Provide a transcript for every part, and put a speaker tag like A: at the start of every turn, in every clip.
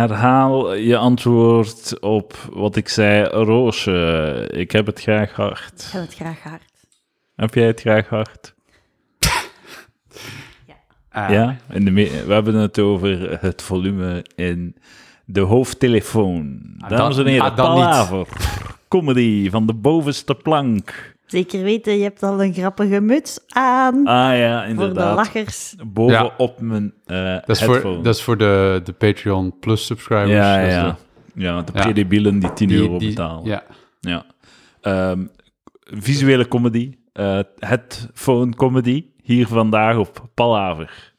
A: herhaal je antwoord op wat ik zei. Roosje, ik heb het graag hard.
B: Ik heb het graag hard.
A: Heb jij het graag hard?
C: Ah,
A: Ja, in de me- we hebben het over het volume in de hoofdtelefoon.
C: Ah,
A: Dames
C: dan-
A: en heren,
C: ah, dan niet.
A: Palaver, comedy van de bovenste plank.
B: Zeker weten, je hebt al een grappige muts aan.
A: Ah ja,
B: voor de
A: inderdaad.
B: lachers.
A: Bovenop op mijn eh
C: Dat is
A: headphone.
C: voor, dat is voor de, de Patreon Plus subscribers.
A: ja,
C: Dat
A: ja,
C: is
A: ja.
C: de-
A: ja, de
C: Ja.
A: predebielen die 10
C: die-
A: euro
C: die-
A: betalen.
C: Ja.
A: Ja. Ehm, visuele comedy. eh het phone comedy. Hier vandaag op Palaver.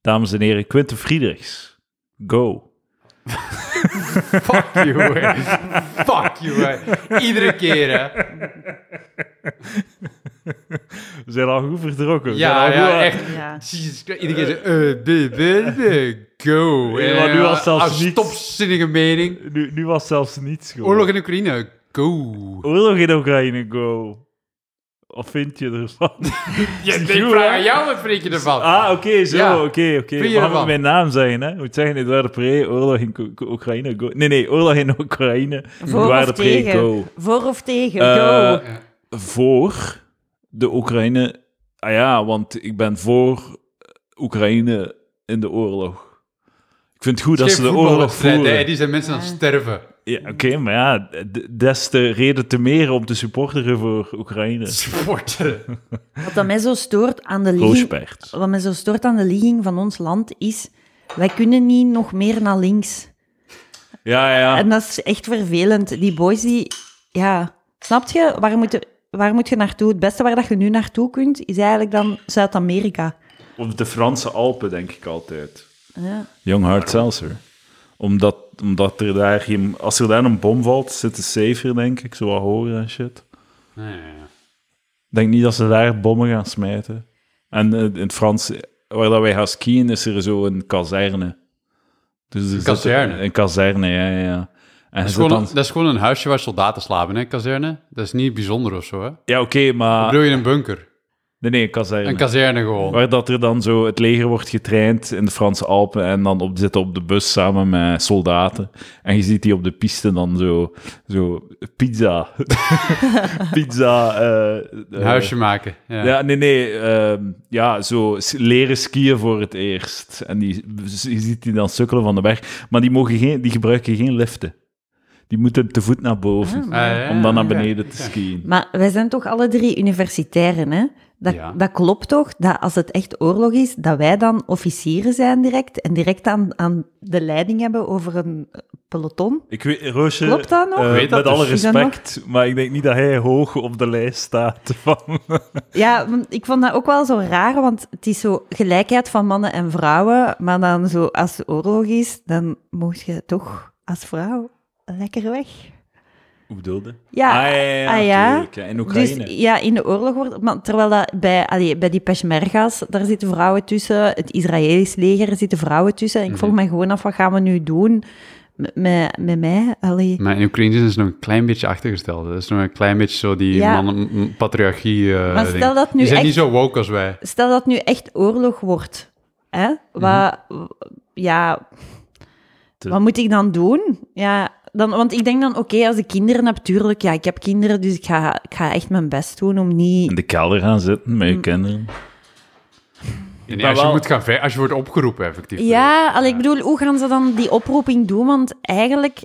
A: Dames en heren, Quinten Friedrichs. Go.
C: Fuck you, hè. Fuck you, hè. Iedere keer, hè.
A: We zijn al goed vertrokken. We zijn
C: Ja,
A: al goed aan-
C: ja, echt.
B: Ja.
C: Jesus Christ. Iedere keer zo... eh, b, b, b, go.
A: Ja, maar nu was het zelfs
C: Als
A: niet.
C: Stopzinnige mening.
A: Nu, nu was zelfs niets gewoon.
C: Oorlog in Oekraïne, go.
A: Oorlog in Oekraïne, go. Of vind je ervan?
C: Ja, ik
A: Joe,
C: vraag
A: hè?
C: aan jou, wat vind je ervan?
A: Ah, oké, zo, oké,
C: Ja.
A: oké.
C: Vind
A: Mag
C: je
A: ik
C: ervan?
A: mijn naam zeggen, hè? Moet zeggen, Edouard Pre, oorlog in Ko- Ko- Oekraïne, go. Nee, nee, oorlog in Oekraïne,
B: Voor of
A: Edouard Pre,
B: tegen?
A: go.
B: Voor of tegen?
A: Eh,
B: Go.
C: Ja.
A: voor de Oekraïne. Ah ja, want ik ben voor Oekraïne in de oorlog. Ik vind het goed dat
C: Het
A: ze
C: is
A: de
C: geen
A: oorlog
C: voetbalwedstrijd,
A: voeren.
C: hè. Die zijn mensen aan het
B: Ja.
C: sterven.
A: Ja, Oké, maar ja, d- des te reden te meer om te supporteren voor Oekraïne.
C: Sporten.
B: Wat dat mij zo stoort aan de ligging,
A: Roosperts.
B: wat mij zo stoort aan de ligging van ons land is, wij kunnen niet nog meer naar links.
A: Ja,
B: En
A: ja.
B: dat is echt vervelend. Die boys die, ja, snapt je? Waar moet je, waar moet je naartoe? Het beste waar dat je nu naartoe kunt, is eigenlijk dan Zuid-Amerika.
A: Op de Franse Alpen denk ik altijd.
B: Ja.
A: Young Hard Seltzer. Omdat, omdat er daar geen... Als er daar een bom valt, zit de safer, denk ik. Zo wat hoger en shit. denk niet dat ze daar bommen gaan smijten. En eh, in het Frans, waar dat wij gaan skiën, is er zo een kazerne. Dus er zit-
C: kazerne?
A: Een kazerne, ja, ja, ja. En je
C: Dat is,
A: zit
C: gewoon,
A: dan-
C: dat is gewoon een huisje waar soldaten slapen, hè, kazerne. Dat is niet bijzonder of zo, hè.
A: Ja, oké, maar...
C: Bedoel je een bunker?
A: Nee, nee, een kazerne.
C: Een kazerne gewoon.
A: Waar dat er dan zo het leger wordt getraind in de Franse Alpen en dan op, zitten op de bus samen met soldaten. En je ziet die op de piste dan zo, zo pizza. pizza. eh,
C: Een
A: eh,
C: huisje maken. Ja.
A: Ja, nee, nee. ehm, ja, zo s- leren skiën voor het eerst. En die, je ziet die dan sukkelen van de weg. Maar die, mogen geen, die gebruiken geen liften. Die moeten te voet naar boven.
B: Ah,
C: Ah, ja,
A: om dan naar
C: ja.
A: beneden te skiën.
B: Maar wij zijn toch alle drie universitairen, hè? Dat,
C: Ja.
B: dat klopt toch, dat als het echt oorlog is, dat wij dan officieren zijn direct en direct aan, aan de leiding hebben over een eh, peloton?
A: Ik weet, Roosje,
B: Klopt dat nog?
A: eh,
C: Weet dat
A: met alle
C: dus?
B: Is dat nog?
A: respect, maar ik denk niet dat hij hoog op de lijst staat van...
B: Ja, want ik vond dat ook wel zo raar, want het is zo gelijkheid van mannen en vrouwen, maar dan zo als het oorlog is, dan mocht je toch als vrouw lekker weg.
A: Hoe bedoelde?
B: Ja,
A: ah, ja, ja, ja,
B: ah, ja.
A: tuurlijk, ja, in Oekraïne.
B: Dus ja, in de oorlog wordt... Maar terwijl dat bij, allee, bij die Peshmerga's, daar zitten vrouwen tussen. Het Israëlisch leger zitten vrouwen tussen. En ik
A: Mhm.
B: vroeg me gewoon af, wat gaan we nu doen met, met, met mij? Allee.
C: Maar in Oekraïne is het nog een klein beetje achtergesteld. Dat is nog een klein beetje zo die
B: Ja.
C: mannen, m- patriarchie. eh,
B: Maar stel
C: ding.
B: dat nu
C: Die zijn
B: echt-
C: niet zo woke als wij.
B: Stel dat het nu echt oorlog wordt. Hè? Wat, ja,
A: Mhm. Te-
B: wat moet ik dan doen? Ja, dan, want ik denk dan, oké, als ik kinderen heb, tuurlijk, ja, ik heb kinderen, dus ik ga, ik ga echt mijn best doen om niet...
A: In de kelder gaan zitten met je kinderen.
C: En
A: ben
C: als, je
A: wel-
C: moet gaan ver- als je wordt opgeroepen, effectief.
B: Ja, al ik bedoel, hoe gaan ze dan die oproeping doen? Want eigenlijk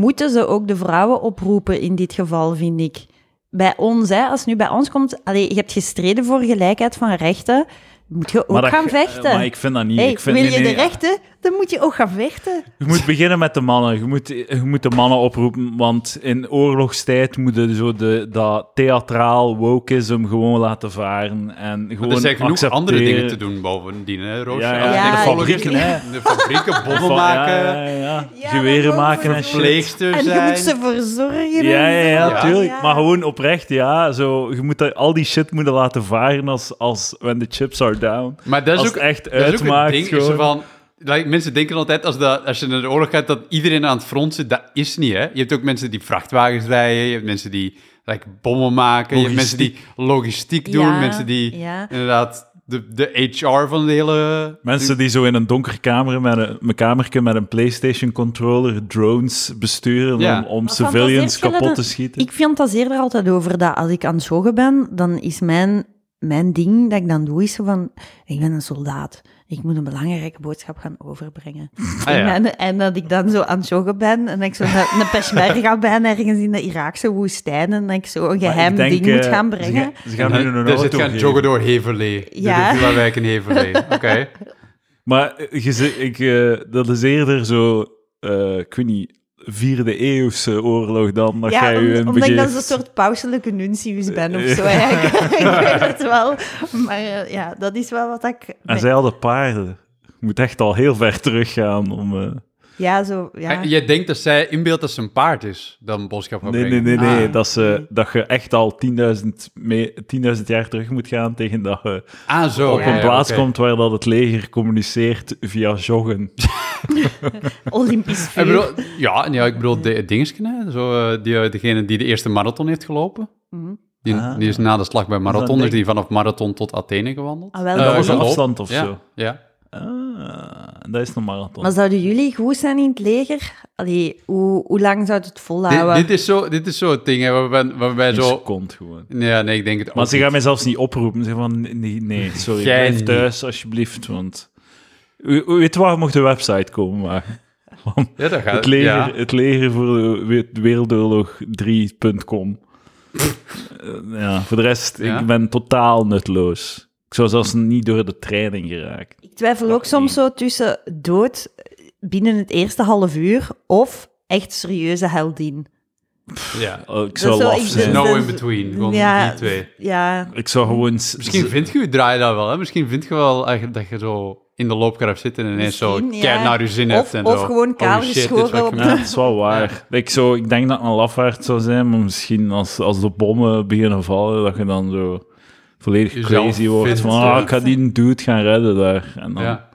B: moeten ze ook de vrouwen oproepen in dit geval, vind ik. Bij ons, hè, als het nu bij ons komt, allee, je hebt gestreden voor gelijkheid van rechten, moet je ook
A: dat- eh,
B: gaan vechten.
A: Maar ik vind dat niet.
B: Hey,
A: ik vind,
B: wil
A: nee,
B: je
A: nee,
B: de rechten, dan moet je ook gaan vechten.
A: Je moet beginnen met de mannen. Je moet, je moet de mannen oproepen, want in oorlogstijd moet je zo de, dat theatraal wokeism gewoon laten varen. En gewoon
C: Want er zijn genoeg
A: accepteren.
C: andere dingen te doen bovendien, hè, Roosje?
A: Ja, ja.
C: Als je
B: Ja,
C: denkt,
B: ik
C: volg eens
A: denk-
C: in De fabrieken,
A: Van-
C: bommel
A: ja,
C: maken,
A: ja, ja.
B: Ja,
A: Geweren
B: maar ook
A: maken en
B: voor
A: shit.
C: verpleegster
B: En je
C: zijn.
B: moet ze verzorgen.
A: Ja, ja, ja,
C: Ja.
A: tuurlijk. Maar gewoon oprecht, ja. Zo, je moet dat, al die shit moeten laten varen als, als when the chips are down.
C: Maar dat is
A: Als
C: ook
A: het echt
C: dat is ook het
A: uitmaakt,
C: ding, is
A: gewoon.
C: zo van, like, mensen denken altijd als, dat, als je naar de oorlog gaat dat iedereen aan het front zit. Dat is niet, hè? Je hebt ook mensen die vrachtwagens rijden, je hebt mensen die like, bommen maken, je hebt mensen die logistiek doen,
B: Ja,
C: mensen die
B: ja.
C: inderdaad De, de HR van de hele...
A: Mensen die zo in een donkere kamer met een, een kamertje met een PlayStation-controller drones besturen
C: Ja.
A: om, om
B: Maar fantaseert
A: civilians
B: jullie
A: kapot te
B: dat-
A: schieten.
B: Ik fantaseer er altijd over dat als ik aan het zogen ben, dan is mijn, mijn ding dat ik dan doe, is zo van, ik ben een soldaat. Ik moet een belangrijke boodschap gaan overbrengen.
C: Ah, ja.
B: en, en dat ik dan zo aan het joggen ben en dat ik zo een, een peshmerga ben ergens in de Iraakse woestijn en dat ik zo een
A: Maar ik
B: geheim
A: denk,
B: ding
A: eh,
B: moet gaan
A: ze
B: brengen.
A: gaan- Ze, gaan nu een
C: dus het
A: auto
C: gaan
A: geven.
C: joggen door Heverlee.
B: Ja.
C: Ja. De Villa-wijk in Heverlee. Oké.
A: Maar eh, je ze- ik, eh, dat is eerder zo, eh ik weet niet, vierde eeuwse oorlog dan dat jij je
B: Ja, om-
A: in
B: omdat ik dan
A: begeeft.
B: zo'n soort pauselijke nuntius ben of zo eigenlijk. ik weet het wel. Maar eh, ja, dat is wel wat ik...
A: En zij hadden paarden. Je moet echt al heel ver teruggaan om... eh,
B: Ja, zo... Ja.
C: Eh, Jij denkt dat zij inbeeldt dat ze een paard is, dat een boodschap gaat
A: Nee, nee,
C: brengen.
A: nee, nee.
B: Ah.
A: Dat, ze, dat je echt al 10.000 mee- 10.000 jaar terug moet gaan tegen dat je
C: Ah, zo.
A: op
C: ja,
A: een
C: ja,
A: plaats
C: oké.
A: komt waar dat het leger communiceert via joggen.
B: Olympisch
C: Ik
B: vuur.
C: bedoel, ja, en ja, ik bedoel, de- het dingetje, hè, zo, eh, die, eh, degene die de eerste marathon heeft gelopen.
B: Mhm.
C: Die,
A: Ah.
C: die is na de slag bij marathon,
A: een
C: dus die vanaf marathon tot Athene gewandeld.
B: Ah, wel,
C: Eh,
A: dat was een
C: gelopen.
A: afstand of
C: ja,
A: zo.
C: Ja.
A: Ah, dat is een marathon.
B: Maar zouden jullie goed zijn in het leger? Allee, hoe, hoe lang zou het
C: Dit,
B: volhouden?
C: dit is zo- dit is zo'n ding hè, waarbij, waarbij
A: Een
C: zo...
A: seconde gewoon.
C: Ja, nee, ik denk het
A: Maar
C: ook
A: ze
C: niet.
A: gaan mij zelfs niet oproepen. Ze zeggen van, nee, nee, nee, sorry,
C: Jij
A: blijf
C: niet.
A: thuis alsjeblieft, want... U- u Weet waar, mocht de website komen, maar...
C: Ja, dat gaat.
A: Het leger,
C: ja.
A: het leger voor de we- Wereldoorlog 3.com. Eh, ja, voor de rest,
C: Ja.
A: ik ben totaal nutloos. Ik zou zelfs niet door de training geraakt.
B: Ik twijfel ook soms zo tussen dood binnen het eerste half uur of echt serieuze heldin.
C: Ja.
A: Eh, Ik zou
B: zou
A: laf
B: ik
A: zijn.
B: doen.
C: No
B: dat-
C: in between, gewoon die twee.
B: Ja,
A: Ik zou gewoon... s-
C: Misschien vindt je je draai dat wel, hè? Misschien vind je wel eigenlijk dat je zo in de loopkracht zit en ineens zo
B: Misschien,
C: keihard
B: ja.
C: naar je zin
B: Of-
C: hebt. En
B: of
C: zo,
B: gewoon
C: "Holy
B: kaal
C: shit, dit is
B: geschoren
C: wat ik
B: op-
A: Ja, dat is wel waar. Ik, zou, ik denk dat het een lafaard zou zijn, maar misschien als, als de bommen beginnen vallen, dat je dan zo volledig
C: Jezelf
A: crazy wordt.
C: vindt.
A: Van, ah, ik ga die dude gaan redden daar. En dan
C: Ja.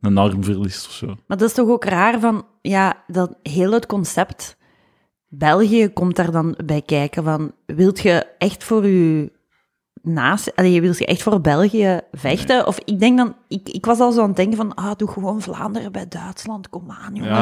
A: een arm verliest of zo.
B: maar dat is toch ook raar van, ja, dat heel het concept België komt daar dan bij kijken van, wilt je echt voor je naast, allee, wilt je echt voor België vechten? Of ik denk dan, ik, ik was al zo aan het denken van, ah, doe gewoon Vlaanderen bij Duitsland, kom aan jongens.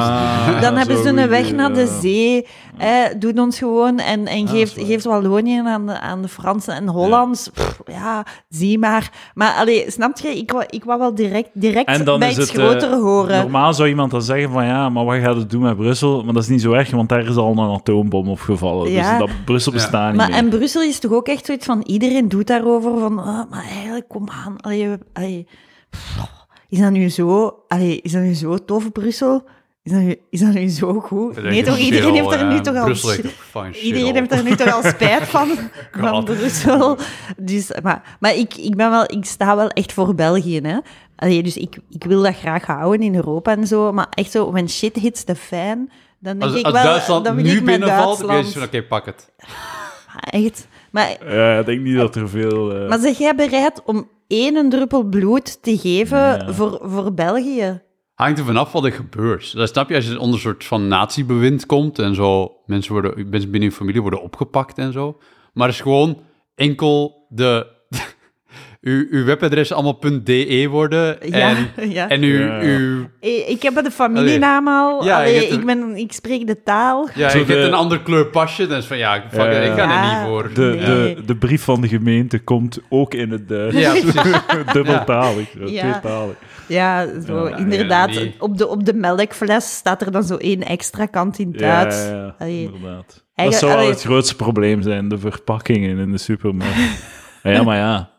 C: Dus-
B: Dan hebben ze een weg naar de zee. Eh, doe het ons gewoon en, en geeft, geeft Wallonië aan de, aan de Fransen en Hollands. Pff, ja, zie maar. Maar allee, snap je? Ik wou, ik wou wel direct, direct
A: En dan
B: bij
A: is
B: iets
A: het, eh,
B: grotere horen.
A: Normaal zou iemand dan zeggen van ja, maar wat gaat het doen met Brussel? Maar dat is niet zo erg, want daar is al een atoombom op gevallen.
B: Ja.
A: Dus dat, Brussel
C: Ja.
A: bestaat
B: Maar
A: niet meer.
B: en Brussel is toch ook echt zoiets van iedereen doet daarover van, ah, maar eigenlijk kom aan. Allee, we- allee, pff, is dat nu zo? Allee, is dat nu zo tof Brussel? Is dat nu, is dat nu zo goed?
C: Dat
B: Nee
C: is
B: toch?
C: shit
B: Iedereen
C: al,
B: heeft er
C: ja.
B: nu toch al
C: eh, Brussel
B: shit-
C: heeft ook fucking shit
B: Iedereen
C: al.
B: heeft er nu toch al spijt van, van
C: God.
B: Brussel. Dus, maar maar ik, ik, ben wel, ik sta wel echt voor België. Hè? Allee, dus ik, ik wil dat graag houden in Europa en zo. Maar echt zo, when shit hits the fan, dan denk
C: Als,
B: ik
C: als
B: wel...
C: Duitsland
B: dan ben
C: nu
B: ik met
C: binnenvalt, dan weet je
B: Duitsland.
C: van oké, pak het.
B: Maar Echt. Maar,
A: Ja, ik denk niet dat er veel... eh,
B: maar zeg jij bereid om één druppel bloed te geven
A: Ja.
B: voor, voor België?
C: Hangt er vanaf wat er gebeurt. Dat snap je als je onder een soort van natiebewind komt en zo. Mensen, worden, mensen binnen je familie worden opgepakt en zo. Maar het is gewoon enkel de. uw, uw webadres allemaal .de worden.
B: Ja,
C: en,
B: ja.
C: en uw.
A: Ja.
C: uw
B: Ik, ik heb de familienaam al.
C: Ja,
B: Allee,
C: je hebt-
B: ik, ben, ik spreek de taal.
C: ja,
A: Zo
C: je hebt
A: de-
C: een ander kleur pasje. Dan is van ja, fuck,
A: Ja,
C: it, ik ga
B: ja.
C: er niet voor.
A: de,
B: Nee.
A: de, de brief van de gemeente komt ook in het eh, Duits.
C: Ja, precies.
A: Dubbeltalig, zo,
B: Ja.
A: tweetalig.
B: Ja, zo,
A: Ja,
B: inderdaad.
C: nee.
B: op, de, op de melkfles staat er dan zo één extra kant in het Duits.
A: Ja, ja, ja,
B: Allee.
A: inderdaad. Dat
B: Eigen-
A: zou wel
B: allee.
A: het grootste probleem zijn, de verpakkingen in de supermarkt. ja, ja, maar ja.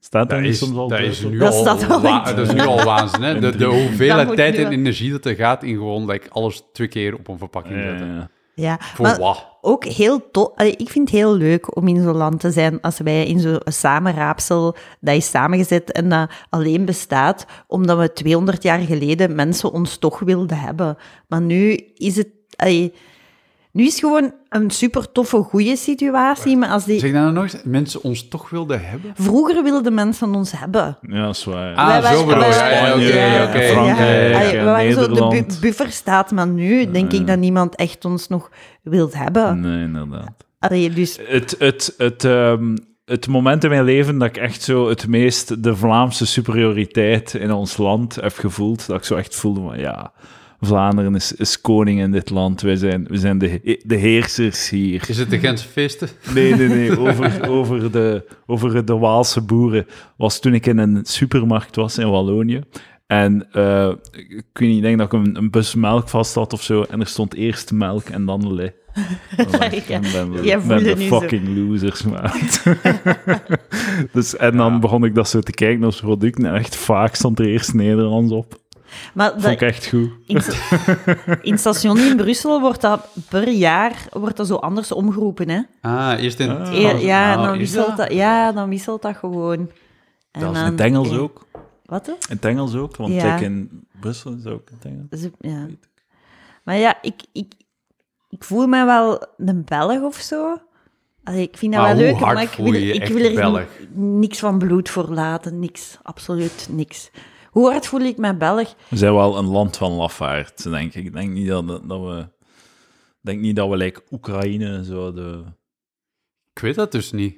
A: Staat
C: Dat
A: er niet
C: is,
A: soms al
C: dat
A: Duits
C: is
A: op?
C: nu
B: Dat
C: al,
B: staat al
C: wa-
B: in-
C: dat is nu al waanzin. Hè? De, de
A: drie.
B: Dat
C: hoeveelheid
B: moet
C: tijd
B: nu
C: en
B: wel.
C: energie dat er gaat in gewoon like, alles twee keer op een verpakking
A: Ja,
C: zetten.
A: ja, ja.
B: Ja,
C: Voor
B: maar
C: wat?
B: ook heel tof. Ik vind het heel leuk om in zo'n land te zijn als wij in zo'n samenraapsel dat is samengezet en dat alleen bestaat omdat we 200 jaar geleden mensen ons toch wilden hebben. Maar nu is het... allee, nu is het gewoon een super toffe, goede situatie, maar als die...
C: Zeg dat nou nog eens, mensen ons toch wilden hebben?
B: Vroeger wilden mensen ons hebben.
A: Ja, dat is waar.
C: Ah,
B: Wij waren-
C: zo bedoel je.
B: wij-
C: Ja, ja, oké,
B: ja,
C: oké.
B: ja.
A: Frankrijk
B: Allee,
A: en
B: we waren zo de
A: Nederland.
B: bu- bufferstaat, maar nu denk
C: Ah.
B: ik dat niemand echt ons nog wil hebben.
A: Nee, inderdaad.
B: Allee, dus
A: Het, het, het, ehm, het moment in mijn leven dat ik echt zo het meest de Vlaamse superioriteit in ons land heb gevoeld. Dat ik zo echt voelde van ja, Vlaanderen is, is koning in dit land. Wij zijn, we zijn de, he- de heersers hier.
C: Is het de Gentse feesten?
A: Nee, nee, nee. Over, over, de, over de Waalse boeren. Was toen ik in een supermarkt was in Wallonië. En eh, ik ik weet niet, ik denk dat ik een, een bus melk vast had of zo. En er stond eerst melk en dan le.
B: Ja,
A: ben we-
B: jij
A: ben
B: voelde
A: de
B: nu zo.
A: fucking losers, maat. dus, en dan begon ik dat zo te kijken naar producten. En echt vaak stond er eerst Nederlands op.
B: Maar
A: Vond ik
B: dat,
A: echt goed.
B: in, in het station in Brussel wordt dat per jaar wordt dat zo anders omgeroepen. Hè?
C: Ah, eerst in...
A: Ah.
B: Eer- ja,
C: Oh,
B: dan
C: is
B: wisselt
C: dat?
B: dat, ja, dan wisselt dat gewoon. En
A: Dat is in
B: dan-
A: het Engels
B: ja.
A: ook.
B: Wat? hè?
A: In het Engels ook, want
B: Ja.
A: ik in Brussel is ook in het Engels.
B: Dus, ja. Maar ja, ik, ik, ik voel me wel een Belg of zo. Allee, ik vind dat
C: Maar
B: wel
C: hoe
B: leuk,
C: hard
B: maar ik
C: voel
B: wil,
C: je je
B: ik
C: echt
B: wil er
C: Belg?
B: ni- niks van bloed voor laten. Niks, absoluut niks. Hoe hard voel ik me Belg?
A: We zijn wel een land van lafaard, denk ik. Ik denk niet dat, dat we... ik denk niet dat we, like, Oekraïne zouden...
C: Ik weet dat dus niet.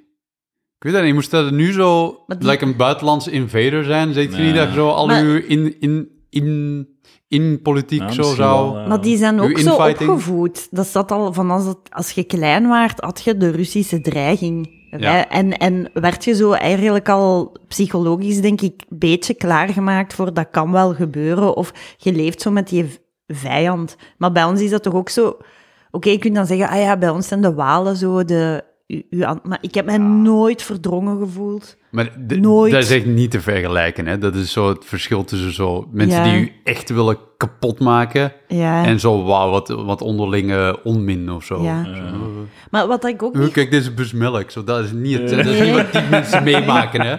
C: Ik weet dat niet. Moest dat nu zo...
B: Maar die-
C: Like een buitenlandse invader zijn? Zeker
A: Nee.
C: niet dat je zo al
B: Maar-
C: uw in, in, in, in politiek
A: Ja,
C: zo
A: misschien
C: zou...
A: wel, eh,
B: Maar die zijn
C: Uw
B: ook zo
C: infighting?
B: opgevoed. Dat zat al van als, het- als je klein waart, had je de Russische dreiging. Wij- En, en werd je zo eigenlijk al psychologisch, denk ik, een beetje klaargemaakt voor dat kan wel gebeuren. Of je leeft zo met die v- vijand. Maar bij ons is dat toch ook zo... Oké, je kunt dan zeggen, ah ja, bij ons zijn de Walen zo de... u- uw an- maar ik heb mij nooit verdrongen gevoeld.
C: Maar d-
B: Nooit.
C: dat is echt niet te vergelijken. Hè? Dat is zo het verschil tussen zo mensen
B: Ja.
C: die u echt willen kapotmaken
B: Ja,
C: en zo wauw, wat, wat onderlinge onmin of zo.
B: ja.
A: eh,
B: Maar wat ik ook
C: Oeh,
B: niet
C: Kijk, deze bus melk. Zo, dat is niet, het, dat is
B: Nee.
C: niet wat die mensen meemaken. Hè?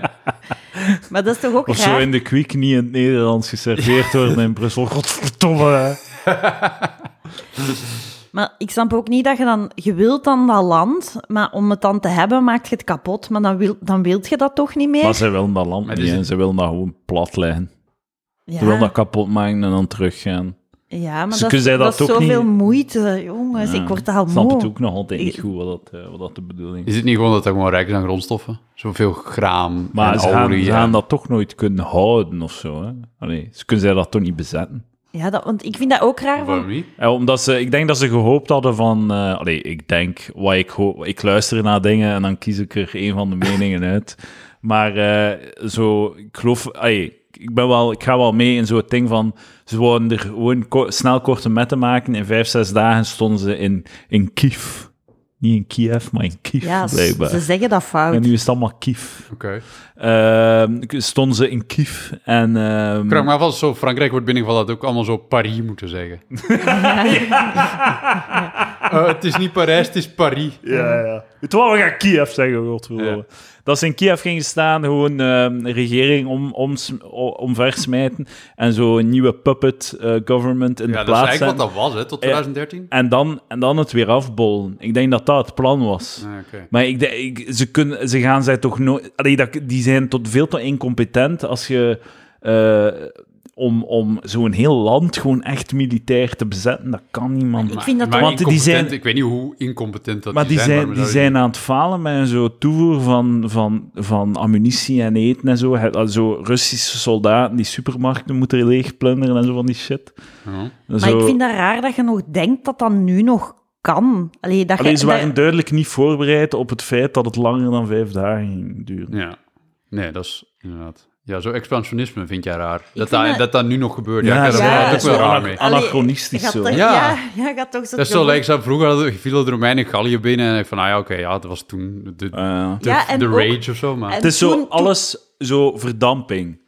B: Maar dat is toch ook
A: of zo
B: raar?
A: in de quick niet in het Nederlands geserveerd worden in Brussel. Godverdomme. hè.
B: Maar ik snap ook niet dat je dan... Je wilt dan dat land, maar om het dan te hebben, maakt je het kapot. Maar dan wil dan wilt je dat toch niet meer?
A: Maar ze willen dat land
C: Maar
A: niet,
C: dus-
A: hè. Ze willen dat gewoon plat leggen. Ze
B: ja,
A: willen dat kapot maken en dan teruggaan.
B: ja, maar
A: Ze
B: dat, is-
A: kunnen zij
B: dat
A: dat
B: is
A: ook
B: zoveel
A: niet-
B: moeite, jongens.
A: Ja.
B: Ik word daar al
A: Ik snap het
B: moe.
A: ook nog altijd niet
B: Ik-
A: goed wat dat, eh, wat dat de bedoeling is.
C: Is het niet gewoon dat er gewoon rijk is aan grondstoffen? Zoveel graan
A: Maar
C: en
A: ze gaan,
C: olie.
A: ze
C: en-
A: gaan dat toch nooit kunnen houden of zo. Hè? Allee, ze kunnen zij dat toch niet bezetten.
B: Ja, dat, want ik vind dat ook raar.
C: Waarom
B: Van,
C: niet?
A: Ja, Eh, omdat ze, ik denk dat ze gehoopt hadden van. eh, allee, ik denk, wat ik, ho- ik luister naar dingen en dan kies ik er een van de meningen uit. Maar eh, zo, ik geloof. allee, ik, ben wel, ik ga wel mee in zo'n ding van. Ze wouden er gewoon ko- snel korte metten maken. In vijf, zes dagen stonden ze in, in Kiev. Niet in Kiev, maar in Kiev
B: ja, ze-
A: blijkbaar.
B: ze zeggen dat
A: En
B: fout.
A: nu is het allemaal Kiev.
C: Oké.
A: Ehm, stonden ze in Kiev en. ehm,
C: Ik vraag me af als zo Frankrijk wordt binnengevallen, dat ook allemaal zo Paris moeten zeggen. Eh, het is niet Parijs, het is Paris.
A: Ja, ja. Weet je wat, we gaan Kiev zeggen, godverdomme.
C: Ja.
A: Dat ze in Kiev gingen staan, gewoon ehm, een regering om, om, omversmijten en zo een nieuwe puppet eh, government in
C: Ja,
A: de
C: dat is
A: plaats
C: eigenlijk
A: zetten.
C: wat dat was, hè, tot 2013.
A: En, dan, en dan het weer afbollen. Ik denk dat dat het plan was.
C: Ah, Oké.
A: Maar ik, denk- ik, ze, kunnen, ze gaan zij toch nooit... Allee, dat, die zijn tot veel te incompetent als je... eh, om, om zo'n heel land gewoon echt militair te bezetten, dat kan niemand.
B: Ik vind dat
C: maar
A: toch- want die
C: incompetent,
A: zijn-
C: Ik weet niet hoe incompetent dat
A: Maar die zijn, die
C: dat-
A: zijn aan het falen met zo toevoer van, van, van ammunitie en eten en zo. He- Zo Russische soldaten die supermarkten moeten leegplunderen en zo van die shit.
C: Ja.
B: Maar
A: Zo-
B: ik vind dat raar dat je nog denkt dat dat nu nog kan. Allee, dat
A: Alleen
B: je,
A: ze waren
B: dat-
A: duidelijk niet voorbereid op het feit dat het langer dan vijf dagen ging duren.
C: Ja. Nee, dat is inderdaad... Ja, zo expansionisme vind jij raar.
B: vind
C: Dat dat,
B: dat-
C: dat dat nu nog gebeurt. Ja,
B: dat
C: ik ben
A: ze
C: er
B: ja,
A: waren
C: wel-
B: dat
C: ook
B: is
C: wel
A: zo
C: raar
A: ana-
C: mee.
B: Allee,
A: anachronistisch
B: gaat
A: zo.
B: toch-
C: Ja.
B: Ja, ja, gaat toch zo...
C: Dat is zo, like, zo vroeger hadden, vielen de Romeinen Gallië binnen en ik van, ah ja, oké, ja, dat was toen de, de,
A: Ja.
B: Ja, en
C: de
B: ook-
C: rage of zo, maar...
B: en
A: Eh, Het is
B: toen-
A: zo
B: toen-
A: alles, zo verdamping.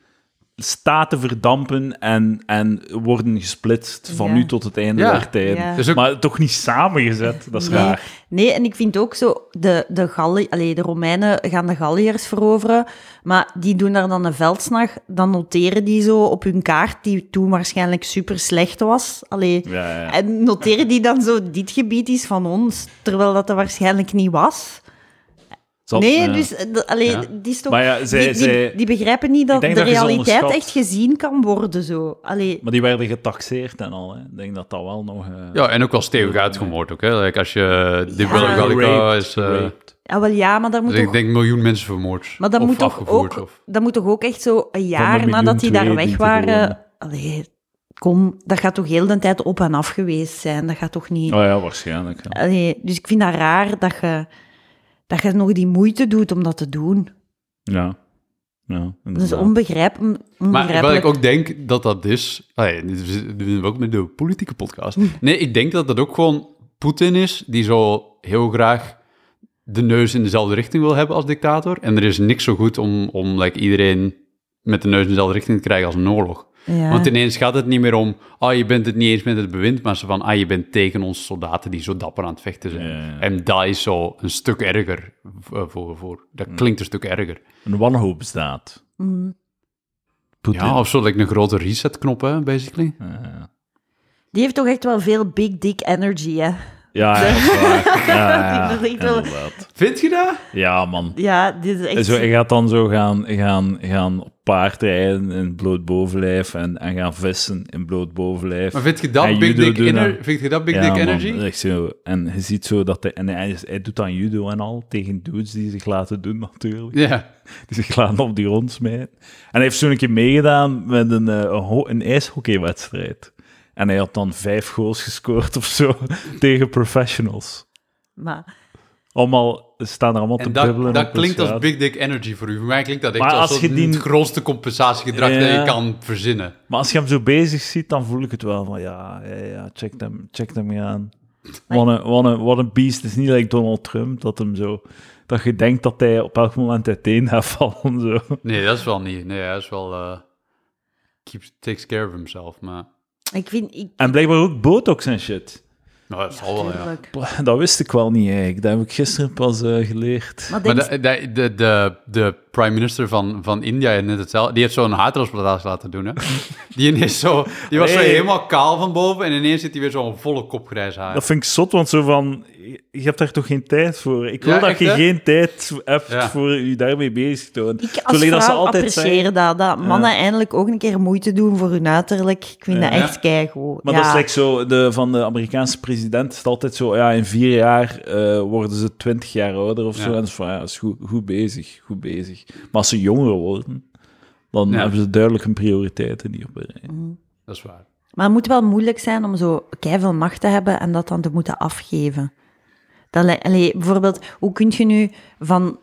A: Staten verdampen en, en worden gesplitst van
B: Ja.
A: nu tot het einde
C: Ja.
A: der tijden.
B: Ja.
C: Dus ook-
A: Maar toch niet samengezet, dat is
B: nee.
A: raar.
B: Nee, en ik vind ook zo, de, de, Galli, allee, de Romeinen gaan de Galliërs veroveren, maar die doen daar dan een veldslag, dan noteren die zo op hun kaart, die toen waarschijnlijk super slecht was. Allee,
A: Ja, ja.
B: En noteren die dan zo, dit gebied is van ons, terwijl dat er waarschijnlijk niet was.
A: Zal-
B: nee,
A: ja.
B: dus eh, d- allee,
C: Ja.
B: die, is toch-
A: Maar ja, zij-
B: die, die,
A: zij-
B: die begrijpen niet dat
A: Ik denk
B: de
A: dat je ze
B: realiteit
A: onderschat.
B: echt gezien kan worden. Zo. Allee,
A: Maar die werden getaxeerd en al, hè. Ik denk dat dat wel nog... eh,
C: Ja, en ook wel stevig uitgemoord ook, hè. Like, als je die
B: Ja.
C: Brother Gallica
A: geraped,
C: is... eh,
A: geraped.
B: ja, ah, wel ja, maar daar moet
C: dus ik
B: toch-
C: denk miljoen mensen vermoord.
B: Maar dat
C: of
B: moet, toch
C: afgevoerd,
B: ook,
C: of-
B: dat moet toch ook echt zo een jaar
A: miljoen
B: nadat die daar
A: twee
B: weg
A: dient te
B: waren...
A: worden.
B: Allee, kom, dat gaat toch heel de tijd op en af geweest zijn? Dat gaat toch niet...
A: Oh ja, waarschijnlijk. ja.
B: Allee, dus ik vind dat raar dat je, dat je nog die moeite doet om dat te doen.
A: Ja. Ja,
B: Dat is
A: inderdaad.
B: onbegrijp, on-
C: Maar
B: onbegrijpelijk.
C: wat ik ook denk dat dat is. Allee, dit is- dit doen we ook met de politieke podcast.
B: Hm.
C: Nee, ik denk dat dat ook gewoon Poetin is die zo heel graag de neus in dezelfde richting wil hebben als dictator. En er is niks zo goed om, om like, iedereen met de neus in dezelfde richting te krijgen als een oorlog.
B: Ja.
C: Want ineens gaat het niet meer om, ah, je bent het niet eens met het bewind, maar zo van, ah, je bent tegen ons soldaten die zo dapper aan het vechten zijn.
A: Ja, ja, ja.
C: En dat is zo een stuk erger eh, voor, voor, dat
A: Hm.
C: klinkt een stuk erger.
A: Een wanhoopsdaad.
B: Mhm.
A: Poetin.
C: Ja, of zo, like een grote resetknop, hè, basically.
A: Ja,
B: Die heeft toch echt wel veel big dick energy, hè?
A: ja, ja, dat is waar. ja, ja,
B: Dat is echt wel-
A: inderdaad.
C: Vind je dat?
A: ja man.
B: Ja, dit is echt...
A: Zo, je gaat dan zo gaan, gaan, gaan op paard rijden in bloot bovenlijf en, en gaan vissen in bloot bovenlijf.
C: Maar vind je dat
A: En
C: Big
A: judo
C: Dick,
A: doen
C: ener-
A: dan.
C: vind je dat big
A: Ja,
C: dick
A: man,
C: Energy?
A: echt zo. En je ziet zo dat hij, en hij, is- hij doet dan judo en al, tegen dudes die zich laten doen natuurlijk.
C: Ja.
A: Die zich laten op die grond smijten. En hij heeft zo'n een keer meegedaan met een, eh, een, ho- een ijshockeywedstrijd. En hij had dan vijf goals gescoord of zo tegen professionals.
B: Maar,
A: Allemaal ze staan er allemaal te
C: En
A: bubbelen.
C: dat, dat
A: op de
C: klinkt als
A: straat.
C: Big Dick Energy voor u. Voor mij klinkt dat echt
A: Maar
C: als,
A: als je
C: het
A: die-
C: grootste compensatiegedrag dat je
A: Ja.
C: kan verzinnen.
A: Maar als je hem zo bezig ziet, dan voel ik het wel van ja, ja, ja check hem, check hem aan. Wat een, wat, een, wat een beest. Het is niet like Donald Trump, dat hem zo... Dat je denkt dat hij op elk moment uiteen gaat vallen, zo.
C: Nee, dat is wel niet. Nee, dat is wel... eh keeps, takes care of himself, maar...
B: ik vind... Ik,
A: En blijkbaar ook botox en shit.
C: Nou, dat zal wel, ja.
B: tuurlijk.
A: Dat wist ik wel niet eigenlijk. Dat heb ik gisteren pas eh, geleerd.
B: Maar
C: Maar
B: denk,
C: de, de, de, de, de prime minister van, van India heeft net hetzelfde. Die heeft zo'n haartransplantatie laten doen, hè. Die, ineens zo, die was zo
A: Nee.
C: helemaal kaal van boven en ineens zit hij weer zo'n volle kop grijs haar.
A: Dat vind ik zot, want zo van... je- Je hebt daar toch geen tijd voor? Ik wil
C: Ja,
A: dat
C: echt,
A: je
C: hè?
A: geen tijd hebt
C: Ja.
A: voor je daarmee bezig te houden.
B: ik als
A: Zolang dat ze
B: vrouw
A: altijd
B: apprecieer dat, dat mannen eindelijk ook een keer moeite doen voor hun uiterlijk. Ik vind dat
C: Ja.
B: echt keigoed.
A: Maar
B: ja.
A: dat is like zo, de, van de Amerikaanse president is het altijd zo, ja, in vier jaar eh, worden ze twintig jaar ouder of
C: Ja.
A: zo. En dat is van, ja, dat is goed, goed bezig, goed bezig. Maar als ze jonger worden, dan
C: Ja.
A: hebben ze duidelijk hun prioriteiten niet op bereid.
B: Mm.
C: dat is waar.
B: Maar het moet wel moeilijk zijn om zo veel macht te hebben en dat dan te moeten afgeven. Dat, li- allee, bijvoorbeeld, hoe kun je nu van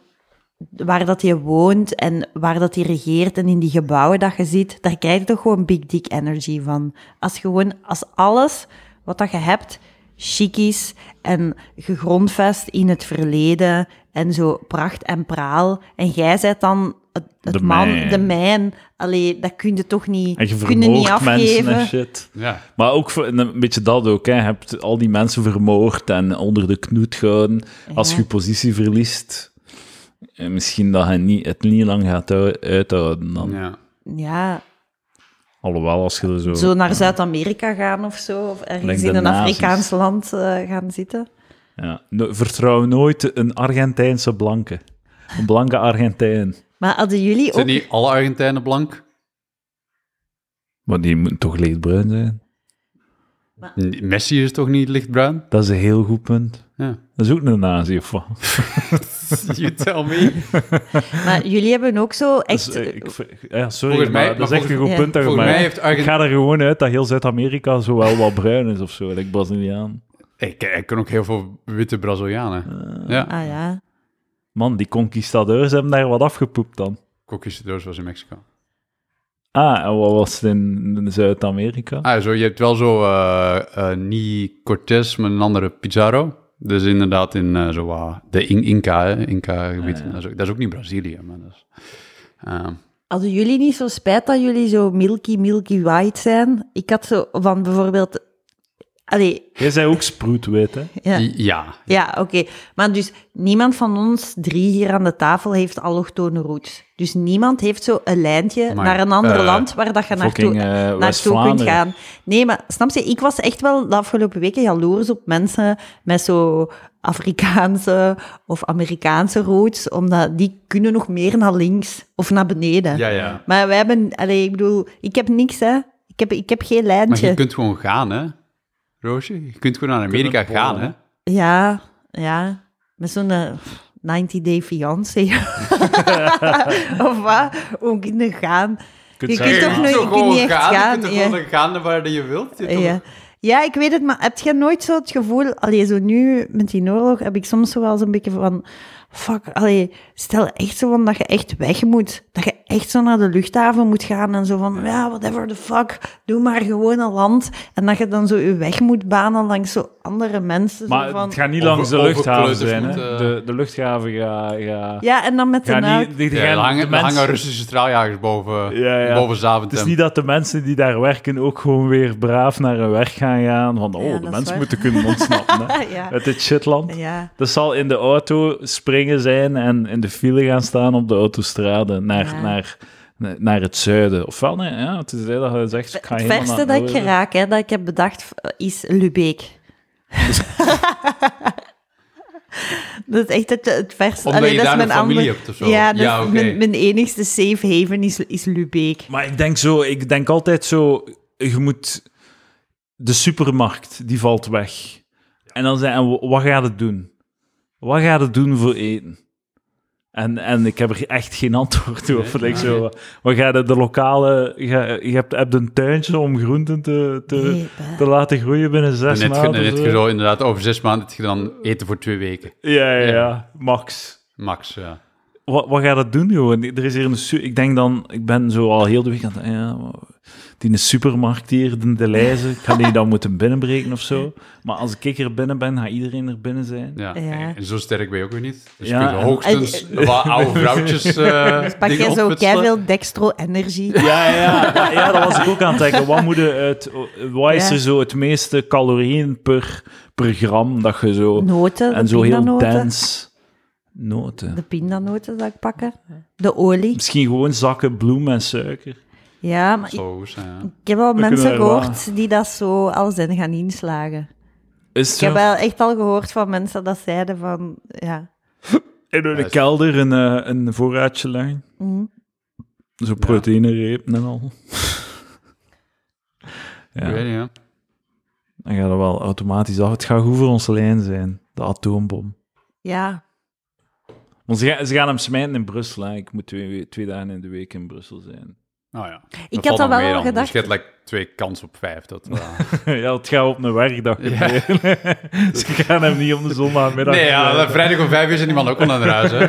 B: waar dat je woont en waar dat je regeert en in die gebouwen dat je zit, daar krijg je toch gewoon big dick energy van. Als je gewoon, als alles wat dat je hebt, chic is en gegrondvest in het verleden en zo pracht en praal. En jij bent dan het, het
A: De
B: man,
A: man.
B: de mijn. Allee, dat kun je toch niet,
A: En je
B: kun je niet
A: vermoogt mensen
B: afgeven.
A: en shit.
C: Ja.
A: Maar ook voor- en een beetje dat ook, hè. je hebt al die mensen vermoord en onder de knoet gehouden. Als je je positie verliest, eh, misschien dat je niet, het niet lang gaat hou- uithouden dan.
C: ja.
B: Ja,
A: Alhoewel, als je er zo...
B: zo naar Zuid-Amerika gaan of zo, of ergens
A: Like de
B: in een
A: nazi's.
B: Afrikaans land eh, gaan zitten.
A: Ja. No- Vertrouw nooit een Argentijnse blanke. Een blanke Argentijn.
B: Maar hadden jullie ook...
C: Zijn niet alle Argentijnen blank?
A: Maar die moet toch lichtbruin zijn?
C: N- Messi is toch niet lichtbruin?
A: Dat is een heel goed punt.
C: Ja.
A: Dat is ook een nazi of wat?
C: You tell me.
B: Maar jullie hebben ook zo echt...
A: Dus, eh, ik v- ja, sorry,
C: Volgens mij-
A: maar dat
C: maar
A: is echt een
C: volgens-
A: goed
B: ja.
A: punt. dat je
C: Volgens
A: maakt.
C: mij heeft Argent-
A: Ik ga er gewoon uit dat heel Zuid-Amerika zo wel wat bruin is of zo. Like Braziliaan.
C: Ik, ik ken ook heel veel witte Brazilianen. ja,
B: Ah ja.
A: Man, die conquistadeurs hebben daar wat afgepoept dan.
C: Conquistadors was in Mexico.
A: Ah, en wat was het in in Zuid-Amerika?
C: Ah, zo, je hebt wel zo eh, eh, niet Cortés, maar een andere Pizarro. Dus inderdaad in eh, zo, wat de In- Inca, hè, Inca-gebied. dat, is ook, dat is ook niet Brazilië, maar dat is... ehm,
B: Hadden jullie niet zo spijt dat jullie zo milky, milky white zijn? Ik had zo van bijvoorbeeld... Allee,
A: Jij zei ook sproetwit, hè?
B: ja.
C: Ja.
B: Ja, oké. Maar dus niemand van ons drie hier aan de tafel heeft allochtone roots. Dus niemand heeft zo een lijntje
C: Maar,
B: naar een ander
A: eh,
B: land waar dat je naartoe,
A: fucking, eh,
B: naartoe kunt
A: West-Vlaanderen.
B: gaan. Nee, maar snap je, ik was echt wel de afgelopen weken jaloers op mensen met zo Afrikaanse of Amerikaanse roots, omdat die kunnen nog meer naar links of naar beneden.
C: Ja, ja.
B: Maar wij hebben, allee, ik bedoel, ik heb niks, hè. Ik heb, ik heb geen
C: Maar
B: lijntje.
C: je kunt gewoon gaan, hè? Roosje, je kunt gewoon naar Amerika
A: Kunnen
C: gaan, hè?
A: bollen.
B: Ja, ja. Met zo'n eh, 90 day fiancé. of wat? Hoe kunnen gaan?
A: kunt
B: Je
A: zeggen,
B: kunt
A: ja.
B: toch nooit- je kunt
C: gewoon
B: niet echt gaan,
C: Je kunt
B: ja.
C: toch gewoon gaan waar je wilt? Je kunt
B: Ja.
C: toch-
B: ja, ik weet het, maar heb je nooit zo het gevoel... Allee, zo nu met die oorlog heb ik soms zo wel zo'n beetje van... Fuck, allee, stel echt zo van dat je echt weg moet. Dat je echt zo naar de luchthaven moet gaan en zo van... Ja, whatever the fuck, doe maar gewoon een land. En dat je dan zo je weg moet banen langs zo andere mensen.
A: Maar
B: zo van,
A: het gaat niet
C: Over-
A: langs de
C: over
A: luchthaven
C: kleuters
A: zijn, hè?
C: moeten-
A: De, de luchthaven gaat... gaat-
B: Ja, en dan met
A: gaat
B: een auto.
A: niet, die, die
C: Ja,
A: gaan
C: er hangen,
A: de
C: er
A: mensen-
C: hangen Russische straaljagers boven,
A: Ja, ja.
C: boven
A: Het
C: Zaventem.
A: is niet dat de mensen die daar werken ook gewoon weer braaf naar hun werk gaan gaan. Van, oh,
B: Ja, dat
A: de
B: is
A: mensen
B: waar.
A: moeten kunnen ontsnappen hè,
B: ja.
A: uit dit shitland.
B: Ja.
A: Dat zal in de auto springen zijn en in de file gaan staan op de autostrade naar,
B: Ja.
A: naar, naar het zuiden. Ofwel, nee, ja, het is dat je zegt, ik ga
B: Het
A: helemaal
B: verste
A: naar
B: dat ik
A: noorden.
B: raak, hè, dat ik heb bedacht, eh, is Lubeek. dat is echt het, het verste.
C: Omdat
B: Allee,
C: je
B: dat
C: daar
B: is
C: een
B: mijn
C: familie
B: ander-
C: hebt of zo.
B: Ja, dat
C: Ja,
B: is
C: oké.
B: mijn, mijn enigste safe haven is, is Lubeek.
A: Maar ik denk zo, ik denk altijd zo, je moet de supermarkt die valt weg. En dan zijn, en wa- wat gaat het doen? Wat gaat het doen voor eten? En, en ik heb er echt geen antwoord op.
C: Nee,
A: Like zo, wat gaat de, de lokale, je, je hebt, hebt een tuintje om groenten te, te,
B: Nee,
A: te laten groeien binnen zes
C: Net, ge-
A: maanden.
C: net
A: of
C: ge-
A: zo.
C: zo, inderdaad, over zes maanden heb je dan eten voor twee weken.
A: Ja, ja,
C: Ja.
A: ja, max.
C: Max, ja.
A: wat, wat gaat dat doen, gewoon? Er is hier een... su- Ik denk dan... Ik ben zo al heel de week aan het... ah Ja, die supermarkt hier, de, de lijzen, ik ga die dan moeten binnenbreken of zo? Maar als ik er binnen ben, gaat iedereen er binnen zijn.
C: ja.
B: Ja.
C: En zo sterk ben je ook weer niet. Dus
A: Ja,
C: kun je
A: en-
C: hoogstens wat oude vrouwtjes eh
B: Pak
C: dingen
B: jij zo
C: opfutselen.
B: veel dextro energy?
A: Ja, ja, maar ja, dat was ik ook aan het denken. Wat, moet je uit, wat is
B: Ja.
A: er zo het meeste calorieën per, per gram dat je zo...
B: Noten,
A: en
B: de
A: zo heel
B: pindanoten.
A: dense Noten.
B: De pindanoten zou ik pakken. De olie.
A: Misschien gewoon zakken bloem en suiker.
B: Ja, maar ik,
C: Zo goed zijn, ja.
B: ik heb wel mensen
A: kunnen we er
B: gehoord die dat zo al zijn gaan inslagen.
A: Is het
B: Ik
A: zo?
B: heb wel echt al gehoord van mensen dat zeiden van... Ja,
A: En door de
C: Juist.
A: kelder een, eh, een voorraadje leggen.
B: Mhm.
A: Zo proteïnerepen en al.
C: Ik
A: ja,
C: weet niet, ja.
A: dan gaat dat wel automatisch af. Het gaat goed voor onze lijn zijn, de atoombom.
B: ja
A: Want ze, gaan- ze gaan hem smijten in Brussel. Hè. Ik moet twee, we- twee dagen in de week in Brussel zijn.
C: Nou ja.
B: ik had
C: Dat valt
B: dat
C: nog
B: wel al
C: mee dan. Dus
B: gedacht.
C: je hebt like, twee kans op vijf. Dat, eh,
A: ja, het gaat op een werkdag gebeuren. ze gaan hem niet op de zondagmiddag...
C: nee, ja,
A: eh,
C: vrijdag om vijf uur zit iemand ook al naar huis. Hè.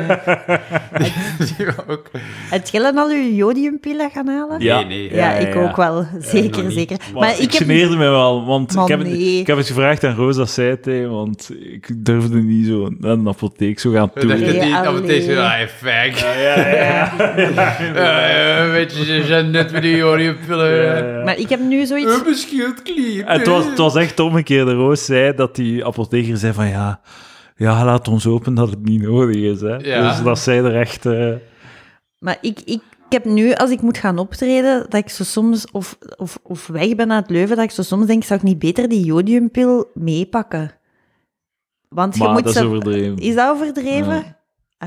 C: Die ook.
B: Het gillen al uw jodiumpillen gaan halen?
A: Ja.
C: Nee, nee.
B: Ja,
A: Ja, ja,
B: ik
A: ja. Eh,
B: ook wel. Zeker,
C: niet.
B: zeker. Maar,
A: Maar ik,
B: ik heb...
A: geneerde me wel, want
B: Man,
A: ik, heb, het-
B: nee.
A: ik heb het gevraagd aan Roos, dat zei het, hè, want ik durfde niet zo naar een apotheek zo gaan
C: Ik
A: toe.
C: dacht dat
B: Nee,
C: die
B: alleen.
C: advertentie... Ah, fuck.
B: Ja.
C: Eh, weet je, ze zijn net met die joriumpillen.
A: Eh,
B: Maar ik heb nu zoiets...
C: Een beschild kliep.
A: En het was, het was echt omgekeerd. Roos zei dat die apotheker zei van ja, ja laat ons open dat het niet nodig is. Hè.
C: Ja.
A: Dus dat zij er echt... eh,
B: Maar ik, ik, ik heb nu, als ik moet gaan optreden, dat ik zo soms... Of, of, of weg ben uit Leuven, dat ik zo soms denk, zou ik niet beter die jodiumpil meepakken? Want je
A: maar
B: moet
A: dat is
B: ze...
A: overdreven.
B: Is dat overdreven?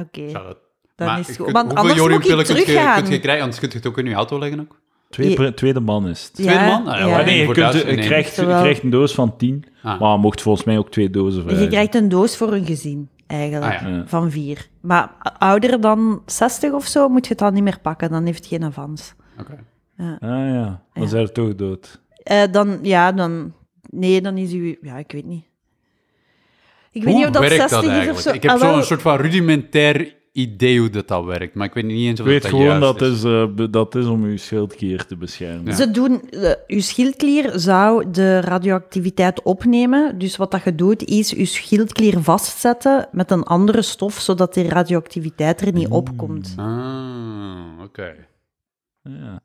B: Oké, dan is het goed. Want anders moet ik
C: kun je,
B: teruggaan.
C: kunt je krijgen? Anders kun je het ook in je auto leggen ook.
A: Twee, pre- tweede man is het.
B: Ja,
C: Tweede man? Ah, ja,
A: Maar nee, je,
C: Voor
A: kunt, je,
C: duizend nemen.
A: krijgt, je
B: Zowel-
A: krijgt een doos van tien,
C: Ah.
A: maar je mocht volgens mij ook twee dozen
B: Je
A: vragen.
B: krijgt een doos voor een gezin, eigenlijk.
C: Ah, ja.
A: eh, Ja.
B: Van vier. Maar ouder dan 60 of zo moet je het dan niet meer pakken. Dan heeft het geen avans.
C: Oké.
A: Ah ja, dan
B: Ja.
A: zijn we toch dood.
B: Eh, dan, ja, dan... Nee, dan is u... Ja, ik weet niet. Ik weet
C: Hoe
B: niet of dat
C: werkt
B: 60
C: dat
B: is of
C: eigenlijk?
B: zo.
C: Ik heb
B: Ah, wel,
C: zo'n soort van rudimentair idee hoe dat, dat werkt, maar ik weet niet eens
A: Ik
C: of
A: weet
C: dat
A: gewoon
C: juist
A: dat
C: is.
A: is, eh, be- dat is om je schildklier te beschermen.
C: Ja.
B: Ze doen... eh, uw schildklier zou de radioactiviteit opnemen. Dus wat dat je doet, is uw schildklier vastzetten met een andere stof, zodat die
C: Mm.
B: radioactiviteit er niet opkomt.
C: Ah, oké.
A: Ja.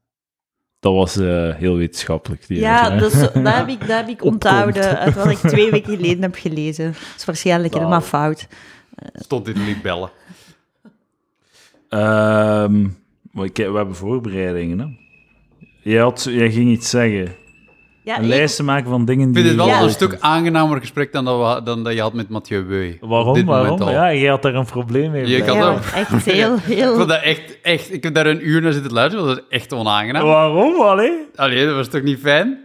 A: Dat was eh, heel wetenschappelijk. Die
B: Ja,
A: uitleg.
B: dus dat heb ik, dat heb ik onthouden uit wat ik twee weken geleden heb gelezen. Dat is waarschijnlijk helemaal fout.
C: Stond dit niet bellen.
A: Ehm, maar ik, we hebben voorbereidingen, hè? Jij, had, jij ging iets zeggen.
B: Ja,
A: Een
B: ik-
A: lijst te maken van dingen
C: Ik
A: die...
C: vind dit wel
A: je
C: een
A: wilt
C: stuk
A: doen.
C: aangenamer gesprek dan dat, we- dan dat je had met Mathieu Weu. Op
A: Waarom?
C: dit moment
A: Waarom?
C: al.
A: Ja, jij had daar een probleem mee.
C: Je
A: blijkbaar.
C: kan
B: ja,
C: dat-
B: want echt heel,
C: Ik,
B: heel...
C: vond dat echt, echt, ik heb daar een uur naar zitten luisteren, want dat is echt onaangenaam.
A: Waarom? Allee?
C: Allee, dat was toch niet fijn?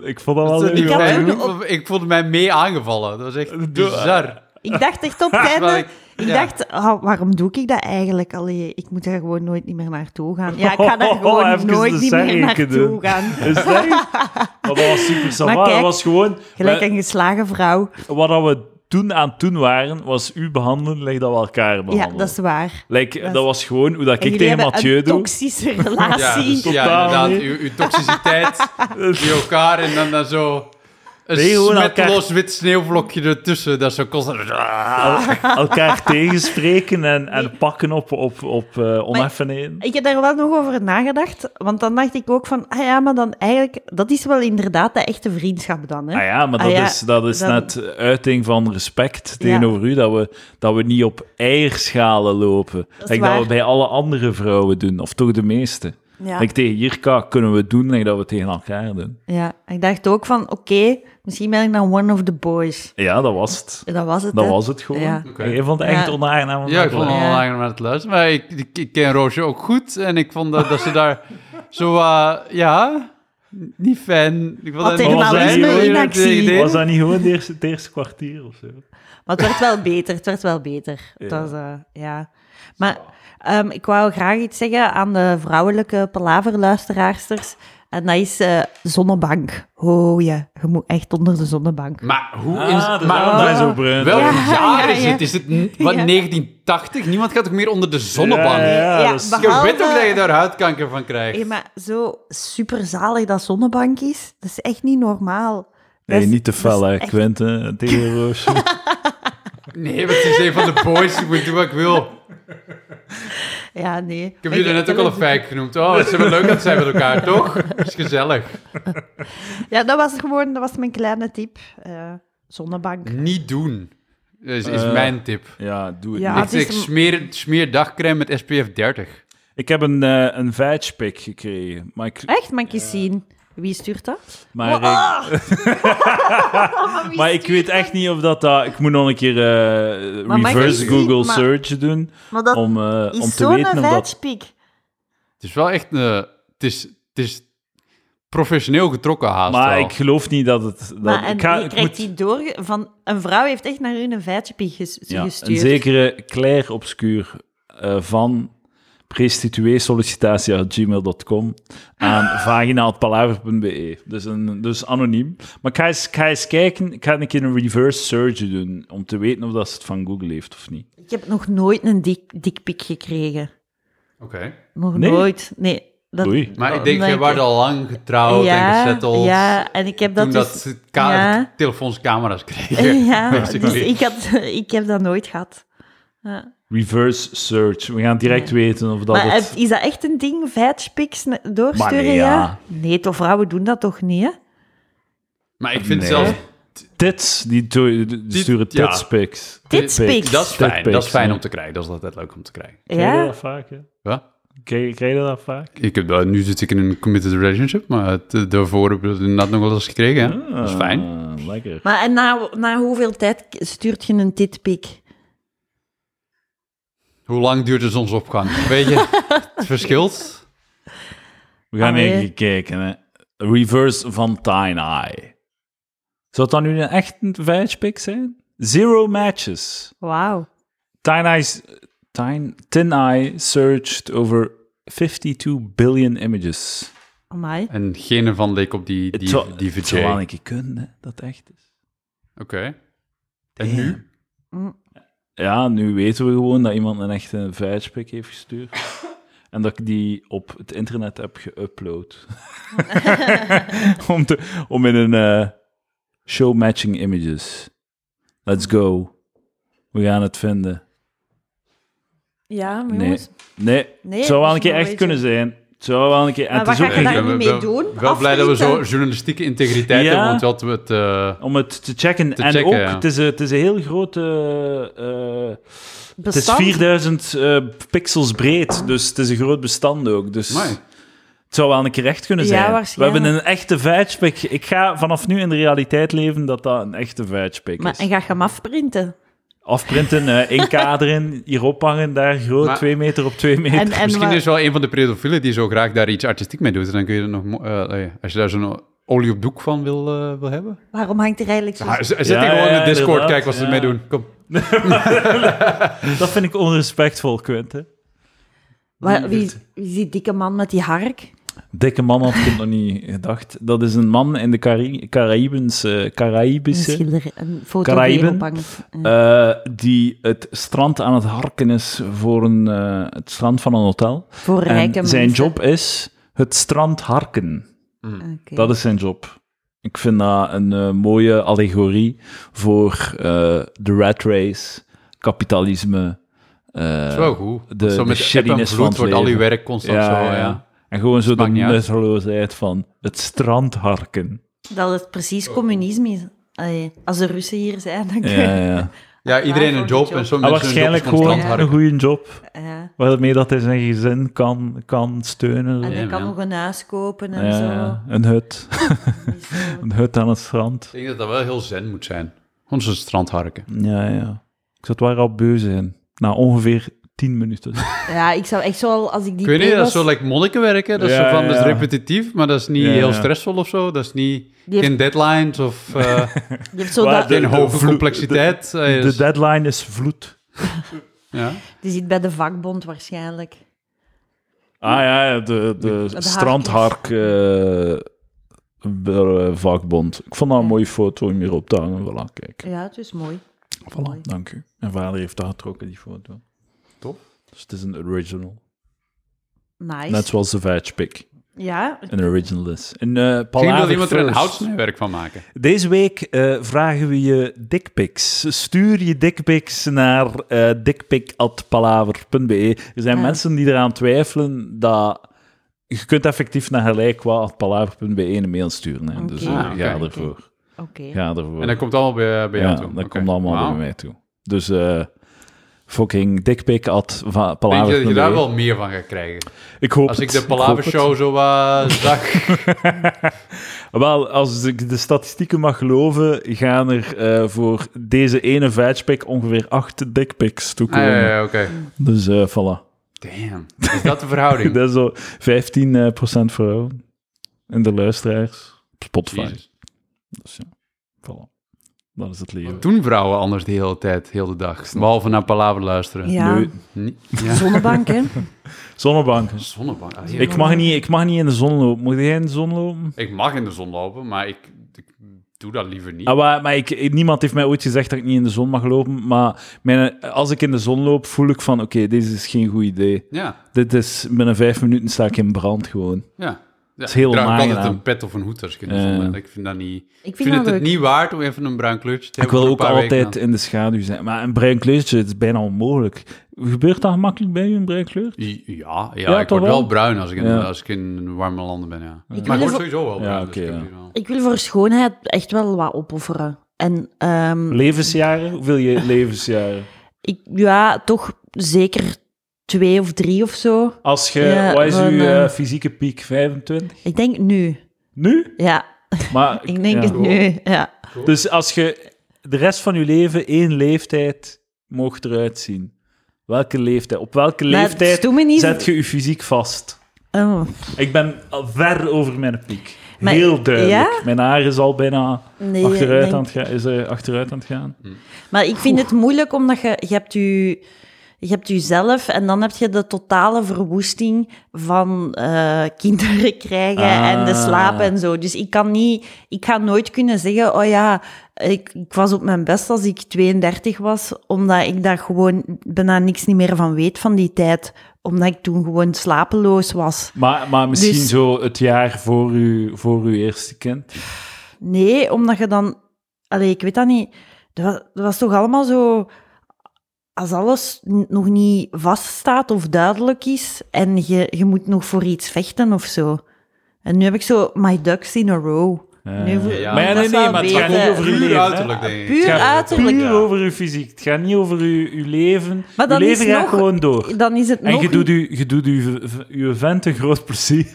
A: Ik vond dat
C: Dat
A: wel
C: is toch niet
A: leuk.
B: heb
C: fijn?
B: ook
C: Ik voelde- Ik voelde mij mee aangevallen. Dat was echt bizar.
B: Ik dacht echt op tijden...
C: ik-
B: Ik
C: ja.
B: dacht, ah, waarom doe ik dat eigenlijk? Allee, ik moet daar gewoon nooit niet meer naartoe gaan. Ja, ik ga daar
A: Oh,
B: gewoon
A: even de
B: nooit niet meer
A: serreken
B: naartoe
A: doen.
B: gaan.
A: Is dat? Maar dat was super savat.
B: Maar kijk,
A: dat was gewoon...
B: Gelijk
A: we-
B: een geslagen vrouw.
A: Wat dat we toen aan toen waren, was u behandelen, lijkt dat we elkaar behandelen.
B: Ja, dat is waar.
A: Like, dat,
B: dat is-
A: was gewoon hoe dat
B: En
A: ik
B: jullie
A: tegen
B: hebben
A: Mathieu
B: een
A: doe.
B: toxische
C: Ja,
B: relatie.
C: dus, ja,
A: Totaal
C: inderdaad.
A: niet.
C: Uw, uw toxiciteit in elkaar en dan, dan zo... Een
A: Nee, gewoon
C: smetloos wit sneeuwvlokje ertussen. Dat is zo constant...
A: elkaar tegenspreken en, en pakken op, op, op eh oneffenheden.
B: Ik heb daar wel nog over nagedacht, want dan dacht ik ook van, ah ja, maar dan eigenlijk, dat is wel inderdaad de echte vriendschap dan, hè?
A: Ah ja, maar dat
B: Ah ja,
A: is, dat is
B: dan-
A: net uiting van respect tegenover u, dat we, dat we niet op eierschalen lopen.
B: is
A: Like dat we
B: waar.
A: bij alle andere vrouwen doen, of toch de meeste.
B: Ja.
A: Like tegen Jirka kunnen we doen like dat we het tegen elkaar doen.
B: Ja, ik dacht ook van, oké, misschien ben ik dan one of the boys.
A: Ja, dat was het.
B: En Dat was het,
A: Dat
B: hè.
A: was het gewoon.
B: Ja.
A: Oké. Ik vond het echt
B: Ja.
A: onaangenaam. om
C: Ja,
A: naar
C: ik
A: te
C: vond het
A: luisteren.
C: wel
B: Ja.
C: langer naar het luisteren. Maar ik, ik, ik ken Roosje ook goed. En ik vond dat, dat ze daar zo... eh, ja, niet fan. Ik vond
B: Wat
C: dat
A: tegen
C: niet
A: Maurice
C: fijn,
A: in
C: hoe je dat
B: actie.
C: tegen deed.
A: Was dat niet gewoon het eerste, het eerste kwartier of zo?
B: Maar het werd wel beter, het werd wel beter. Het
A: Ja.
B: was, eh, ja. Maar ehm, ik wou graag iets zeggen aan de vrouwelijke palaverluisteraarsters. En dat is eh, zonnebank. Oh ja, je moet echt onder de zonnebank.
C: Maar hoe
A: Ah,
C: is
A: dat
C: maar
A: daarom zijn ze zo bruin.
C: Welk
A: Ja,
B: ja,
C: jaar is
B: ja.
C: het? Is het n- wat, 1980? Niemand gaat toch meer onder de zonnebank?
A: Ja, ja, ja,
B: Ja,
A: dat is-
B: maar-
C: Je weet toch
B: Behalve-
C: dat je daar huidkanker van krijgt?
B: Ja, maar zo superzalig dat zonnebank is, dat is echt niet normaal. Dat
A: Nee,
B: is-
A: niet te fel,
B: dat is
A: hè,
B: echt-
A: Quentin, tegen Roosje.
C: Nee, want het is een van de boys. Ik moet doen wat ik wil.
B: Ja, nee.
C: Ik heb jullie net ook al een feit genoemd. Oh, het is wel leuk dat zij met elkaar, toch? Het is gezellig.
B: Ja, dat was gewoon, dat was mijn kleine tip. Eh, zonnebank.
C: Niet doen, is, is
A: Eh,
C: mijn tip.
A: ja, doe het niet.
B: Ja.
C: ik
B: Ah, het is
C: zeg,
B: een-
C: smeer, smeer dagcrème met SPF 30.
A: Ik heb een, eh een vijfspik gekregen, maar ik...
B: Echt, mag ik eens zien? Wie stuurt dat?
A: Maar, ik,
B: Oh, Maar, Oh, wie
A: Ah, maar ik
B: stuurt
A: weet echt niet of dat... dat ik moet nog een keer eh,
B: Maar mag
A: reverse
B: ik-
A: Google
B: maar-
A: search doen
B: Maar dat
A: om, eh, om
B: is
A: te
B: zo'n
A: weten of dat...
B: vetspiek.
C: Het is wel echt een... Het is, het is professioneel getrokken haast
A: Maar
C: wel.
A: ik geloof niet dat het... Dat,
B: Maar en
A: ik ga-
B: je
A: ik
B: krijgt
A: moet-
B: die door... Van, een vrouw heeft echt naar hun een vetspiek ges-
A: ja,
B: gestuurd.
A: een zekere Claire Obscuur eh, van prostitueesollicitatie.gmail.com aan vaginaalpalaver.be. Dus, een, dus anoniem. Maar ik ga, eens, ik ga eens kijken, ik ga een keer een reverse search doen om te weten of dat ze het van Google heeft of niet.
B: Ik heb nog nooit een dik, dikpik gekregen.
C: Oké.
B: Nog
A: Nee?
B: nooit. Nee. Dat,
A: Oei.
C: Maar ik denk,
B: Omdat
C: jij
B: ik-
C: werd al lang getrouwd
B: ja,
C: en gezetteld.
B: Ja, en ik heb dat
C: toen
B: dus...
C: dat ze ka-
B: ja.
C: telefoons camera's kregen.
B: Ja,
C: Basically.
B: dus ik, had, ik heb dat nooit gehad. Ja.
A: Reverse search. We gaan direct weten of dat
B: Maar
A: het...
B: heb- is dat echt een ding, vetspiks na- doorsturen?
A: Maar nee,
B: ja?
A: ja.
B: Nee, toch vrouwen doen dat toch niet, hè?
C: Maar ik vind
A: Nee.
C: zelfs...
A: Tits, die, to- die sturen
C: ja.
A: titspics.
B: Titspics.
C: Dat is fijn,
A: Titpics,
C: dat is fijn
A: ja.
C: om te krijgen. Dat is altijd leuk om te krijgen.
A: Krijg je
B: Ja?
A: dat vaak, hè?
C: Ja?
A: Krijg, krijg je dat vaak?
C: Ik heb, eh, nu zit ik in een committed relationship, maar het, eh, daarvoor heb ik het inderdaad nog wel eens gekregen. hè. Dat is fijn.
A: Ah, lekker.
B: Maar en na, na hoeveel tijd k- stuurt je een titpik?
C: Hoe lang duurt de zonsopgang? Weet je, het verschilt.
A: We gaan
B: Allee.
A: even kijken. Hè. Reverse van Tine Eye. Zou dat nu een echt een vijfspik zijn? Zero matches.
B: Wauw.
A: Tine Eye's, Tine, Tin Eye searched over 52 billion images.
B: Amai.
C: En geen van leek op die,
A: Het
C: die,
A: zou-
C: die
A: het
C: VJ.
A: zou wel
C: Oké.
A: een keer kunnen, hè, dat echt is.
C: En nu?
A: Ja, nu weten we gewoon dat iemand een echte vijfspik heeft gestuurd. En dat ik die op het internet heb geüpload. om, te, om in een eh, show matching images. Let's go. We gaan het vinden.
B: Ja, maar
A: Nee.
B: jongens.
A: Nee,
B: Nee,
A: het zou wel
B: als
A: een
B: je
A: keer
B: maar
A: echt
B: weet
A: kunnen zijn. Het zou wel een keer... En
B: Maar
A: het is
B: wat
A: ook
B: ga je
A: een-
B: daar
C: Ik ben
B: nu
C: wel-
B: mee doen?
C: Wel blij dat we zo
B: Afschieten?
C: journalistieke integriteit
A: Ja.
C: hebben, want dat we het... eh,
A: om het te checken.
C: Te
A: en
C: checken,
A: ook,
C: ja.
A: het, is, een- het is een heel grote... eh, het is
B: Bestand?
A: 4000 eh, pixels breed, dus het is een groot bestand ook. Dus
C: amai.
A: het zou wel een keer echt kunnen
B: Ja,
A: zijn. We
B: waarschijnlijk.
A: hebben een echte fatchpick. Ik ga vanaf nu in de realiteit leven dat dat een echte fatchpick
B: Maar,
A: is.
B: en ga je hem afprinten?
A: Afprinten, eh, inkaderen, hier ophangen, daar groot,
C: Maar-
A: twee meter op twee meter.
B: En, en
C: Misschien
B: wa-
C: is
A: dus-
C: wel een van de pedofielen die zo graag daar iets artistiek mee doet. En dan kun je er nog... mo- eh, eh, als je daar zo'n olie op doek van wil, eh, wil hebben.
B: waarom hangt er eigenlijk zo...
C: Ah, z- Zet
A: Ja,
C: die gewoon
A: ja,
C: in de Discord,
A: inderdaad,
C: kijk wat ze
A: ja.
C: ermee doen. Kom.
A: Dat vind ik onrespectvol, Quinten.
B: Waar- wie, wie is die dikke man met die hark?
A: Dikke man had ik het nog niet gedacht. Dat is een man in de Cari- Caraïbens, eh,
B: Een,
A: Caraïbische...
B: schilder, een foto die
A: Caraïben?
B: erop hangt. Eh,
A: eh, die het strand aan het harken is voor een, eh, het strand van een hotel.
B: voor
A: Eh, En
B: rijke mensen. Ah,
A: zijn job is het strand harken.
B: Oké.
A: Dat is zijn job. Ik vind dat een eh, mooie allegorie voor eh, de rat race, kapitalisme. eh,
C: Dat is wel goed.
A: de-
C: Want zo
A: de
C: met eb en
A: shittiness
C: vloed
A: van het
C: wordt al je
A: leven.
C: werk constant zo, ja.
A: En gewoon zo de
C: Maakt niet uit.
A: nutteloosheid van het strand harken.
B: Dat het precies communisme is. Allee, als de Russen hier zijn, dan kun
A: Ja, ja.
B: je...
A: ja.
C: Ja, iedereen
B: voor
C: een
B: de
C: job
B: job.
C: en sommige
A: Maar
C: mensen hun job is
A: waarschijnlijk
C: constant
A: gewoon
C: harken.
A: een goede job,
B: Ja.
A: waarmee dat hij zijn gezin kan, kan steunen.
B: En hij
C: Ja,
B: kan
C: man.
B: nog een huis kopen en
A: Ja,
B: zo.
A: ja. Een hut.
B: Niet zo.
A: Een hut aan het strand.
C: Ik denk dat dat wel heel zen moet zijn. Gewoon zo'n strandharken.
A: Ja, ja. Ik zat waar al beu zijn. Na ongeveer 10 minuten.
C: Oh,
B: Ja, ik zou echt zo al, als ik die
C: Ik weet niet,
B: P
C: dat
B: was,
C: is zo like monniken werken. Dat is,
A: Ja,
C: zo van, dat is
A: ja.
C: repetitief, maar dat is niet
A: Ja,
C: heel
A: ja.
C: stressvol of zo. Dat is niet...
B: Die heeft-
C: Geen deadlines of eh
B: die heeft zo
A: Waar
B: dat,
A: de-
C: geen hoge
A: vloe-
C: complexiteit. eh,
A: De
C: is-
A: deadline is vloed.
C: ja.
B: die zit bij de vakbond waarschijnlijk.
A: Ah ja, ja, de, de,
B: hark is-
A: strandhark eh, de, eh, vakbond. Ik vond dat een mooie foto om hierop te hangen. Voilà, kijk.
B: Ja, het is mooi.
A: Voilà, dank u. Mijn vader heeft dat getrokken, die foto.
C: Top.
A: Dus het is een original.
B: Nice.
A: Net zoals de Vag Pick
B: Ja,
A: een original is. Een eh
C: Misschien wil
A: palaver
C: iemand er een
A: first.
C: houtsnijwerk van maken.
A: Deze week eh, vragen we je dickpics. Stuur je dickpics naar eh dickpic.palaver.be. Er zijn
B: Ja.
A: mensen die eraan twijfelen dat... Je kunt effectief naar gelijkwa.palaver.be een mail sturen. Hè. Dus
B: Oké.
A: eh,
C: Ah, oké.
A: ga ervoor.
B: oké.
A: Ga ervoor.
C: En dat komt allemaal bij, bij jou
A: ja,
C: toe.
A: dat
C: Oké.
A: komt allemaal
C: Wauw.
A: bij mij toe. Dus eh fucking dickpic.palaver.be.
C: Denk je dat je daar wel meer van gaat krijgen?
A: Ik hoop
C: Als ik
A: het,
C: de
A: hoop
C: Palaver
A: het.
C: Show zo wat zag.
A: Wel, als ik de statistieken mag geloven, gaan er eh, voor deze ene vijfspik ongeveer acht dickpics
C: Ah,
A: toekomen.
C: ja, ja, ja, oké.
A: Dus eh voilà.
C: Damn. Is dat de verhouding?
A: Dat is zo 15% vrouwen in de luisteraars op Spotify.
C: Jezus.
A: Dus ja, voilà. Dat is het leven.
C: Wat doen vrouwen anders de hele tijd, heel de dag? Behalve naar Palaver luisteren.
B: Ja,
A: Nu,
C: Nee. Ja.
B: zonnebank, hè.
A: zonnebanken.
C: Zonnebank. Ah, hier.
A: Ik mag, niet, ik mag niet in de zon lopen. Moet jij in de zon lopen?
C: Ik mag in de zon lopen, maar ik, ik doe dat liever niet.
A: Ah, maar, maar ik- ik, niemand heeft mij ooit gezegd dat ik niet in de zon mag lopen. Maar mijn, als ik in de zon loop, voel ik van... Oké, dit is geen goed idee.
C: Ja,
A: Dit is, binnen vijf minuten sta ik in brand gewoon.
C: ja. Ja,
A: is heel Eh.
C: ik draag ook altijd
A: onaangenaam.
C: een pet of een hoed als ik in de
A: Ja.
C: zon ben. Ik vind dat niet... Ik
B: Ik
C: vind,
B: vind,
C: het,
B: dat
C: het
B: leuk.
C: niet waard om even een bruin kleurtje te
A: Ik
C: hebben.
A: wil ook
C: voor een paar weken
A: altijd in de schaduw zijn. Maar een bruin kleurtje, het is bijna onmogelijk. Gebeurt dat gemakkelijk bij u, een bruin kleur?
C: dan. I- Ja, ja,
A: Ja,
C: ik
A: toch
C: word wel
A: wel?
C: bruin als ik in,
A: Ja.
C: als ik in warme landen ben, ja.
B: wil
C: Maar ik word
B: even-
C: sowieso wel bruin.
A: Ja,
C: dus
A: oké,
C: ik heb
A: ja.
C: hier wel-
B: Ik wil voor schoonheid echt wel wat opofferen. En ehm,
A: Levensjaren? Hoeveel je levensjaren?
B: ik, ja, toch zeker twee of drie of zo.
A: Als je,
B: Ja,
A: wat is uw
B: dan,
A: eh,
B: eh,
A: fysieke piek? 25?
B: Ik denk nu.
A: Nu?
B: Ja,
A: Maar,
B: ik denk
A: ja.
B: het nu. Ja.
A: Dus als je de rest van je leven één leeftijd mocht eruit zien. Welke leeftijd? Op welke
B: Maar
A: leeftijd
B: het doet me niet-
A: zet je je fysiek vast?
B: Oh,
A: Ik ben al ver over mijn piek.
B: Maar-
A: Heel duidelijk.
B: ja?
A: Mijn haar is al bijna
B: nee,
A: achteruit,
B: ik denk-
A: aan het gaan, is, eh, achteruit aan het gaan.
B: Maar ik vind het moeilijk omdat je, je hebt je. Je hebt jezelf en dan heb je de totale verwoesting van eh, kinderen krijgen
A: Ah.
B: en de slaap en zo. Dus ik kan niet, ik ga nooit kunnen zeggen, oh ja, ik, ik was op mijn best als ik 32 was, omdat ik daar gewoon bijna niks niet meer van weet van die tijd, omdat ik toen gewoon slapeloos was.
A: Maar, maar misschien
B: Dus-
A: zo het jaar voor uw, voor uw eerste kind.
B: Nee, omdat je dan... Allee, ik weet dat niet. Dat was, dat was toch allemaal zo... als alles n- nog niet vaststaat of duidelijk is en je, je moet nog voor iets vechten of zo. En nu heb ik zo my ducks in a row. Nu voel-
C: Ja,
A: Maar ja,
B: dat
A: nee,
B: is
A: nee,
B: wel
A: maar het
B: beter.
A: gaat niet over je
C: Puur
A: leven. hè.
C: uiterlijk, denk ik.
A: Het
B: eh, Puur
A: gaat
B: uiterlijk.
A: Puur over je fysiek. Het gaat niet over je, je leven.
B: Maar dan
A: je leven
B: is
A: gaat
B: nog-
A: gewoon door.
B: Dan is het
A: En
B: nog
A: je doet, je, je, doet je, je vent een groot plezier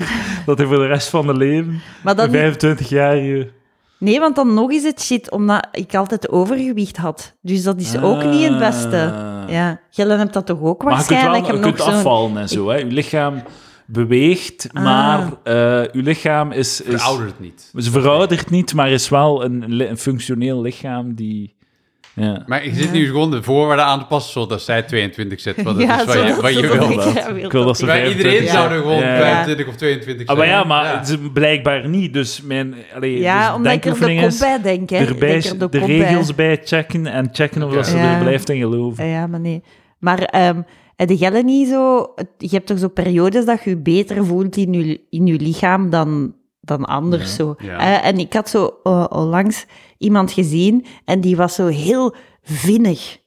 A: dat hij voor de rest van de leven,
B: Maar dan,
A: 25 jaar, eh, je...
B: nee, want dan nog is het shit, omdat ik altijd overgewicht had. Dus dat is ook niet het beste. Ja, Gillen hebt dat toch ook
A: Ah. Maar je kunt, wel,
B: waarschijnlijk?
A: je
B: Hem nog
A: kunt
B: zo'n-
A: afvallen en zo. Hè. Je lichaam beweegt,
B: Ah.
A: maar eh je lichaam is... is
C: Veroudert niet.
A: Ze veroudert niet, maar is wel een, li- een functioneel lichaam die... Ja.
C: Maar ik zit nu gewoon de voorwaarden aan te passen zodat zij 22 zit. Want dat
B: Ja,
C: is wat je,
B: zodat-
C: wat je
B: zodat
C: wil.
B: ik-
A: Inderdaad.
B: wil
A: Ik wil dat
B: dat
A: ze
C: Bij
A: 25
C: iedereen
A: zijn.
C: zou er gewoon
A: Ja.
C: 25 of 22
A: Ah,
C: zijn.
A: maar ja, maar
C: Ja.
A: het is blijkbaar niet. Dus mijn allee,
B: Ja,
A: dus
B: omdat ik er de
A: denkoefening
B: kop
A: is
B: bij denk, hè. Ik
A: erbij,
B: denk er
A: de,
B: de kop
A: regels
B: bij.
A: bij checken en checken of dat ze
B: Ja. Eh,
A: er blijft in geloven.
B: Ja, ja, maar nee. Maar ehm heb je Gillen niet zo... het- Je hebt toch zo periodes dat je je beter voelt in je, in je lichaam dan, dan anders zo.
C: ja.
B: Eh, en ik had zo eh, onlangs iemand gezien en die was zo heel vinnig.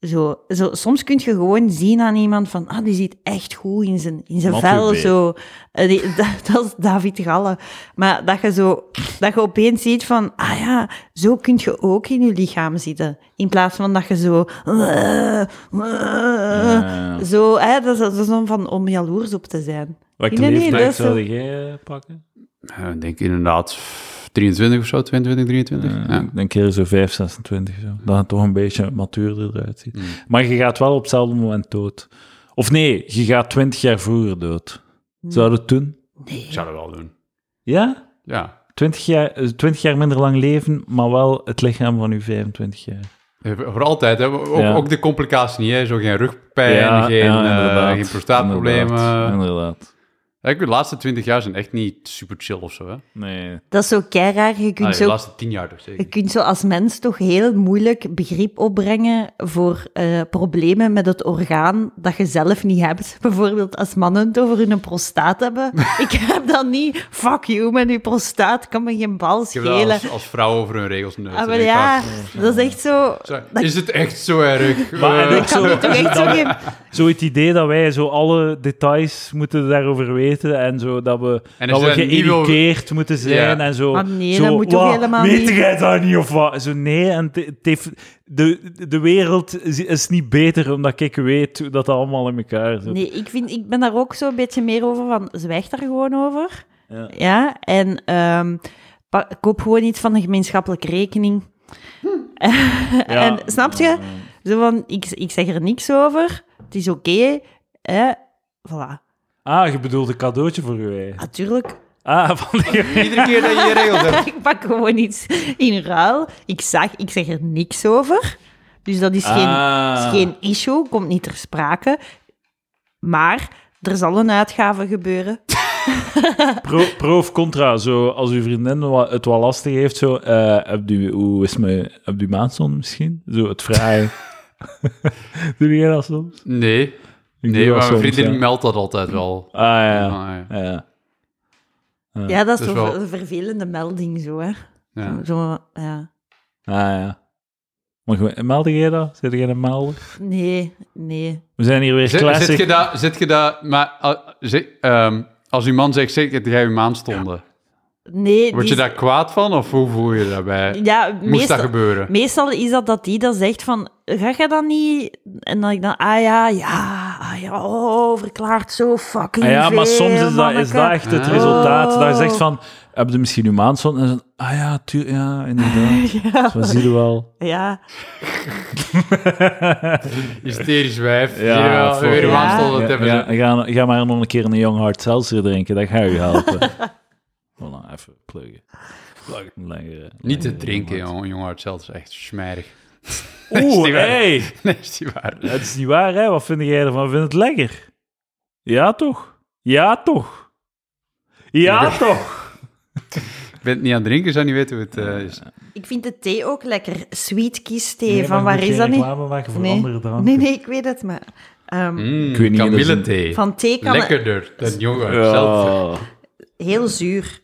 B: Zo, zo, soms kun je gewoon zien aan iemand van, ah, die zit echt goed in zijn, in zijn
A: Matthew
B: vel.
A: Bay.
B: Zo. Eh, die- dat, dat is David Galle. Maar dat je, zo, dat je opeens ziet van, ah ja, zo kun je ook in je lichaam zitten. In plaats van dat je zo... eh,
A: Ja.
B: Zo, hè, dat, is, dat is om van om jaloers op te zijn.
A: Welke
B: Nee, nee,
A: leeftijd
B: dat is-
A: zou jij eh, pakken?
C: Ja, ik denk inderdaad 23 of zo, 22, 23.
A: Eh,
C: ja.
A: Ik denk eerder zo 5, 26. Zo. Dat het toch een beetje matuurder eruit
C: Hmm.
A: ziet. Maar je gaat wel op hetzelfde moment dood. Of nee, je gaat 20 jaar vroeger dood.
B: Hmm.
A: Zou je dat doen?
C: Ik zou dat wel doen.
A: Ja?
C: Ja.
A: 20 jaar, eh, 20 jaar minder lang leven, maar wel het lichaam van je 25 jaar.
C: Eh, Voor altijd, hè. Ook,
A: Ja.
C: ook de complicatie niet, hè. Zo geen rugpijn, geen, eh,
A: inderdaad.
C: geen prostaatproblemen. Eh,
A: Inderdaad, inderdaad.
C: Ja, ik weet, de laatste 20 jaar zijn echt niet super chill of zo, hè.
A: Nee.
B: Dat is zo keiraar. Je kunt,
C: Ah, ja, de
B: zo,
C: laatste 10 jaar toch
B: je
C: zeker.
B: kunt zo als mens toch heel moeilijk begrip opbrengen voor eh, problemen met het orgaan dat je zelf niet hebt. Bijvoorbeeld als mannen het over hun prostaat hebben. Ik heb dat niet. Fuck you, met je prostaat kan me geen bal
C: Ik heb dat
B: schelen.
C: als, als vrouw over hun regels neus. Dus
B: Ah, maar ja, dat is echt zo...
C: Is het echt zo erg?
A: Maar, en
C: Eh,
A: ook
B: Ik kan
A: zo-
B: niet toch echt zo geen...
A: Zo het idee dat wij zo alle details moeten daarover weten en zo dat we,
C: En
A: dat
C: als
A: we
C: je dat niet wil-
A: geïrriteerd moeten zijn
C: Ja.
A: en zo.
B: Ah, nee,
A: zo,
B: dat moet toch
A: "Wa,
B: helemaal
A: weet
B: niet?"
A: jij dat niet of wat? Zo nee, en het- het heeft- de, de wereld is- is niet beter omdat ik weet hoe dat allemaal in elkaar zit.
B: Nee, ik, vind, ik ben daar ook zo een beetje meer over van, zwijg daar gewoon over.
A: Ja.
B: Ja, en ehm, pa- koop gewoon iets van een gemeenschappelijke rekening. en snap je? Zo van, ik, ik zeg er niks over, het is oké, hè, voilà.
A: Ah, je bedoelt een cadeautje voor je eigen.
B: Natuurlijk,
A: Ah, van die...
C: Iedere keer dat je je regels hebt.
B: ik pak gewoon iets in ruil. Ik, zeg, ik zeg er niks over, dus dat is geen
A: Ah.
B: is geen issue, komt niet ter sprake. Maar er zal een uitgave gebeuren.
A: Pro, pro of contra, zo, als uw vriendin wa- het wel lastig heeft, zo, eh heb u, hoe is mijn, heb u maandson misschien? Zo, het vragen. Doe jij dat soms?
C: Nee,
A: Ik
C: nee
A: doe dat
C: maar mijn
A: soms,
C: vriendin
A: ja.
C: meldt dat altijd wel.
A: Ah, ja.
C: Ah, ja.
A: ja. ja. Ja,
B: Ja, dat is
C: dus
B: zo
C: wel-
B: een vervelende melding, zo, hè.
C: Ja.
B: Zo, ja.
A: Ah, ja. Maar goed, meldde jij dat? Zit jij een melder?
B: Nee, nee.
A: We zijn hier weer
C: Zit,
A: classic.
C: zit je daar, zit je daar, maar ah, zi- ehm, als uw man zegt, zeker dat jij uw maan stonden,
B: Nee,
C: word je
B: die-
C: daar kwaad van of hoe voel je je daarbij?
B: Ja,
C: Moest dat
B: meestal,
C: gebeuren?
B: meestal is dat dat die dat zegt van, ga je dat niet? En dan ik dan, ah ja, ja, ah ja, oh, verklaart zo fucking
A: Ah ja, maar
B: veel,
A: soms is dat, is
B: manneke.
A: dat echt het
C: Ah.
A: resultaat. Dat je
B: Oh.
A: zegt van, heb je misschien uw maandson? En dan, ah ja, tuur, ja, inderdaad.
B: Ja,
A: Zo zie je wel.
B: ja.
C: Hysterisch wijf. Ja,
A: voor-
C: weer uw
B: ja.
C: maan stonden
A: Ja,
C: te hebben.
A: ja, ga, ga maar nog een keer een Young Hard Seltzer drinken, dat gaat je helpen. voilà, even pluggen. Lekker, eh,
C: Niet te
A: lekker
C: drinken,
A: Young
C: jongen. Jongen, het zelfs echt smerig.
A: Hard. Oeh,
C: Is die waar?
A: hey,
C: Nee, is die waar.
A: het is niet waar, hè? Wat vind jij ervan? Vind het lekker? Ja, toch? Ja, toch? Ja, toch?
C: Ik ben het niet aan het drinken, zou niet weten hoe het eh, is.
B: Ik vind de thee ook lekker. Sweet kies thee,
A: Nee, maar
B: van
A: je
B: waar
A: moet
B: is
A: geen
B: dat niet?
A: reclame maken voor
B: Nee.
A: andere dranken.
B: Nee, nee, ik weet het, maar... ehm,
C: Mm,
A: Ik weet niet,
C: Kamillethee.
B: Van thee kan het
C: Lekkerder dan jongen.
A: Ja.
C: zelf.
B: heel zuur.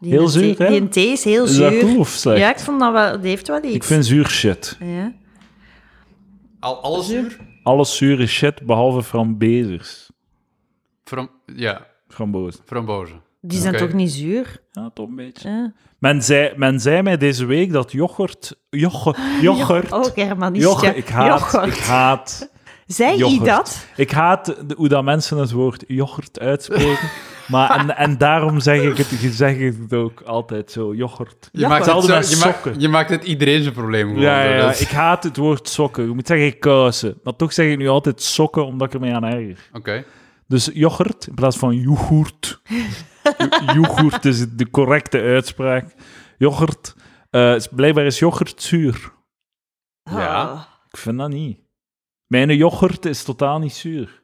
B: Die
A: Heel
B: thee-
A: zuur, hè?
B: Die thee is heel
A: Is dat
B: zuur.
A: goed of slecht?
B: ja, ik vond dat wel... Die heeft wel iets.
A: Ik vind zuur shit.
B: Ja.
C: Al, alles zuur?
A: alle zure shit behalve frambezers.
C: Fram, ja,
A: Frambozen.
C: frambozen.
B: Die zijn
C: Oké.
B: toch niet zuur?
A: Ja, toch een beetje.
B: Hè?
A: Men zei, men zei mij deze week dat yoghurt... Yoghurt.
C: Ah,
A: Yoghurt.
B: Ook Germanische.
A: yoghurt ik haat,
B: Yoghurt.
A: ik haat...
B: Zei je
A: yoghurt.
B: dat?
A: Ik haat de- hoe dat mensen het woord yoghurt uitspreken. maar en, en daarom zeg ik, het, zeg ik het ook altijd zo, yoghurt.
C: Je,
B: Ja,
C: maakt het,
A: hetzelfde
C: zo-
A: met
C: je, maakt,
A: sokken.
C: je maakt het iedereen zijn probleem. gewoon.
A: Ja, ja, ja,
C: Dat is-
A: ik haat het woord sokken. Je moet zeggen kousen. Maar toch zeg ik nu altijd sokken, omdat ik ermee aan erger.
C: Oké.
A: Dus yoghurt in plaats van yoghurt. Jo- yoghurt is de correcte uitspraak. Yoghurt. eh, is- blijkbaar is yoghurt zuur.
C: Ja.
B: Oh.
A: Ik vind dat niet. Mijn yoghurt is totaal niet zuur.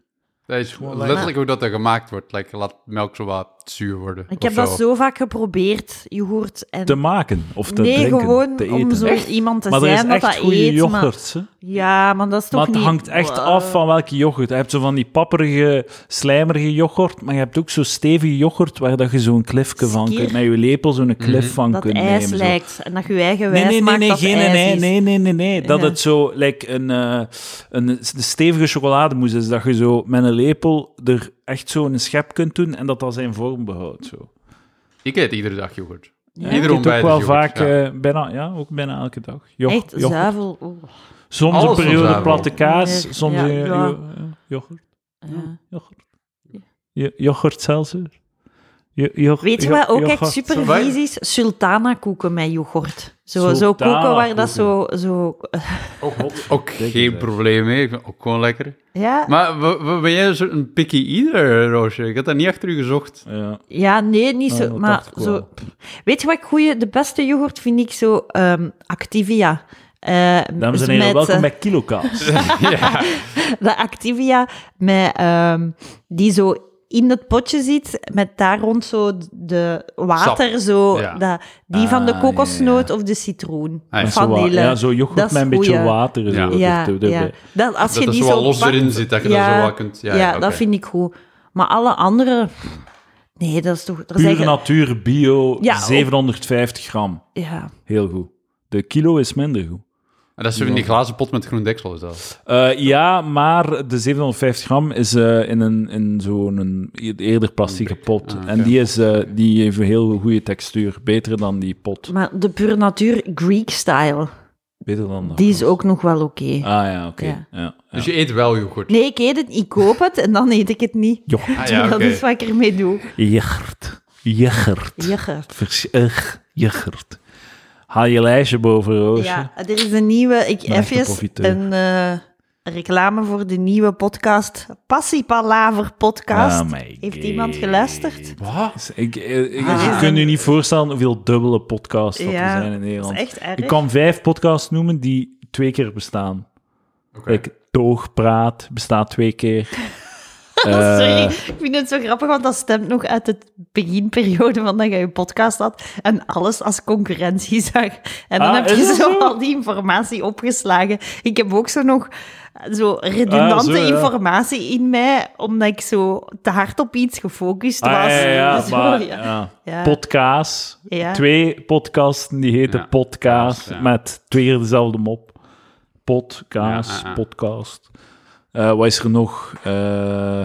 C: Dat is
A: Gewoon
C: letterlijk hoe dat er gemaakt wordt. Like, laat melk zo wat zuur worden.
B: Ik
C: of
B: heb dat
C: zo.
B: zo vaak geprobeerd, yoghurt en...
A: Te maken of te
B: nee,
A: drinken,
B: gewoon
A: te
B: om
A: eten.
B: zo iemand te
A: maar er is
B: zijn dat
A: echt
B: dat
A: goede
B: eet. Maar...
A: yoghurt. hè.
B: Ja, maar dat is toch
A: Maar het
B: niet...
A: hangt echt
B: Wow.
A: af van welke yoghurt. Je hebt zo van die papperige, slijmerige yoghurt, maar je hebt ook zo stevige yoghurt waar dat je zo'n klifje van
B: Skier.
A: kunt, met je lepel zo'n klif van
B: Mhm. Dat
A: kunt
B: ijs
A: nemen. zo.
B: lijkt en dat je je
A: Nee,
B: eigen wijs
A: nee, nee,
B: maakt
A: nee,
B: dat
A: geen,
B: ijs
A: nee,
B: is.
A: nee, nee, nee, nee. Dat
B: Ja.
A: het zo like een, eh, een, s- de stevige chocolademousse is, dat je zo met een lepel er echt zo een schep kunt doen en dat dat zijn vorm behoudt. Zo.
C: Ik eet iedere dag yoghurt.
B: Ja.
A: Ik
C: Ieder
A: eet ook
C: ontbijt
A: wel
C: is yoghurt,
A: vaak,
C: ja.
A: eh, bijna, ja, ook bijna elke dag. Joch-
B: Echt
A: yoghurt.
B: zuivel. oeh.
A: Soms
C: Alles
A: een
C: van
A: periode
C: zuivel.
A: platte kaas,
B: Nee,
A: soms
B: ja,
A: een,
B: ja.
A: jo- eh, yoghurt.
B: Ja.
A: Yoghurt. Jo- yoghurt seltzer. Jo- jo-
B: Weet je
A: jo-
B: wat ook
A: yoghurt
B: echt super vies is? Sultana koeken met yoghurt. Zo, zo koeken waar dat zo... zo
A: seltzer.
C: Oh Ook geen probleem mee. Ik vind het ook gewoon lekker.
B: ja,
C: Maar wa- wa- ben jij een soort een picky eater, Roosje? Ik had daar niet achter u gezocht.
A: Ja.
B: ja, nee, niet
A: Ah,
B: zo.
A: dat
B: maar
A: dacht ik
B: zo,
A: wel.
B: weet je wat ik goeie... De beste yoghurt vind ik zo ehm, Activia. Eh,
A: Dames en
B: met,
A: heren, welkom
B: eh,
A: bij Kilokaas.
B: de Activia met, ehm, die zo in het potje zit, met daar rond zo de water, zo,
C: ja.
B: dat, die van de
A: Ah,
B: kokosnoot of de citroen.
C: Ah, ja.
A: Zo wa-
B: Vanille.
A: ja, zo yoghurt
B: Dat is
A: met een beetje
B: goeie.
A: water.
C: Ja.
A: Zo, er-
B: Ja,
A: er-
B: ja.
A: erbij.
B: Dat, als
C: dat
B: je
C: er
B: die
C: zo
B: zo
C: wat los
B: pakt-
C: erin zit, dat je dat
B: Ja,
C: zo wat kunt... Ja,
B: Ja,
C: oké.
B: dat vind ik goed. Maar alle andere... Nee, dat is toch... Er
A: Pure
B: zijn ge-
A: natuur, bio,
B: Ja,
A: 750 gram.
B: ja.
A: Heel goed. De kilo is minder goed.
C: En dat is zo in die glazen pot met groen deksel, is dat?
A: Eh, ja, maar de 750 gram is eh, in, een, in zo'n e- eerder plastieke pot.
C: oké.
A: En die, is, eh, die heeft een heel goede textuur. Beter dan die pot.
B: Maar de pure natuur Greek style,
A: Beter dan dat.
B: die is ook nog wel oké.
A: Ah ja, oké.
B: Ja.
A: Ja. Ja.
C: Dus je eet wel yoghurt.
B: Nee, ik eet het, ik koop het en dan eet ik het niet.
A: Yoghurt.
C: Ah, ja,
B: Dat
C: oké.
B: is wat ik ermee doe.
A: Yoghurt. Yoghurt.
B: Jegge.
A: Vers- ugh, yoghurt. Haal je lijstje boven, Roosje.
B: Ja, er is een nieuwe. Ik
A: Een echte
B: even
A: profiteur.
B: een eh, reclame voor de nieuwe podcast. Passiepalaver podcast.
A: Oh my
B: Heeft
A: God.
B: iemand geluisterd?
C: Wat?
A: Ik,
C: eh,
A: ik, ik,
B: Ah.
A: Je kunt je niet voorstellen hoeveel dubbele podcasts dat
B: Ja,
A: er zijn in
B: Dat
A: Nederland.
B: is echt erg.
A: Ik kan vijf podcasts noemen die twee keer bestaan.
C: Oké.
A: Like Toogpraat bestaat twee keer.
B: Sorry,
A: Eh,
B: ik vind het zo grappig, want dat stemt nog uit het beginperiode van dat je je podcast had en alles als concurrentie zag. En dan
A: Ah,
B: heb
A: is
B: je
A: dat
B: zo
A: zo?
B: al die informatie opgeslagen. Ik heb ook zo nog eh, zo redundante
A: Ah, zo, ja.
B: informatie in mij, omdat ik zo te hard op iets gefocust was.
A: ah, ja, ja, ja,
B: Zo,
A: maar,
B: ja.
A: ja.
B: Ja.
A: Podcasts.
B: Ja.
A: Twee podcasten die heten
C: Ja,
A: Podcast
C: ja.
A: met twee keer dezelfde mop. Podcast,
C: Ja, ja, ja.
A: podcast. Eh, wat is er nog? Eh,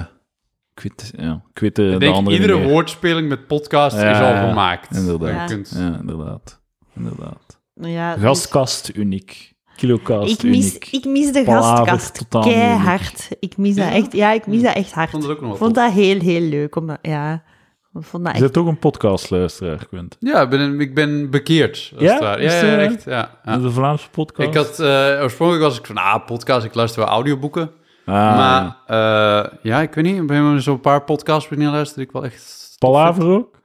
A: ik weet, ja, ik weet de,
C: Ik
A: de
C: denk,
A: andere
C: iedere
A: niet meer.
C: woordspeling met podcast
A: Ja,
C: is al
A: ja,
C: gemaakt.
A: inderdaad.
C: Je kunt-
A: Ja, inderdaad. inderdaad.
B: Ja, dus
A: Gastkast uniek. Kilokast
B: ik mis,
A: uniek.
B: ik mis de
A: Palaver
B: gastkast
A: totaal niet
B: keihard. Ik mis dat echt. Ja, ik mis dat echt hard.
C: vond het ook nog wel
B: vond dat heel, heel leuk. Omdat, ja, ik vond dat
A: Je
B: echt...
A: bent ook een podcastluisteraar, Quint.
C: Ja, ik ben, ik ben bekeerd. Als
A: Ja?
C: het ware.
A: Is eh,
C: Ja,
A: dat
C: ja,
A: waar?
C: echt. Ja, ja.
A: De Vlaamse podcast.
C: Ah. Ik had, eh, oorspronkelijk was ik van, ah, podcast, ik luister wel audioboeken.
A: Ah,
C: Maar eh, ja, ik weet niet, bij zo'n paar podcasts wanneer luister ik wel echt...
A: Palaver ook?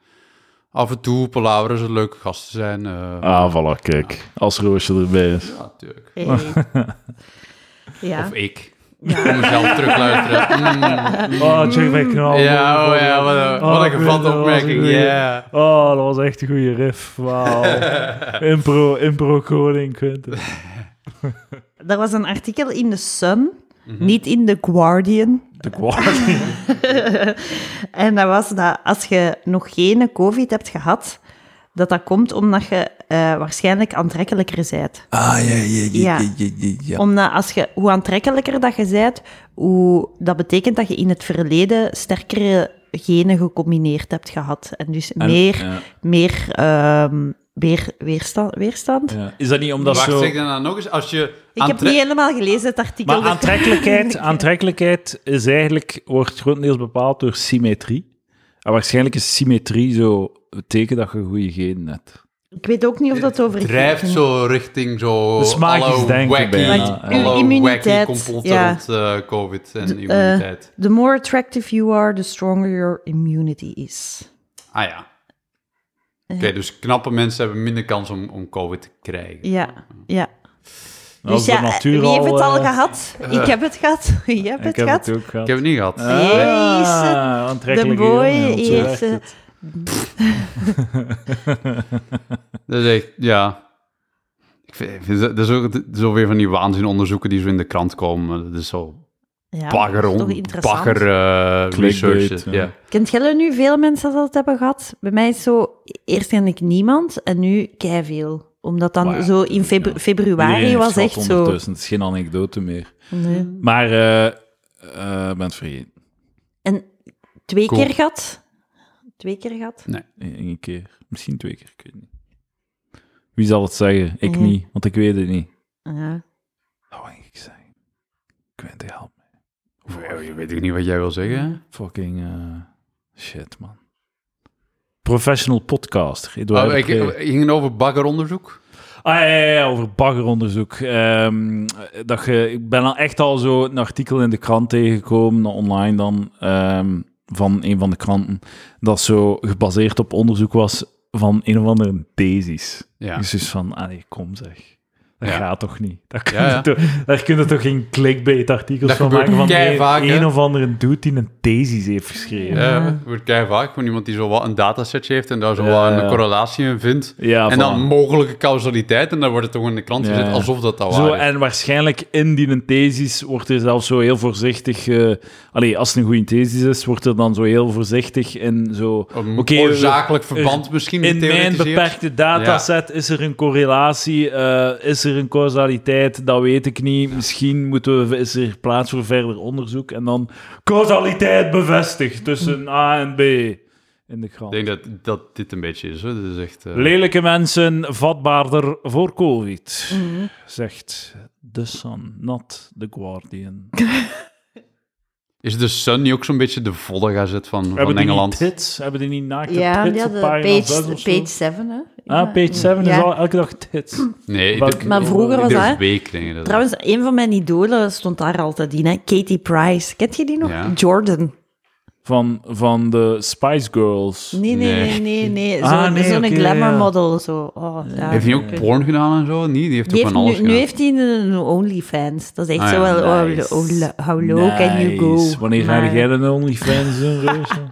C: Af en toe, Palaver is een leuke gast te zijn. eh,
A: Ah, voilà, kijk. Als Roosje erbij is.
C: Ja, natuurlijk.
B: Hey. Ja.
C: Of
A: e-
C: ik.
B: Ja.
C: Om mezelf terugluisteren. Mm.
A: Oh, check back knal.
C: Ja, oh ja, wat een, wat een
A: ik weet
C: gevatte
A: het,
C: opmerking.
A: dat was een
C: Ja.
A: Oh, dat was echt een goede riff. Wauw. impro, impro koning, Quinten.
B: Er was een artikel in The Sun, niet in The Guardian.
A: De kwart.
B: En dat was dat als je nog geen COVID hebt gehad, dat dat komt omdat je eh, waarschijnlijk aantrekkelijker bent.
A: Ah, ja, ja,
B: Ja. Omdat als je, hoe aantrekkelijker dat je bent, hoe, dat betekent dat je in het verleden sterkere genen gecombineerd hebt gehad. En dus meer,
A: ja.
B: meer ehm, weer, weerstand. weerstand?
A: Ja. Is dat niet omdat
C: Wacht,
A: zo...
C: zeg dan nou nog eens. Als je
B: Ik heb niet helemaal gelezen het artikel.
A: Maar
B: dus-
A: aantrekkelijkheid, aantrekkelijkheid is eigenlijk, wordt grotendeels bepaald door symmetrie. En waarschijnlijk is symmetrie zo het teken dat je goede genen hebt.
B: Ik weet ook niet of dat over
C: drijft zo richting zo...
A: Dat is magisch
C: alle
A: denken
C: wacky,
A: bijna,
B: Want
A: ja.
B: uw
C: alle wacky
B: immuniteit,
C: complotten
B: ja.
C: rond eh, covid en
B: eh,
C: immuniteit.
B: The more attractive you are, the stronger your immunity is.
C: ah ja.
B: eh.
C: Oké, dus knappe mensen hebben minder kans om, om covid te krijgen.
B: Ja, ja.
A: En als
B: Dus
A: de
B: ja,
A: natuur
B: wie heeft het al
A: eh,
B: gehad? ik heb het gehad. Je hebt
A: Ik heb
B: het gehad.
A: het ook gehad.
C: Ik heb het niet gehad.
B: Eh?
C: Eh,
A: Ah,
B: Jezus,
A: aantrekkelijke
B: de boy
A: jongen, want zo
B: heeft,
A: werkt
B: eh,
A: het.
C: Dat is echt, ja. Ik vind, ik vind dat, dat is ook, dat is ook weer van die waanzinonderzoeken die zo in de krant komen. Dat is zo
B: Ja,
C: bagger,
B: dat is toch
C: on,
B: interessant.
C: bagger eh,
A: Clickbait,
C: research.
A: ja.
C: Ja.
B: Kent jij nu veel mensen dat het hebben gehad? Bij mij is zo, eerst kende ik niemand en nu veel. Omdat dan
A: Maar ja,
B: zo in febru-
A: ja. Iedereen
B: februari
A: heeft
B: was
A: gehad
B: echt zo.
A: ondertussen. Het is geen anekdote meer.
B: Nee.
A: Maar, eh eh, ben het vergeten.
B: En twee
C: Cool.
B: keer gehad. Twee keer gehad.
A: Eén keer. Misschien twee keer, ik weet het niet. Wie zal het zeggen? Ik
B: Ja.
A: niet, want ik weet het niet.
B: Ja.
A: Dat wou ik zeggen. Quentin, help me.
C: Of, eh, weet ik niet wat jij wil zeggen.
A: Fucking eh, shit, man. Professional podcaster, Eduard.
C: Oh, ik,
A: Pre.
C: ik ging het over baggeronderzoek.
A: Ah, ja, ja, ja, over baggeronderzoek. Ehm, dat je, ik ben al echt al zo een artikel in de krant tegengekomen, nou, online dan, ehm, van een van de kranten, dat zo gebaseerd op onderzoek was van een of andere thesis.
C: Ja.
A: Dus is van, allee, kom zeg. Dat
C: Ja.
A: gaat toch niet? Daar kun,
C: Ja,
A: je
C: ja.
A: Toch, daar kun je toch geen clickbait-artikels
C: Dat
A: van
C: gebeurt
A: maken van een,
C: keivaak, hè?
A: een of andere dude die een thesis heeft geschreven. Ja,
C: Ja, het wordt kei vaak. Gewoon iemand die zo wat een datasetje heeft en daar zo
A: Ja,
C: wat een
A: ja.
C: correlatie in vindt. en
A: voilà.
C: dan mogelijke causaliteit. En dan wordt het toch in de krant
A: Ja,
C: gezet
A: ja.
C: alsof dat al
A: Zo,
C: waar is.
A: en waarschijnlijk in die een thesis wordt er zelfs zo heel voorzichtig... eh allee, als het een goede thesis is, wordt er dan zo heel voorzichtig in zo...
C: Een
A: oké,
C: oorzakelijk
A: er-
C: verband misschien
A: In mijn
C: getheoretiseerd.
A: beperkte dataset is er een correlatie, eh, is er een causaliteit, dat weet ik niet. Misschien moeten we, is er plaats voor verder onderzoek. En dan causaliteit bevestigd tussen A en B in de krant.
C: Ik denk dat, dat dit een beetje is. Hoor. Dit is echt... eh,
A: Lelijke mensen vatbaarder voor COVID, zegt The Sun, not The Guardian.
C: Is de Sun niet ook zo'n beetje de volle gazet van,
A: Hebben
C: van
A: die niet
C: Engeland?
A: tits? Hebben die niet naakte
B: Ja,
A: tits
B: ja
A: op
B: de
A: pagina
B: page,
A: zes of zo?
B: page 7, hè? Ja.
A: Ah, page 7
B: Ja. Hm.
A: is al elke dag tits.
C: Nee,
A: Welk-
C: ieder-
B: Maar vroeger was
C: ieder
B: dat-
C: week denk ik dat.
B: Trouwens, een van mijn idolen stond daar altijd in, hè? Katie Price. Kent je die nog?
C: Ja.
B: Jordan.
A: Van, van de Spice Girls.
B: Nee, nee,
C: Nee.
B: nee, nee. nee. Zo'n
A: Ah, nee,
B: zo'n
A: oké,
B: glamour
A: ja.
B: model. Zo. Oh, ja.
C: Heeft hij ook porn gedaan en zo? Nee, die heeft
B: Die
C: ook
B: heeft
C: van alles
B: nu, nu
C: gedaan.
B: heeft hij een OnlyFans. Dat is echt
C: Ah,
B: zo
C: ja,
B: wel, oh,
A: nice.
B: oh, lo- how low can you
A: Nice.
B: go?
A: Wanneer
B: Maar-
A: ga jij een OnlyFans doen, Roosje?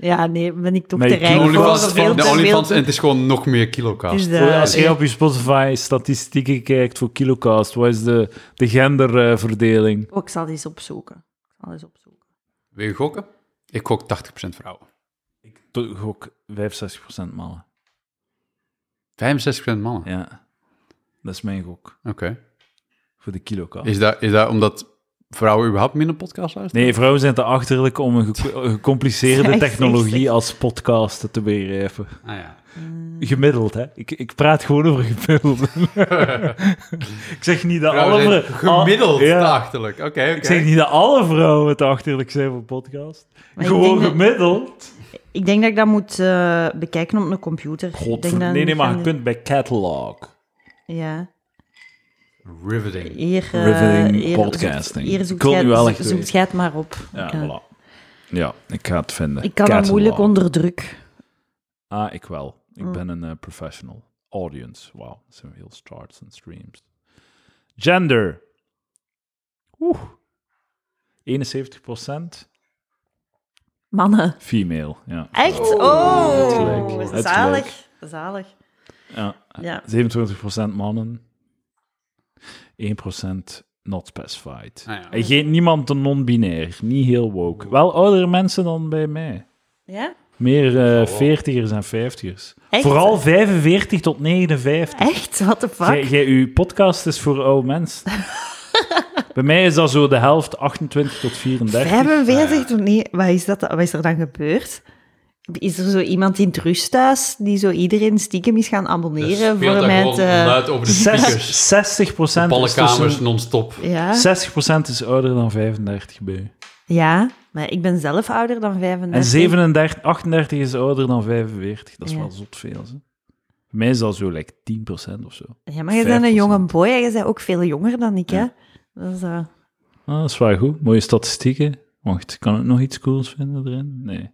B: Ja, nee, ben ik toch
A: Nee,
B: te
A: de
B: rijk voor.
A: OnlyFans-
B: dat
C: OnlyFans,
A: veel
B: veel Dus
C: de
B: te-
C: OnlyFans, en
B: veel
C: het is gewoon nog meer
B: te-
C: kilokaas.
B: is eh, dat-
A: Als je op je Spotify statistieken kijkt voor Kilocast, wat is de, de genderverdeling?
B: Oh, ik zal eens opzoeken. Ik zal eens opzoeken.
C: Wil je gokken? Ik gok 80% vrouwen.
A: Ik gok 65% mannen.
C: 65% mannen.
A: Ja, dat is mijn gok.
C: Oké.
A: Voor de kilokast.
C: Is, dat, is dat omdat vrouwen überhaupt minder podcast luisteren?
A: Nee, vrouwen zijn te achterlijk om een ge- een gecompliceerde
B: Echt,
A: technologie
B: echt.
A: als podcast te begrijpen.
C: Ah ja.
B: Eh,
A: Gemiddeld, hè? Ik, ik praat gewoon over gemiddeld. ik zeg niet dat alle
C: Vrouwen zijn
A: vrou-
C: gemiddeld
A: al- ja.
C: te achterlijk. Oké, oké.
A: Ik zeg niet dat alle vrouwen te achterlijk zijn voor podcast.
B: Maar ik
A: gewoon
B: denk dat-
A: gemiddeld.
B: Ik denk dat ik dat moet eh, bekijken op een computer. Ik denk
A: Godver-
B: dat-
A: Nee, nee, maar je
B: van-
A: kunt bij catalog.
B: Ja.
C: Riveting.
B: Hier, eh,
A: Riveting
B: hier
A: podcasting.
B: Hier
A: Ik
B: zoekt
A: wil
B: jij
A: nu wel
B: het-
A: echt
B: zoekt
A: weten.
B: jij het maar op.
A: Ja,
B: Ik, eh,
A: voilà. Ja, ik ga het vinden.
B: Ik kan dat
A: Catalog.
B: moeilijk onder druk.
A: Ah, ik wel. Ik
B: Mm.
A: ben een eh, professional. Audience. Wauw, dat zijn veel starts en streams. Gender. Oeh. 71%
B: Mannen.
A: female. Ja.
B: Echt? Oh,
A: gelijk. Het gelijk.
B: zalig. Zalig.
A: ja.
B: Ja.
A: 27% mannen. 1% not specified.
C: Ah, ja.
A: Hij geeft niemand een non-binair. Niet heel woke. Wel oudere mensen dan bij mij.
B: Ja?
A: Meer
C: Oh,
A: eh veertigers en vijftigers.
B: Echt?
A: Vooral 45 tot 59.
B: Echt? What the fuck?
A: Jij, jij, uw podcast is voor oude mensen. Bij mij is dat zo de helft, 28 tot 34. Ah,
B: 45 toen nee, wat is, dat, wat is er dan gebeurd? Is er zo iemand in het rusthuis die zo iedereen stiekem is gaan abonneren
C: Dus
B: voor
C: Speelt
B: eh,
C: daar
B: mij
C: gewoon
B: te-
C: luid over de speakers.
A: eh, Zes- 60 procent is,
C: Ballenkamers
A: tussen,
C: non-stop.
B: Ja?
A: 60 is ouder dan 35 bij u.
B: ja, maar ik ben zelf ouder dan 35.
A: En 37, 38 is ouder dan 45. Dat is
B: Ja.
A: wel zot veel. Hè? Bij mij is dat zo like 10 of zo.
B: Ja, maar je bent een
A: 5%.
B: jonge boy en je bent ook veel jonger dan ik, hè? Dat is, eh,
A: Ah, dat is wel goed. Mooie statistieken. Wacht, kan ik nog iets cools vinden erin? Nee.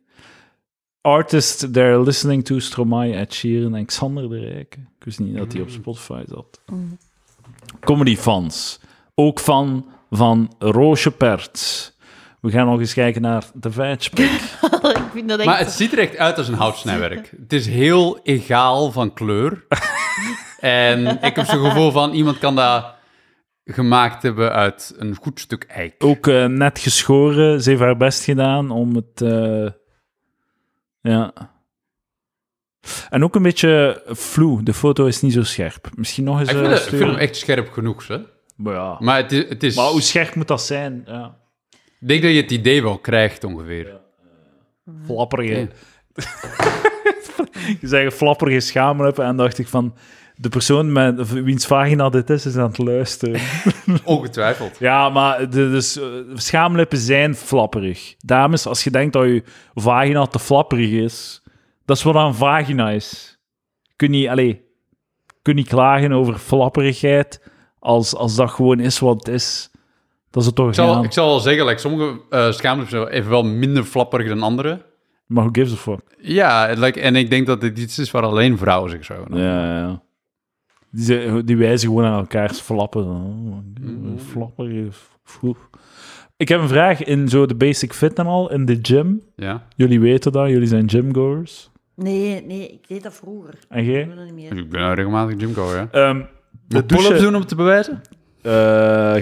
A: Artist they're listening to Stromae, Ed Sheeran en Xander de Rijke. Ik wist niet dat hij op Spotify zat. Comedy fans. Ook fan van Roosje Perts. We gaan nog eens kijken naar de Vijfspik.
B: ik vind dat echt...
C: Maar het ziet er echt uit als een houtsnijwerk. Het is heel egaal van kleur. en ik heb zo'n gevoel van iemand kan dat gemaakt hebben uit een goed stuk eik.
A: Ook eh, net geschoren. Ze heeft haar best gedaan om het... eh, ja. En ook een beetje vloe. De foto is niet zo scherp. Misschien nog eens...
C: Ik
A: eh,
C: vind, het, ik
A: sturen.
C: vind hem echt scherp genoeg, hè?
A: Maar ja.
C: Maar het is, het is-
A: Maar hoe scherp moet dat zijn? Ja.
C: ik denk dat je het idee wel krijgt ongeveer.
A: Flapperige. Je zei je flapperige schamen hebt en dacht ik van... De persoon met, wiens vagina dit is, is aan het luisteren.
C: Ongetwijfeld.
A: Ja, maar de, dus, eh, schaamlippen zijn flapperig. Dames, als je denkt dat je vagina te flapperig is, dat is wat een vagina is. Kun je, allee, kun je klagen over flapperigheid als, als dat gewoon is wat het is? Dat is het toch
C: Ik zal,
A: ja.
C: ik zal wel zeggen, like, sommige eh schaamlippen zijn even wel minder flapperig dan andere.
A: Maar who gives a fuck?
C: Ja, like, en ik denk dat dit iets is waar alleen vrouwen zich zo...
A: Ja, ja. Die, ze- die wijzen gewoon aan elkaars flappen. Oh, Flapper. vroeg. Ik heb een vraag in zo de basic fit en al, in de gym.
C: Ja?
A: Jullie weten dat, jullie zijn gymgoers.
B: Nee, nee, ik deed dat vroeger. Ik
A: En jij?
B: doe dat niet meer.
C: Ik ben nou regelmatig gymco, ja.
A: Ehm de
C: Moet pull-ups
A: douche
C: doen om te bewijzen?
A: eh,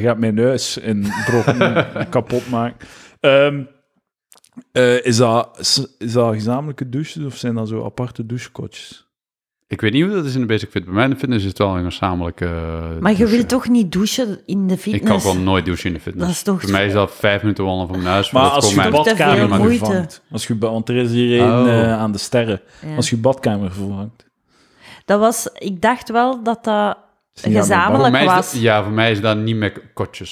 A: gaat mijn neus in brokken kapot maken. Ehm, eh, is, dat, is- is dat gezamenlijke douches of zijn dat zo aparte douchekotjes?
C: Ik weet niet hoe dat is in de basic fit. Bij mij in de fitness is het wel een gezamenlijke... eh,
B: Maar je
C: douche.
B: wilt toch niet douchen in de
C: Ik
B: fitness?
C: kan gewoon nooit douchen in de fitness.
B: Dat is toch-
C: Voor mij is dat vijf minuten wandelen van mijn huis.
A: Maar
C: dat
A: als
C: komt
A: je de
C: mij-
B: te veel
A: badkamer
B: moeite.
A: vervangt. Als je, ba- want er is hier een
C: Oh.
A: eh, aan de sterren.
B: Ja.
A: Als je badkamer vervangt.
B: Dat was... Ik dacht wel dat dat
A: niet aan de
C: voor
B: gezamenlijk
C: mij is
B: was.
C: dat, ja, voor mij is dat niet met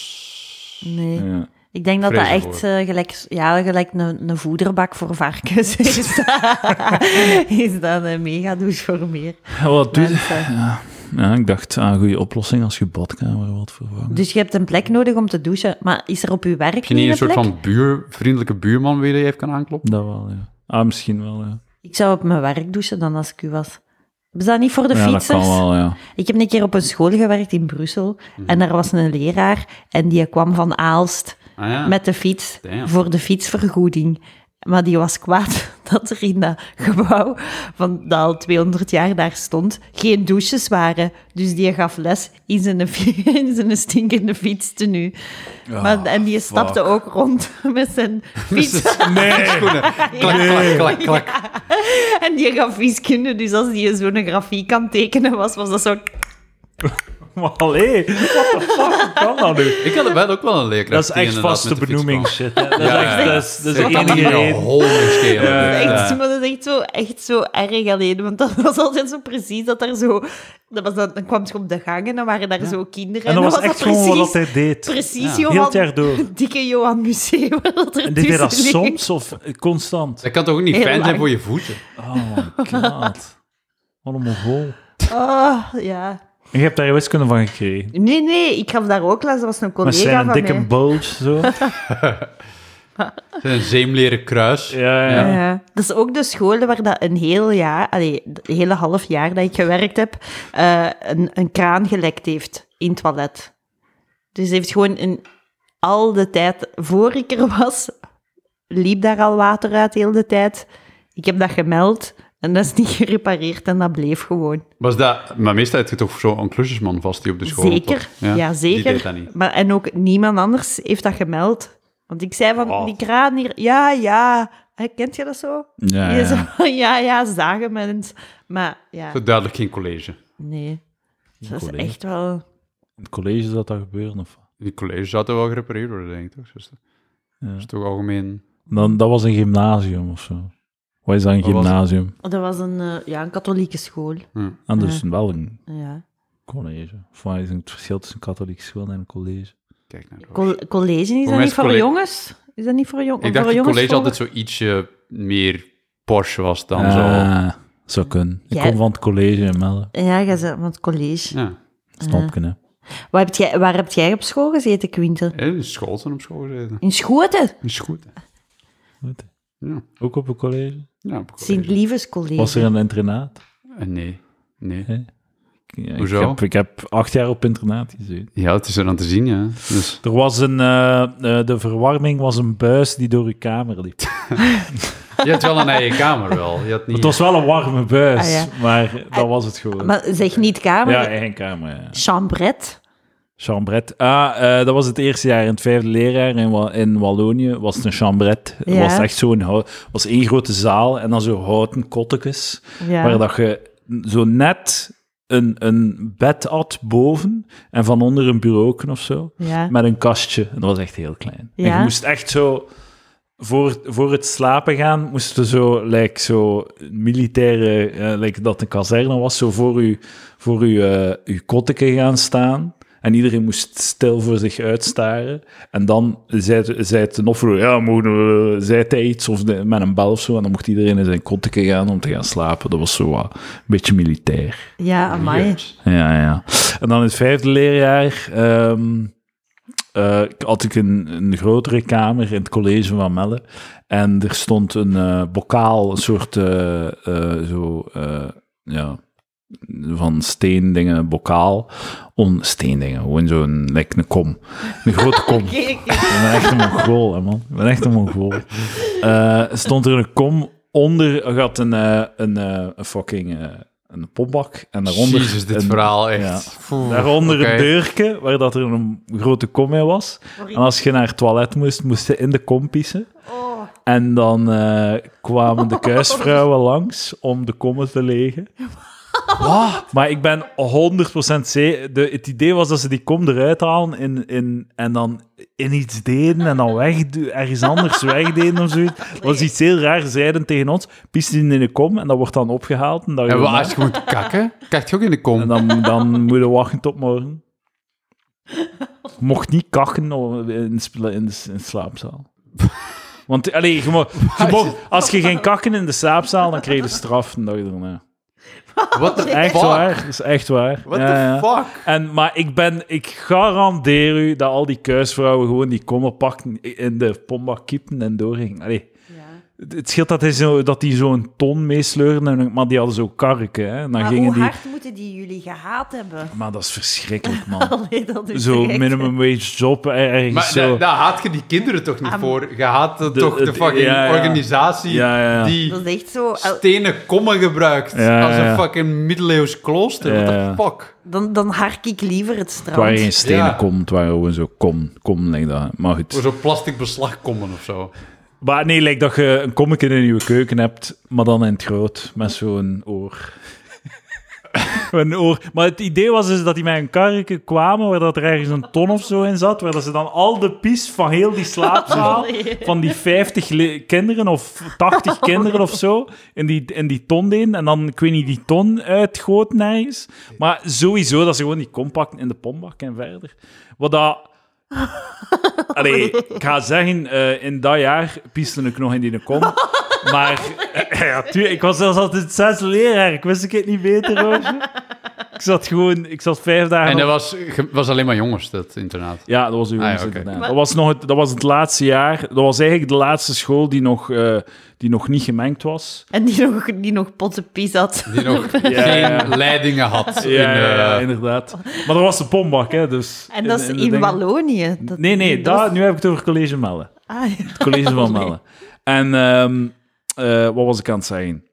C: kotjes.
B: Nee.
A: Ja.
B: Ik denk dat dat
C: Vrees
B: echt eh, gelijk, ja, gelijk een, een voederbak voor varkens is. dat- is dat een mega douche voor meer
A: Wat doe je?
B: mensen.
A: Ja, ik dacht aan een goede oplossing als je badkamer wilt vervangen.
B: Dus je hebt een plek nodig om te douchen. Maar is er op je werk
C: Heb je niet een
B: niet
C: soort
B: plek?
C: van buur, vriendelijke buurman weer die je even kan aankloppen?
A: Dat wel, ja. Ah, misschien wel, ja.
B: Ik zou op mijn werk douchen dan als ik u was. Hebben ze dat niet voor de
A: ja, dat
B: fietsers?
A: kan wel, ja.
B: Ik heb een keer op een school gewerkt in Brussel.
C: Mhm.
B: En daar was een leraar en die kwam van Aalst
C: Ah ja.
B: met de fiets
C: Damn.
B: voor de fietsvergoeding. Maar die was kwaad dat er in dat gebouw, van dat al 200 jaar daar stond, geen douches waren. Dus die gaf les in zijn, fi- in zijn stinkende fiets nu. maar, en die stapte ook rond met zijn fiets.
A: Nee!
C: Klak, klak, klak, klak.
B: en die gaf wiskunde, dus als die zo'n grafiek aan het tekenen was, was dat zo...
A: Maar allee, what the fuck kan dat nu?
C: Ik had wel ook wel een leerkracht.
A: Dat is
C: die
A: echt
C: inderdaad
A: vaste
C: met de fiets
A: benoeming
C: kwam.
A: shit. hè. Dat is
C: Ja,
A: echt
C: ja.
A: dat is, dat is
C: Zeg,
A: de
C: dat
A: enige
C: die een
A: reden.
C: hol in schelen. dus, eh,
A: Ja.
B: Echt, maar dat is echt zo, echt zo erg alleen. Want dat was altijd zo precies dat er zo... Dat was dan, dan kwam het op de gang en dan waren daar zo kinderen.
A: En dat was
B: dan
A: echt gewoon wat hij deed.
B: Precies,
C: Ja.
A: Heel
B: Johan.
A: het jaar door.
B: Dikke Johan Museum. Dat er
A: En deed hij dat
B: tussen ligt.
A: soms of constant?
C: Dat kan toch ook niet
B: Heel
C: fijn zijn
B: lang.
C: voor je voeten?
A: Oh my god. Wat een mongool.
B: Oh, ja.
A: En je hebt daar wiskunde van gekregen.
B: Nee, nee, ik gaf daar ook les. Dat was een
A: Met
B: collega
A: zijn
B: van
A: dikke
B: mij.
A: bulge, zo.
C: Het is Een zeemleren kruis.
A: Ja, ja.
B: Ja. Eh, Dat is ook de scholen waar dat een heel jaar, allee, het hele half jaar dat ik gewerkt heb, eh, een, een kraan gelekt heeft in het toilet. Dus heeft gewoon een, al de tijd, voor ik er was, liep daar al water uit heel de tijd. Ik heb dat gemeld en dat is niet gerepareerd en dat bleef gewoon.
C: Was dat, maar meestal had je toch zo'n klusjesman vast die op de school
B: zeker,
C: toch?
B: ja, zeker.
C: Die deed dat niet.
B: Maar, en ook niemand anders heeft dat gemeld. Want ik zei van,
C: Oh.
B: die kraan hier, ja, ja, Hè, Kent je dat zo?
A: Ja,
B: Je
A: ja.
B: zo- ja, ja, zagen mens. Maar ja,
C: Zo duidelijk geen college.
B: nee. Dat is
A: Collega.
B: echt wel...
A: In het college dat dat gebeuren. Of...
C: Die college zou toch wel gerepareerd worden, denk ik, toch? Dus dat
A: Ja.
C: is toch algemeen...
A: Dan, dat was een gymnasium of zo. Wat is dat, een
C: Wat was het?
A: gymnasium?
B: Dat was een, eh, ja, een katholieke school.
A: En dus wel een
B: Ja.
A: college. Of wat is het verschil tussen een katholieke school en een college?
C: Kijk naar het
B: Col- college is dat
C: mij
B: niet
C: is
B: voor
C: colle-
B: jongens? Is dat niet voor, jong
C: Ik
B: voor
C: dacht dat
B: jongens?
C: college
B: voor-
C: altijd zo ietsje meer Porsche was dan zo.
A: Ah, zou kunnen. Ik
B: Jij-
A: kom van het college in Melle.
B: Ja, jij zegt, want college.
C: Ja.
A: Snap je, hè?
B: Waar, heb jij, waar heb jij op school gezeten, Quinten?
C: In Schoten op school gezeten.
B: In Schoten?
C: Is goed. hè?
A: Goed.
C: Ja.
A: Ook op een college?
C: ja op college.
B: Sint-Lievens College.
A: Was er een internaat?
C: Eh, nee. Nee.
A: Ja,
C: Hoezo?
A: Ik heb, ik heb acht jaar op internaat gezeten.
C: Ja, het is er aan te zien, ja. Dus,
A: Er was een, eh, eh, de verwarming was een buis die door uw kamer liep.
C: je had wel een eigen kamer wel. Je had niet...
A: Het was wel een warme buis,
B: Ah, ja.
A: maar dat was het gewoon.
B: Maar zeg niet kamer,
A: ja, eigen kamer. Ja.
B: chambret.
A: Chambret. Ah, eh, dat was het eerste jaar. In het vijfde leerjaar in, Wa- in Wallonië was het een chambret. Het
B: Ja.
A: was echt zo'n hout- was één grote zaal en dan zo houten kottekes.
B: Ja.
A: Waar dat je zo net een, een bed had boven en van onder een bureauken of zo.
B: Ja.
A: Met een kastje. En dat was echt heel klein. En
B: Ja.
A: je moest echt zo... Voor, voor het slapen gaan moesten zo, like, zo militaire, eh, like dat een kazerne was, zo voor uw, voor uw, eh, uw kotteke gaan staan. En iedereen moest stil voor zich uitstaren. En dan zei, zei het een offer, ja, mogen we, eh, zei hij iets of de- met een bel of zo. En dan mocht iedereen in zijn kotteke gaan om te gaan slapen. Dat was zo wat, een beetje militair.
B: Ja, amai.
C: Jezus.
A: Ja, ja. En dan in het vijfde leerjaar ehm, eh, had ik een, een grotere kamer in het college van Melle. En er stond een eh, bokaal, een soort eh, eh, zo, eh, ja, van steendingen, bokaal. On, steendingen, gewoon zo'n like een kom. Een grote kom. Ik ben echt een Mongool, hè, man. Ik ben echt een Mongool. Eh, stond er een kom onder, je had een, eh, een, eh, een fucking eh, een popbak. En daaronder
C: Jezus, dit
A: een-
C: verhaal echt. Oeh,
A: Daaronder
C: oké.
A: een deurke waar dat er een grote kom in was. En als je naar het toilet moest, moest je in de kom pissen.
B: Oh,
A: En dan eh, kwamen de kuisvrouwen langs om de kommen te legen. Wat? Maar ik ben 100% zeker. de- Het idee was dat ze die kom eruit halen in, in, en dan in iets deden en dan wegdu- ergens anders wegdeden of zoiets. Dat was iets heel raar. Ze zeiden tegen ons: pies die in de kom en dat wordt dan opgehaald. En, dan
C: En als je moet kakken, kijk je ook in de kom.
A: en dan, dan moet je wachten tot morgen. Je mocht niet kakken op- in, sp- in, de- in de slaapzaal. Want allee, je mo- je mocht- als je ging kakken in de slaapzaal, dan kreeg je straf een dag erna.
C: What the
A: Echt
C: fuck?
A: waar, dat is echt waar.
C: What
A: Ja, ja.
C: the fuck?
A: En, maar ik, ben, ik garandeer u dat al die kuisvrouwen gewoon die kommer pakten, in de pomba kiepen en doorgingen. Allee,
B: ja.
A: het het scheelt dat, hij zo, dat die zo'n ton meesleurden, en- maar die hadden zo karken. Hè. En dan
B: Maar
A: gingen
B: hoe
A: die...
B: hard moeten die jullie gehaat hebben?
A: Maar dat is verschrikkelijk, man.
B: Allee, dat is
A: Zo
B: echt-
A: minimum wage job eh, ergens
C: Maar
A: zo.
C: da- daar haat je die kinderen toch niet voor? Je haat eh,
A: De-
C: toch de
A: het-
C: fucking
A: ja, ja.
C: organisatie
A: Ja, ja, ja.
C: die
B: Dat is oh. echt zo... eh, al-
C: stenen kommen gebruikt
A: Ja,
C: als
A: ja.
C: een fucking middeleeuws klooster.
A: Ja,
C: What the fuck?
B: Dan, dan hark ik liever het
A: Het waren
B: strand.
A: geen stenen
C: Ja.
A: komt, waar gewoon zo kom, kom, like dat. Maar
C: Voor
A: goed.
C: zo'n plastic beslag komen of zo.
A: Maar nee, lijkt dat je een kommetje in je keuken hebt, maar dan in het groot, met zo'n oor. een oor. Maar het idee was dus dat die met een karretje kwamen, waar dat er ergens een ton of zo in zat, waar dat ze dan al de pies van heel die slaapzaal, van die 50 le- kinderen of 80 kinderen of zo, in die, in die ton deden. En dan, ik weet niet, die ton uitgoten ergens. Maar sowieso dat ze gewoon die kom pakten in de pombak en verder. Wat dat... Allee, ik ga zeggen, eh, in dat jaar pieste ik nog in die kom. Maar eh, ja, tu- ik was zelfs altijd het zesde leraar. Ik wist ik het niet beter, hoor. Ik zat gewoon... Ik zat vijf dagen...
C: En
A: op-
C: dat was, ge- was alleen maar jongens, dat internaat.
A: Ja, dat was uw
C: Ah, ja,
A: jongens,
C: oké.
A: inderdaad.
B: Maar-
A: Dat was, nog het, dat was het laatste jaar. Dat was eigenlijk de laatste school die nog, eh, die nog niet gemengd was.
B: En die nog, die nog pottenpies had.
C: Die nog
A: Ja,
C: geen
A: ja.
C: leidingen had.
A: Ja, ja,
C: in, eh,
A: ja, inderdaad. Maar dat was de pombak, hè, dus...
B: En dat is
A: in
B: in,
A: de dingen-
B: Wallonië. Dat-
A: Nee, nee,
B: dat
A: dat,
B: is-
A: nu heb ik het over College Melle.
B: Ah, ja.
A: Het college van Melle. En ehm, eh, wat was ik aan het zeggen?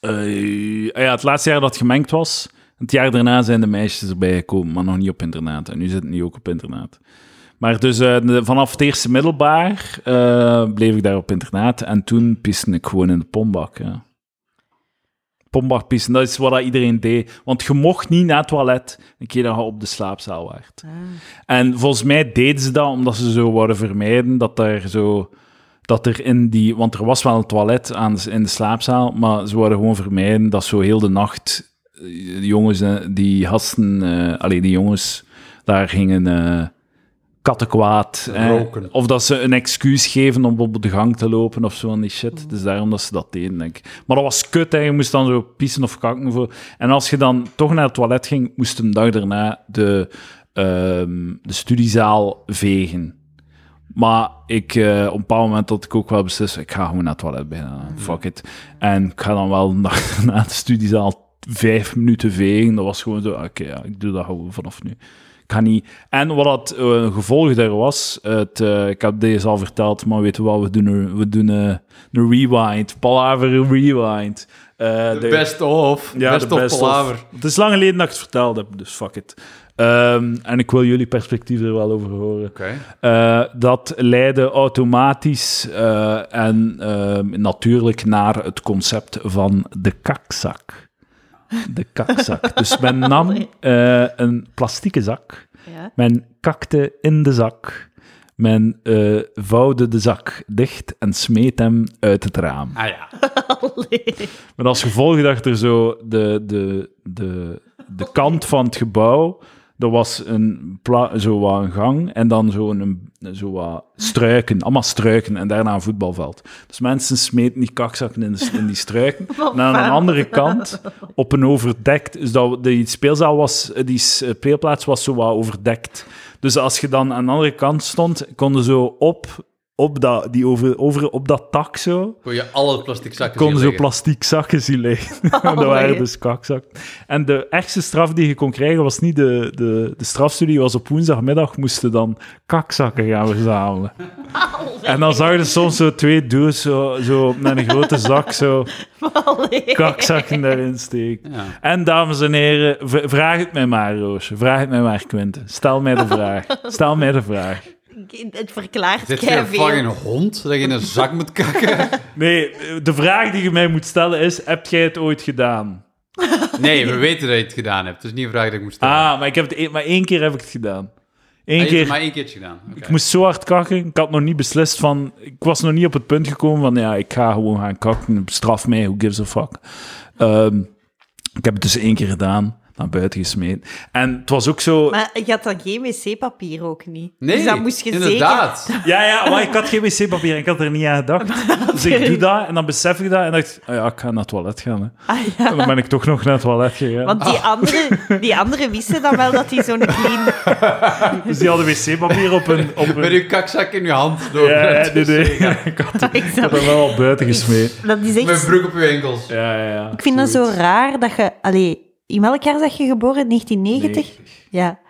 A: Eh, ah ja, het laatste jaar dat het gemengd was. Het jaar daarna zijn de meisjes erbij gekomen, maar nog niet op internaat. En nu zitten die ook op internaat. Maar dus eh, de- vanaf het eerste middelbaar eh, bleef ik daar op internaat. En toen piste ik gewoon in de pombak. Ja. Pombak pissen, dat is wat dat iedereen deed. Want je mocht niet naar het toilet een keer dat je op de slaapzaal werd. En volgens mij deden ze dat omdat ze zo wouden vermijden dat er zo... Dat er in die... Want er was wel een toilet aan de- in de slaapzaal, maar ze wouden gewoon vermijden dat zo heel de nacht eh, jongens, eh, die gasten... eh allee, die jongens daar gingen... eh kattenkwaad. eh,
C: Roken.
A: of dat ze een excuus geven om op de gang te lopen of zo en die shit. Dus daarom dat ze dat deden, denk ik. Maar dat was kut, hè. je moest dan zo pissen of kakken. Voor. En als je dan toch naar het toilet ging, moest je een dag daarna de, ehm, de studiezaal vegen. Maar ik, eh, op een bepaald moment had ik ook wel beslist, ik ga gewoon naar het toilet binnen. Fuck it. En ik ga dan wel naar, naar de studiezaal vijf minuten vegen. Dat was gewoon zo, oké, ja, ik doe dat gewoon vanaf nu. Ik ga niet... En wat het eh, gevolg daar was, het, eh, ik heb deze al verteld, maar weet je wat, we doen een, we doen een, een rewind. Palaver rewind. Eh,
C: De best of.
A: ja,
C: best
A: de
C: of
A: best of.
C: palaver.
A: Het is lang geleden dat ik het verteld heb, dus fuck it. Ehm, en ik wil jullie perspectief er wel over horen.
C: Oké.
A: Eh, dat leidde automatisch eh, en ehm, natuurlijk naar het concept van de kakzak. De kakzak. dus men nam eh, een plastieke zak,
B: Ja.
A: men kakte in de zak, men eh, vouwde de zak dicht en smeet hem uit het raam.
C: Ah ja.
B: Allee.
A: Met als gevolg dat er zo de, de, de, de kant van het gebouw, er was een, pla- zo wat een gang en dan zo, een, zo wat struiken, allemaal struiken en daarna een voetbalveld. Dus mensen smeten die kakzakken in, de- in die struiken. En aan de andere kant, op een overdekt, dus dat, die speelzaal was, die s- eh, speelplaats was zo wat overdekt. Dus als je dan aan de andere kant stond, konden zo op, op, dat, die over, over, op dat tak zo,
C: Kon je alle plastic zakken
A: kon
C: zien
A: zo
C: liggen.
A: plastiek zakken zien liggen. dat
B: Oh,
A: waren dus kakzakken. En de ergste straf die je kon krijgen was niet de, de, de strafstudie, was op woensdagmiddag moesten dan kakzakken gaan verzamelen. En dan zag je soms zo twee dudes zo, zo met een grote zak zo
B: Allee.
A: kakzakken daarin steken.
C: Ja.
A: En dames en heren, v- vraag het mij maar, Roosje. Vraag het mij maar, Quinten. Stel mij de vraag. Stel mij de vraag.
B: Het verklaart
C: Zit je een
B: keiveel.
C: fucking hond dat je in een zak moet kakken?
A: Nee, de vraag die je mij moet stellen is, heb jij het ooit gedaan?
C: Nee, we weten dat je het gedaan hebt. Het is niet een vraag die ik moet stellen.
A: Ah, maar, ik heb het, e- maar één keer heb ik het gedaan.
C: Ah, je
A: Eén
C: hebt het
A: keer.
C: maar één keertje gedaan. Oké.
A: Ik moest zo hard kakken. Ik had nog niet beslist van... Ik was nog niet op het punt gekomen van... Ja, ik ga gewoon gaan kakken. Straf mij, who gives a fuck. Ehm, ik heb het dus één keer gedaan. Naar buiten gesmeed. En het was ook zo...
B: Maar je had dan geen wc-papier ook niet.
C: Nee,
B: dus dat moest je
C: inderdaad.
A: Ja, ja, maar ik had geen wc-papier. en Ik had er niet aan gedacht. Dus ik doe dat en dan besef ik dat. En dacht ik, ah ja, ik ga naar het toilet gaan. Hè.
B: zeker... Ah, ja.
A: En dan ben ik toch nog naar het toilet gegaan.
B: Want die, andere, die anderen wisten dan wel dat hij zo'n clean...
A: Dus die hadden wc-papier op een... Op
C: Met
A: een
C: uw kakzak in je hand. Door
A: ja, ja,
C: het-
A: nee, nee. Ik had
B: Ik
A: ik
B: snap-
A: had er wel al buiten gesmeed.
B: Dat is
C: Met
B: echt...
C: broek op je enkels.
A: Ja, ja, ja.
B: Ik vind dat zo raar dat je... Allee, in welk jaar zeg je geboren? 1990? Ja.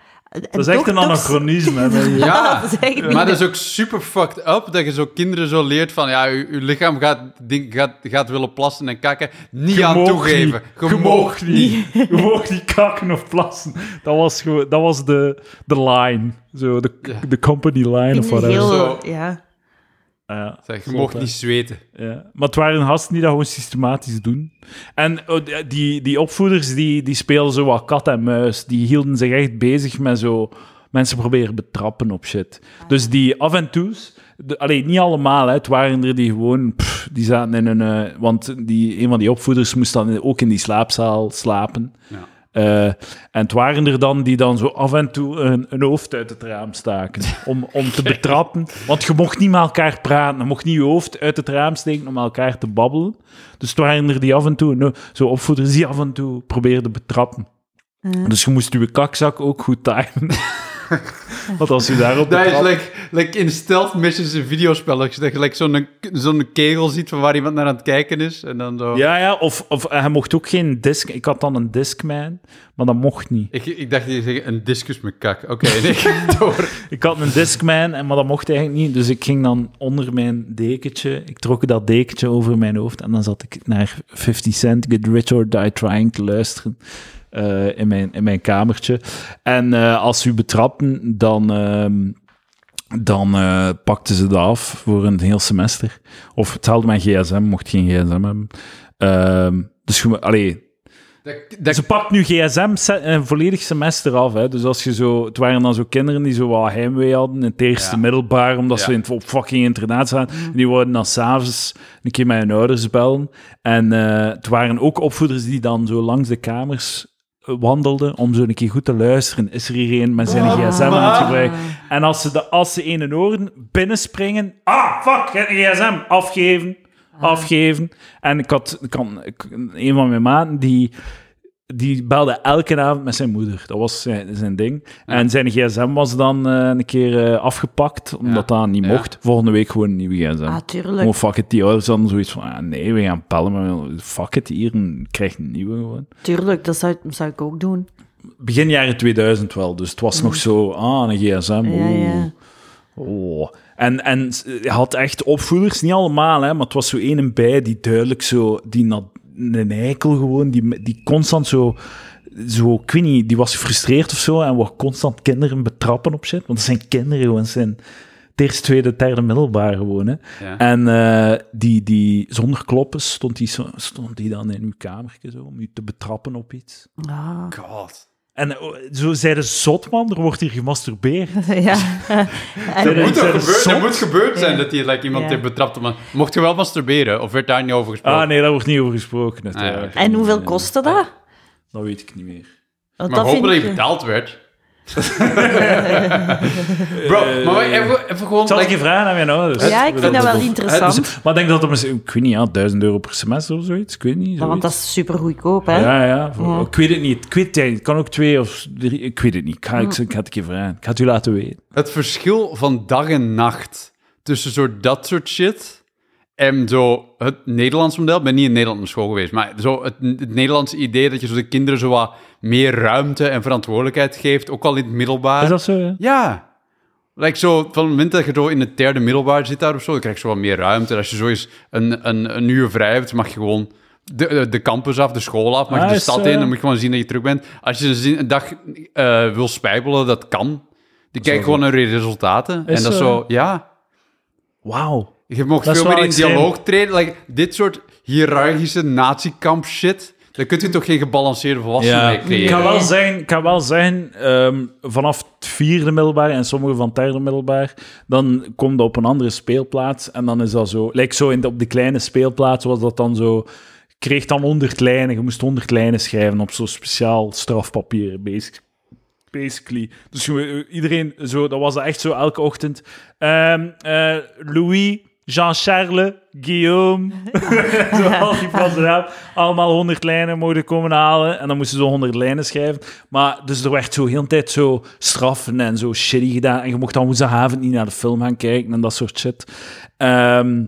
A: Dat is echt een anachronisme. hè, dat je-
C: Ja,
B: Dat is echt niet-
C: maar dat is ook super fucked up dat je zo kinderen zo leert van ja, uw, uw lichaam gaat, ding, gaat, gaat willen plassen en kakken. Niet aan
A: moog
C: toegeven.
A: Niet. Je moog niet. Je moog niet kakken of plassen. Dat was, gewoon, dat was de, de line. Zo, de,
C: Ja.
A: de company line
B: Ik
A: of
B: vind het
A: whatever.
B: heel...
C: Zo.
B: Ja.
A: Ja,
C: Zeg, je
A: zot,
C: mocht
A: hè.
C: niet zweten.
A: Ja. Maar het waren gasten die dat gewoon systematisch doen. En oh, die- die, die opvoeders die, die speelden zo wat kat en muis. Die hielden zich echt bezig met zo mensen proberen betrappen op shit.
B: Ah,
A: Dus die af en toe. de- Allee, niet allemaal, hè. het waren er die gewoon, pff, die zaten in een, eh, want die, een van die opvoeders moest dan in- ook in die slaapzaal slapen.
C: Ja.
A: Eh, en het waren er dan die dan zo af en toe een, een hoofd uit het raam staken. Om, om te betrappen. Want je mocht niet met elkaar praten. Je mocht niet je hoofd uit het raam steken om met elkaar te babbelen. Dus het waren er die af en toe, nou, zo opvoeders, die af en toe probeerden betrappen. Dus je moest je kakzak ook goed timen. Want als je daarop
C: Dat is
A: betrapt-
C: like, like in stealth missions in videospelletjes. Dat je like zo'n zo'n kegel ziet van waar iemand naar aan het kijken is. En dan zo...
A: Ja, ja, of, of eh, hij mocht ook geen disc... Ik had dan een discman, maar dat mocht niet.
C: Ik, ik dacht, je zegt een discus met kak. Oké, nee, ga door.
A: Ik had een Discman, en- maar dat mocht eigenlijk niet. Dus ik ging dan onder mijn dekentje. Ik trok dat dekentje over mijn hoofd. En dan zat ik naar 50 Cent, Get Rich or Die Trying te luisteren. eh, in, mijn, in mijn kamertje. En eh, als u betrapten, dan, ehm, dan eh, pakten ze dat af voor een heel semester. Of hetzelfde met gsm, mocht geen gsm hebben. Ehm, dus je moet- allee,
C: Dat, dat-
A: ze pakt nu gsm se- een volledig semester af. Hè. Dus als je zo, het waren dan zo kinderen die zo wat heimwee hadden in het eerste
C: Ja.
A: middelbaar, omdat
C: Ja. Mm.
A: ze in het, op fucking internaat zaten. En Die worden dan s'avonds een keer met hun ouders bellen. En eh, het waren ook opvoeders die dan zo langs de kamers eh, wandelden om zo een keer goed te luisteren. Is er hier een met zijn
C: Ah.
A: gsm aan het gebruiken? En als ze, de, als ze in hun oren binnenspringen... Ah, fuck, je hebt een gsm. Afgeven.
C: Ah.
A: Afgeven. En ik had, ik had ik- een van mijn maten die die belde elke avond met zijn moeder. Dat was zijn, zijn ding. En zijn gsm was dan eh, een keer eh, afgepakt, omdat
C: Ja.
A: dat niet
C: Ja.
A: mocht. Volgende week gewoon een nieuwe gsm.
B: Ah, tuurlijk.
A: Gewoon fuck it, die ouders hadden zoiets van, ah, nee, we gaan pellen, maar we- fuck it, hier, een- krijg een nieuwe gewoon.
B: Tuurlijk, dat zou, zou ik ook doen.
A: Begin jaren 2000 wel, dus het was nog zo, ah, een gsm,
B: Mhm. Ja,
A: oeh.
B: ja.
A: Oh. En, en s- je had echt opvoeders, niet allemaal, hè, maar het was zo één bij die duidelijk zo, die na, een eikel gewoon, die, die constant zo, zo, ik weet niet, die was gefrustreerd of zo en wou constant kinderen betrappen op shit. Want het zijn kinderen gewoon, het zijn het eerste, tweede, derde middelbaar gewoon. Hè.
C: Ja.
A: En eh, die, die, zonder kloppen stond die, zo- stond die dan in uw kamertje zo, om u te betrappen op iets.
B: Ah.
C: God.
A: En eh, zo zeiden zot man, er wordt hier gemasturbeerd.
B: ja.
A: Dat
B: En-
A: moet
C: moet
A: toch
C: gebeuren,
A: gebeurd-
C: dat
A: dat
C: moet
A: moet
C: gebeurd
B: Ja.
C: zijn dat hij like, iemand
B: Ja.
C: heeft betrapt. Maar mocht je wel masturberen? Of werd daar niet over gesproken?
A: Ah nee, daar wordt niet over gesproken. natuurlijk.
C: Ah, ja, oké.
B: En hoeveel
A: Eh,
B: kostte dat?
A: Dat weet ik niet meer.
B: Want dat
C: maar
B: vind
C: hopelijk
B: ik-
C: betaald werd. Bro, maar wacht, even, even gewoon...
A: Ik zal ik
C: like-
A: je vragen aan mijn ouders.
B: Ja, ik vind dat wel interessant.
A: Dus- maar ik denk dat het misschien, ik weet niet, ja, 1000 euro per semester of zoiets. Ik weet niet.
B: Maar want dat
A: zoiets.
B: is super goedkoop, hè?
A: Ja, ja, voor-
B: Ja.
A: Ik weet het niet. Ik weet het, het kan ook twee of drie. Ik weet het niet. Ik ga, ik, ik ga het een keer vragen. Ik ga het u laten weten.
C: Het verschil van dag en nacht tussen zo dat soort shit en zo het Nederlands model. Ik ben niet in Nederland naar school geweest, maar zo het, het Nederlandse idee dat je zo de kinderen zo wat meer ruimte en verantwoordelijkheid geeft, ook al in het middelbaar.
A: Is dat zo? Ja?
C: Ja. Like zo, van het moment dat je zo in het derde middelbaar zit daar of zo, dan krijg je zo wat meer ruimte. En als je zo eens een, een, een uur vrij hebt, mag je gewoon de, eh, de, de campus af, de school af, mag je
A: Ah,
C: de
A: is,
C: stad
A: eh,
C: in, dan moet je gewoon zien dat je terug bent. Als je een, zin- een dag eh, wil spijbelen, dat kan. Die kijken gewoon naar je resultaten.
A: Is
C: en dat is
A: zo,
C: zo, ja.
A: Wauw.
C: Je mag
A: Dat is
C: veel meer
A: wel
C: in
A: extreem.
C: dialoog treden. Like, dit soort hiërarchische nazi-kamp shit, daar kunt u toch geen gebalanceerde volwassenen mee
A: ik
C: creëren.
A: kan wel
B: Nee.
A: zeggen, ik kan wel zeggen ehm, vanaf het vierde middelbaar en sommige van het derde middelbaar, dan komt dat op een andere speelplaats en dan is dat zo. Lijkt zo in de- op de kleine speelplaats was dat dan zo. je Kreeg dan 100 lijnen, je moest 100 lijnen schrijven op zo'n speciaal strafpapier, basic, basically. Dus je- iedereen, zo, dat was dat echt zo elke ochtend. Ehm, eh, Louis, Jean-Charles, Guillaume, zo al die Franse naam. Allemaal 100 lijnen mogen komen halen. En dan moesten ze 100 lijnen schrijven. Maar dus er werd zo heel de tijd zo straffen en zo shitty gedaan. En je mocht dan woensdagavond niet naar de film gaan kijken en dat soort shit. Ehm,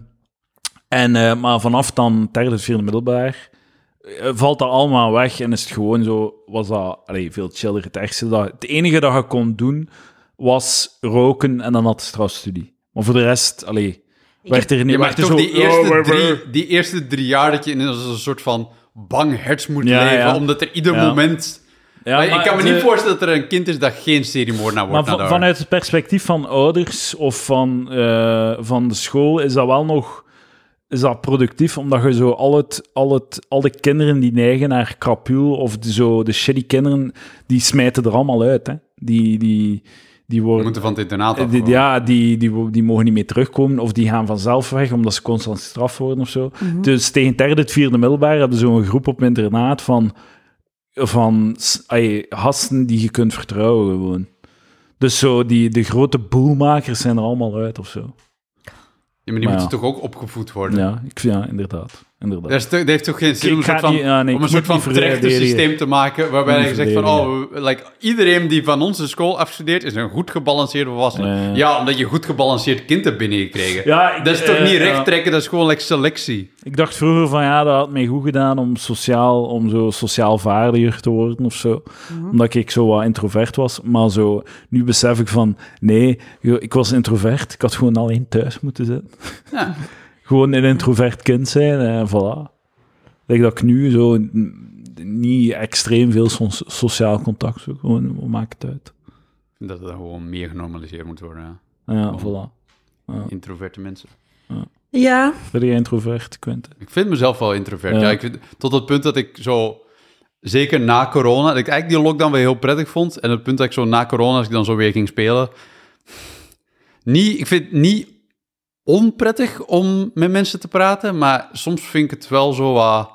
A: en, eh, maar vanaf dan derde, vierde middelbaar eh, valt dat allemaal weg en is het gewoon zo, was dat allee, veel chiller. Het, ergste dat, het enige dat je kon doen was roken en dan had je strafstudie. Maar voor de rest, allee, werd er niet...
C: Ja, maar
A: werd er
C: toch
A: zo-
C: die
A: Ja,
C: eerste,
A: we- we-
C: drie, die eerste drie jaar dat je in een een soort van bang herts moet
A: Ja,
C: leven,
A: ja.
C: omdat er ieder
A: Ja.
C: moment...
A: Ja,
C: Maar ik
A: maar
C: kan me
A: de-
C: niet voorstellen dat er een kind is dat geen seriemoordenaar wordt.
A: Maar
C: na
A: van-
C: daar.
A: vanuit het perspectief van ouders of van, eh, van de school is dat wel nog is dat productief, omdat je zo al, het, al, het, al de kinderen die neigen naar krapul of de, zo, de shitty kinderen, die smijten er allemaal uit. Hè? Die, die, die
C: We
A: worden...
C: moeten van het internaat af.
A: Eh, Die, ja, die, die, wo- die mogen niet meer terugkomen of die gaan vanzelf weg omdat ze constant straf worden of zo. Dus tegen het derde, het vierde middelbaar hebben ze zo'n groep op het internaat van, van s- ay, gasten die je kunt vertrouwen gewoon. Dus zo die, de grote boelmakers zijn er allemaal uit of zo.
C: Ja, maar die
A: maar
C: moeten
A: ja.
C: toch ook opgevoed worden?
A: Ja, ik, ja inderdaad.
C: Dat,
A: inderdaad.
C: is toch- dat heeft toch geen zin
A: Ik-
C: om een
A: ik ga
C: soort van,
A: niet- ja, nee,
C: om
A: ik
C: een soort
A: moet
C: van
A: niet verdedigen.
C: trechtersysteem te maken waarbij
A: Moet
C: je
A: niet
C: zegt van, oh, we- like, iedereen die van onze school afstudeert is een goed gebalanceerde volwassene.
A: Ja, ja.
C: Ja, omdat je een goed gebalanceerd kind hebt binnengekregen.
A: Ja, ik-
C: dat is toch
A: eh,
C: niet
A: ja.
C: recht trekken, dat is gewoon like, selectie.
A: Ik dacht vroeger van ja, dat had mij goed gedaan om, sociaal, om zo sociaal vaardiger te worden of zo. Omdat ik zo wat introvert was. Maar zo, nu besef ik van nee, jo- ik was introvert. Ik had gewoon alleen thuis moeten zitten.
C: Ja.
A: gewoon een introvert kind zijn en voilà. Like dat ik nu zo n- niet extreem veel so- sociaal contact zoek. Gewoon, we maken het uit.
C: Dat dat gewoon meer genormaliseerd moet worden, ja.
A: Ja, voilà.
C: Introverte mensen.
B: Ja.
A: Ben je introvert, Quentin?
C: Ik vind mezelf wel introvert.
A: Ja.
C: Ja. ik vind, tot het punt dat ik zo, zeker na corona, dat ik eigenlijk die lockdown weer heel prettig vond. En het punt dat ik zo na corona, als ik dan zo weer ging spelen, niet, ik vind het niet onprettig om met mensen te praten, maar soms vind ik het wel zo wat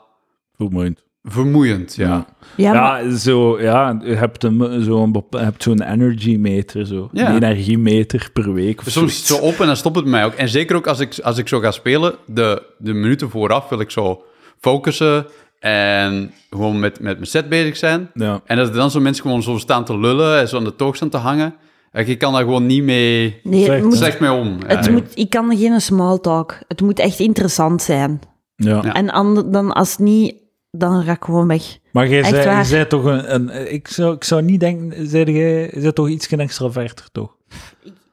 A: Vermoeiend.
C: vermoeiend. Ja.
A: Ja.
B: Ja, maar-
A: Ja, zo, ja, je hebt een- zo'n bepa- je hebt zo'n energy meter, zo.
C: Ja.
A: Een energiemeter per week of
C: Dus Soms
A: zoiets.
C: zit het zo op en dan stopt het bij mij ook. En zeker ook als ik, als ik zo ga spelen, de, de minuten vooraf wil ik zo focussen en gewoon met, met mijn set bezig zijn.
A: Ja.
C: En dat er dan zo mensen gewoon zo staan te lullen en zo aan de toog staan te hangen. En ik kan daar gewoon niet mee
B: nee, het
A: Slecht,
B: moet,
C: slecht mee om. Eh, Ja.
B: het moet, ik kan geen small talk. Het moet echt interessant zijn.
A: Ja.
C: Ja.
B: En ander- dan als het niet, dan raak ik gewoon weg.
A: Maar jij
B: Echt
A: zei, jij
B: waar.
A: zei toch een, een- Ik zou, ik zou niet denken... Zei jij, jij zei toch iets extraverter, toch?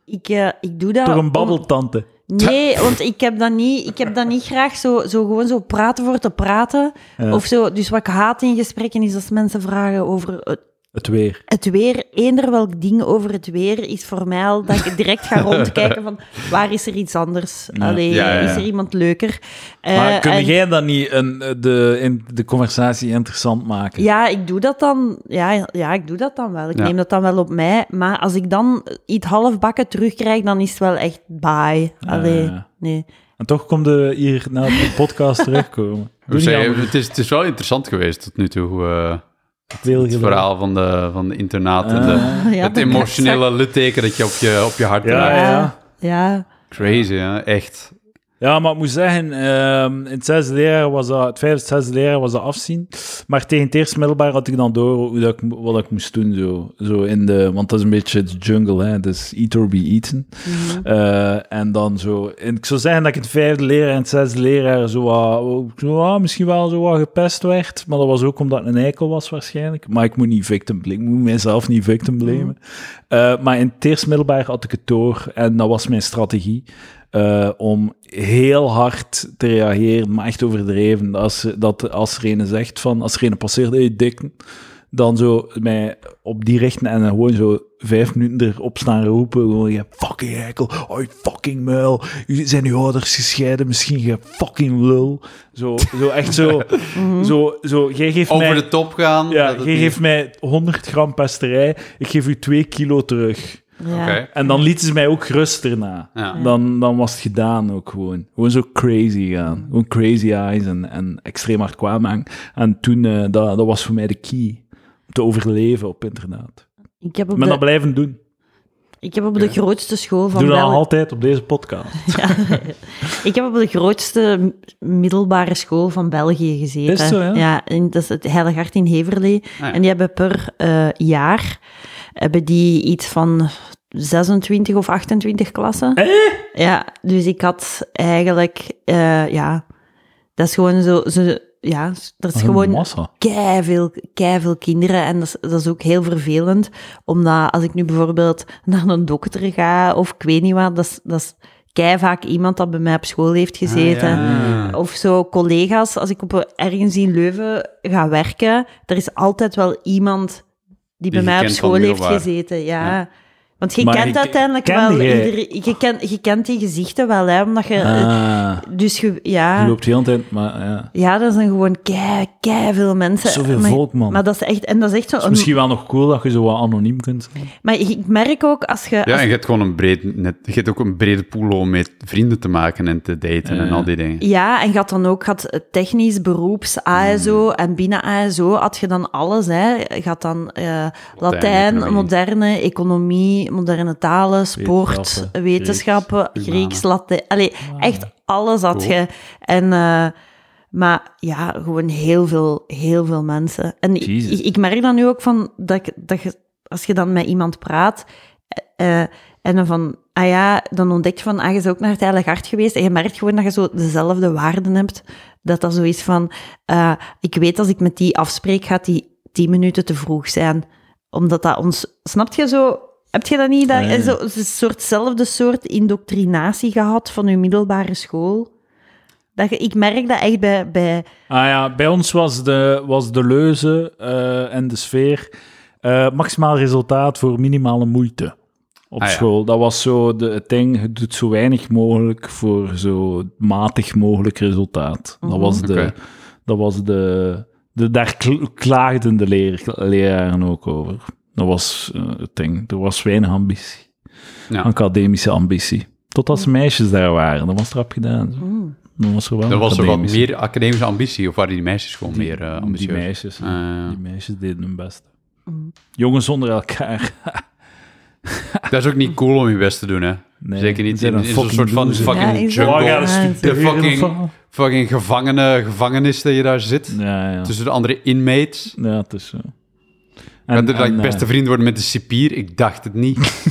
B: Ik, eh, ik doe dat...
A: toch een
B: om-
A: babbeltante.
B: Nee, want ik heb dat niet, ik heb dat niet graag zo, zo gewoon zo praten voor te praten.
A: Ja.
B: Of zo, dus wat ik haat in gesprekken is als mensen vragen over het-
A: Het weer.
B: het weer. Eender welk ding over het weer is voor mij al dat ik direct ga rondkijken van waar is er iets anders?
A: Ja.
B: Allee,
C: Ja, ja, ja.
B: is er iemand leuker? Eh,
A: Maar kun
B: en-
A: jij dan niet een, de, in, de conversatie interessant maken?
B: Ja, ik doe dat dan. Ja, ja ik doe dat dan wel. Ik
C: Ja.
B: neem dat dan wel op mij. Maar als ik dan iets halfbakken terugkrijg, dan is het wel echt bye. Allee,
A: ja.
B: nee.
A: En toch komt de hier naar de podcast terugkomen. Doe
C: Hoe
A: niet
C: zei je,
A: anders.
C: het, is, het is wel interessant geweest tot nu toe, eh,
A: Deel
C: het
A: gedaan.
C: verhaal van de, van de internaat en de-
A: Ah.
B: Ja,
C: het
B: dat-
C: emotionele litteken dat je op je, op je hart
A: Ja,
C: draagt.
A: ja.
B: Ja,
C: Crazy, hè? echt.
A: Ja, maar ik moet zeggen, ehm, in het zesde leerjaar was dat, het vijfde, zesde leerjaar was dat afzien. Maar tegen het eerst middelbaar had ik dan door hoe dat ik, mo- wat ik moest doen. Zo. Zo in de, want dat is een beetje de jungle, hè? dus eat or be eaten. Eh, en dan zo, en ik zou zeggen dat ik in het vijfde leerjaar en het zesde leerjaar zo, wat- zo wat- misschien wel zo wat gepest werd. Maar dat was ook omdat ik een eikel was waarschijnlijk. Maar ik moet niet victim blamen, ik moet mezelf niet victim blamen. Eh, maar in het eerst middelbaar had ik het door en dat was mijn strategie. eh, om heel hard te reageren, maar echt overdreven. Als, dat, als er een zegt van, als er een passeert, hey, dikken, dan zo mij op die richten en dan gewoon zo vijf minuten erop staan roepen. Gewoon, je fucking eikel, oh je fucking muil, u- zijn uw ouders gescheiden, misschien je fucking lul. Zo, zo echt zo, zo, zo, jij geeft
C: Mhm. Over
A: mij...
C: de top gaan.
A: Ja,
C: dat het
A: je
C: niet-
A: geeft mij 100 gram pesterij, ik geef u 2 kilo terug.
B: ja.
C: Oké.
A: En dan lieten ze mij ook rust erna.
C: Ja.
A: Dan, dan was het gedaan ook gewoon. Gewoon zo crazy gaan. Gewoon crazy eyes en, en extreem hard kwaad maken. En toen, eh, dat, dat was voor mij de key. Om te overleven op internaat.
B: Ik heb op
A: Maar dat
B: de,
A: blijven doen.
B: ik heb op de grootste school van
A: Doe dat
B: België-
A: altijd op deze podcast.
B: Ik heb op de grootste middelbare school van België gezeten.
A: Is het zo, ja? Ah,
B: en dat is het Heilig Hart in Heverlee.
C: ja.
B: En die hebben per eh, jaar hebben die iets van 26 of 28 klassen.
A: Eh?
B: Ja, dus ik had eigenlijk, eh, ja, dat is gewoon zo, zo ja, dat is
A: Een
B: gewoon
A: Massa.
B: keiveel, veel kinderen. En dat is, dat is ook heel vervelend. Omdat als ik nu bijvoorbeeld naar een dokter ga of ik weet niet wat, dat is, dat is kei vaak iemand dat bij mij op school heeft gezeten.
C: Ah, ja.
B: Of zo collega's, als ik op ergens in Leuven ga werken, er is altijd wel iemand die, bij
C: je
B: mij op
C: kent van
B: school heeft
C: middelbaar.
B: gezeten. Ja.
C: Ja.
B: Want je
A: Maar
B: kent
A: je-
B: uiteindelijk
A: kende
B: wel
A: jij-
B: iedereen. Je kent, je kent die gezichten wel, hè, omdat je...
A: Ah,
B: Dus je,
A: je
B: ja,
A: loopt heel de tijd, maar ja.
B: ja, dat zijn gewoon kei, kei veel mensen.
A: Zoveel
B: maar,
A: volk, man.
B: Maar dat is echt, en dat is echt zo.
A: Het is misschien wel nog cool dat je zo wat anoniem kunt zijn.
B: Maar ik merk ook als je.
C: Ja,
B: als-
C: en je hebt gewoon een breed net. Je hebt ook een brede pool om met vrienden te maken en te daten en al die dingen.
B: ja, en je had dan ook gaat technisch, beroeps,
C: Hmm.
B: ASO en binnen ASO had je dan alles. Hè. Je had dan eh, Latijn,
C: economie.
B: moderne, economie, moderne talen, sport,
A: Wetenschappen,
B: wetenschappen, Grieks, Latijn. Allee, echt alles had
C: Ah. Cool.
B: je. En, eh, maar ja, gewoon heel veel, heel veel mensen. En ik,
A: Jezus.
B: ik- ik merk dan nu ook van dat, ik- dat je, als je dan met iemand praat, eh, en dan van, ah ja, dan ontdek je van, ah, je is ook naar het Heilig Hart geweest. En je merkt gewoon dat je zo dezelfde waarden hebt. Dat dat zo is van, eh, ik weet als ik met die afspreek, gaat die tien minuten te vroeg zijn. Omdat dat ons, snap je zo, heb je dat niet? Dat,
A: Nee.
B: zo, het is een soortzelfde soort indoctrinatie gehad van je middelbare school. Dat je, ik merk dat echt bij, bij
A: Ah ja, bij ons was de, was de leuze eh, en de sfeer eh, maximaal resultaat voor minimale moeite. op
C: Ah, ja.
A: school. Dat was zo de, het ding, het doet zo weinig mogelijk voor zo matig mogelijk resultaat. Dat was de...
C: Mhm. Oké.
A: Dat was de, de daar kl- klaagden de leer, leraren ook over. Dat was eh, het ding. Er was weinig ambitie.
C: Ja.
A: Academische ambitie. Totdat
C: Mhm.
A: ze meisjes daar waren. Dat was het rap gedaan. zo. Dan was er wel
C: Dan was Mhm. er wat
A: academische-
C: meer academische ambitie, of waren die meisjes gewoon meer eh, ambitieus?
A: Die meisjes, hè.
C: Ah, ja.
A: die meisjes deden hun best.
B: Mm.
A: Jongens onder elkaar.
C: Dat is ook niet cool om je best te doen, hè?
A: Nee,
C: Zeker niet
A: ze zijn
C: in,
A: een
C: in zo'n
A: fucking
C: soort van
A: loser.
B: Ja,
C: fucking
B: is dat-
C: jungle.
B: Ja, ze
C: De
A: studeren
C: fucking,
A: van.
C: fucking gevangene, gevangenis die je daar zit.
A: Ja, ja.
C: Tussen de andere inmates.
A: Ja, het is zo. En,
C: En, dat
A: en,
C: ik beste
A: eh,
C: vriend worden met de cipier. Ik dacht het niet.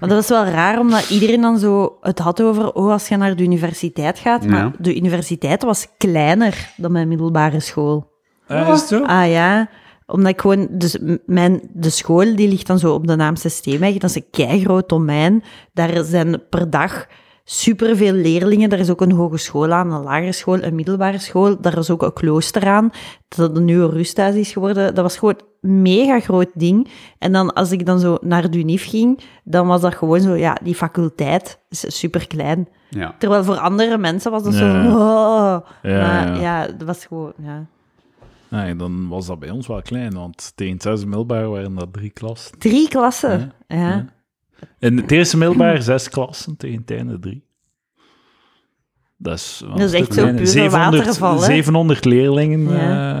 B: Maar dat was wel raar, omdat iedereen dan zo het had over, oh, als je naar de universiteit gaat. Maar
C: Ja.
B: de universiteit was kleiner dan mijn middelbare school.
A: eh, is het zo?
B: Ah ja, omdat ik gewoon... Dus m- mijn, de school die ligt dan zo op de naam Systeemweg. Dat is een keigroot domein. Daar zijn per dag superveel leerlingen. Er is ook een hogeschool aan, een lagere school, een middelbare school. Daar is ook een klooster aan, dat een nieuwe rusthuis is geworden. Dat was gewoon een mega groot ding. En dan als ik dan zo naar de UNIF ging, dan was dat gewoon zo... Ja, die faculteit is superklein.
C: Ja.
B: Terwijl voor andere mensen was dat
A: Ja.
B: zo... wow.
A: Ja, ja.
B: maar ja. dat was gewoon... Ja.
A: Nee, dan was dat bij ons wel klein, want tegen het zesde middelbaar waren dat drie klassen.
B: Drie klassen. ja.
A: In het eerste middelbaar zes klassen, tegen het einde drie. Dat is, wel
B: Dat is
A: een
B: echt
A: stuk
B: zo
A: kleiner.
B: pure waterval, hè?
A: 700 leerlingen
B: Ja.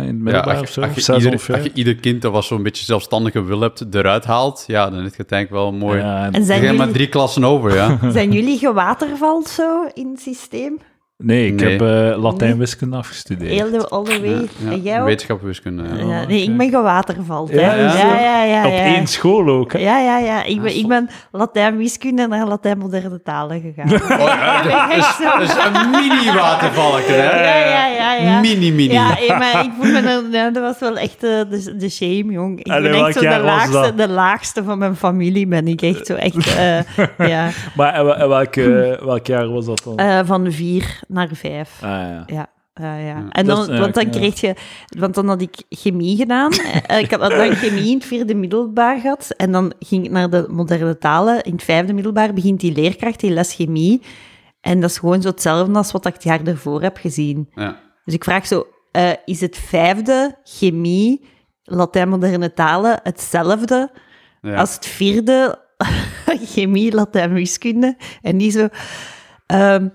A: eh, in het
C: Ja,
A: middelbaar of
C: als,
A: zo,
C: je, als, je ieder,
A: 650.
C: als je ieder kind dat was zo'n beetje zelfstandige wil hebt, eruit haalt, ja, dan is het denk ik wel mooi. Ja.
A: Ja, en-
B: En
C: Er
B: zijn
C: zijn maar
B: jullie,
C: drie klassen over, ja.
B: zijn jullie gewatervald zo in het systeem?
A: nee, ik
C: Nee.
A: heb eh,
B: Nee.
A: Latijn-wiskunde afgestudeerd.
B: Heel de all the way.
C: ja.
B: En jij ook?
C: Wetenschap en wiskunde. Ja.
B: Ja, nee, ik ben gewatervald. hè.
A: Ja,
C: is
B: Ja,
C: dat-
B: ja, ja, ja.
A: Op één school ook, hè?
B: Ja, ja, ja. Ik ben, ik ben Latijn wiskunde en naar Latijn moderne talen gegaan.
C: Oh, ja, dus-
B: Ik ben echt zo-
C: dat is een mini-watervalken, hè?
B: Ja, ja, ja, ja.
C: Mini, mini.
B: Ja, eh, maar ik voel me... dan- ja, dat was wel echt eh, de, de shame, jong. Ik
A: Allee,
B: ben
A: welk
B: echt zo de
A: jaar was
B: laagste,
A: dat?
B: de laagste van mijn familie ben ik echt zo echt... eh, ja,
A: Maar en, wel- en welk, eh, welk jaar was dat dan?
B: Eh, van vier naar vijf.
A: ah, ja.
B: Ja. ja, ja.
A: dat
B: En dan,
A: is eigenlijk,
B: want dan
A: ja.
B: kreeg je, want dan had ik chemie gedaan. Eh, ik had dan chemie in het vierde middelbaar gehad. En dan ging ik naar de moderne talen. In het vijfde middelbaar begint die leerkracht die les chemie. En dat is gewoon zo hetzelfde als wat ik het jaar daarvoor heb gezien.
C: Ja.
B: Dus ik vraag zo, eh, is het vijfde chemie, Latijn moderne talen, hetzelfde
C: Ja.
B: als het vierde chemie, Latijn, wiskunde. En die zo... ehm,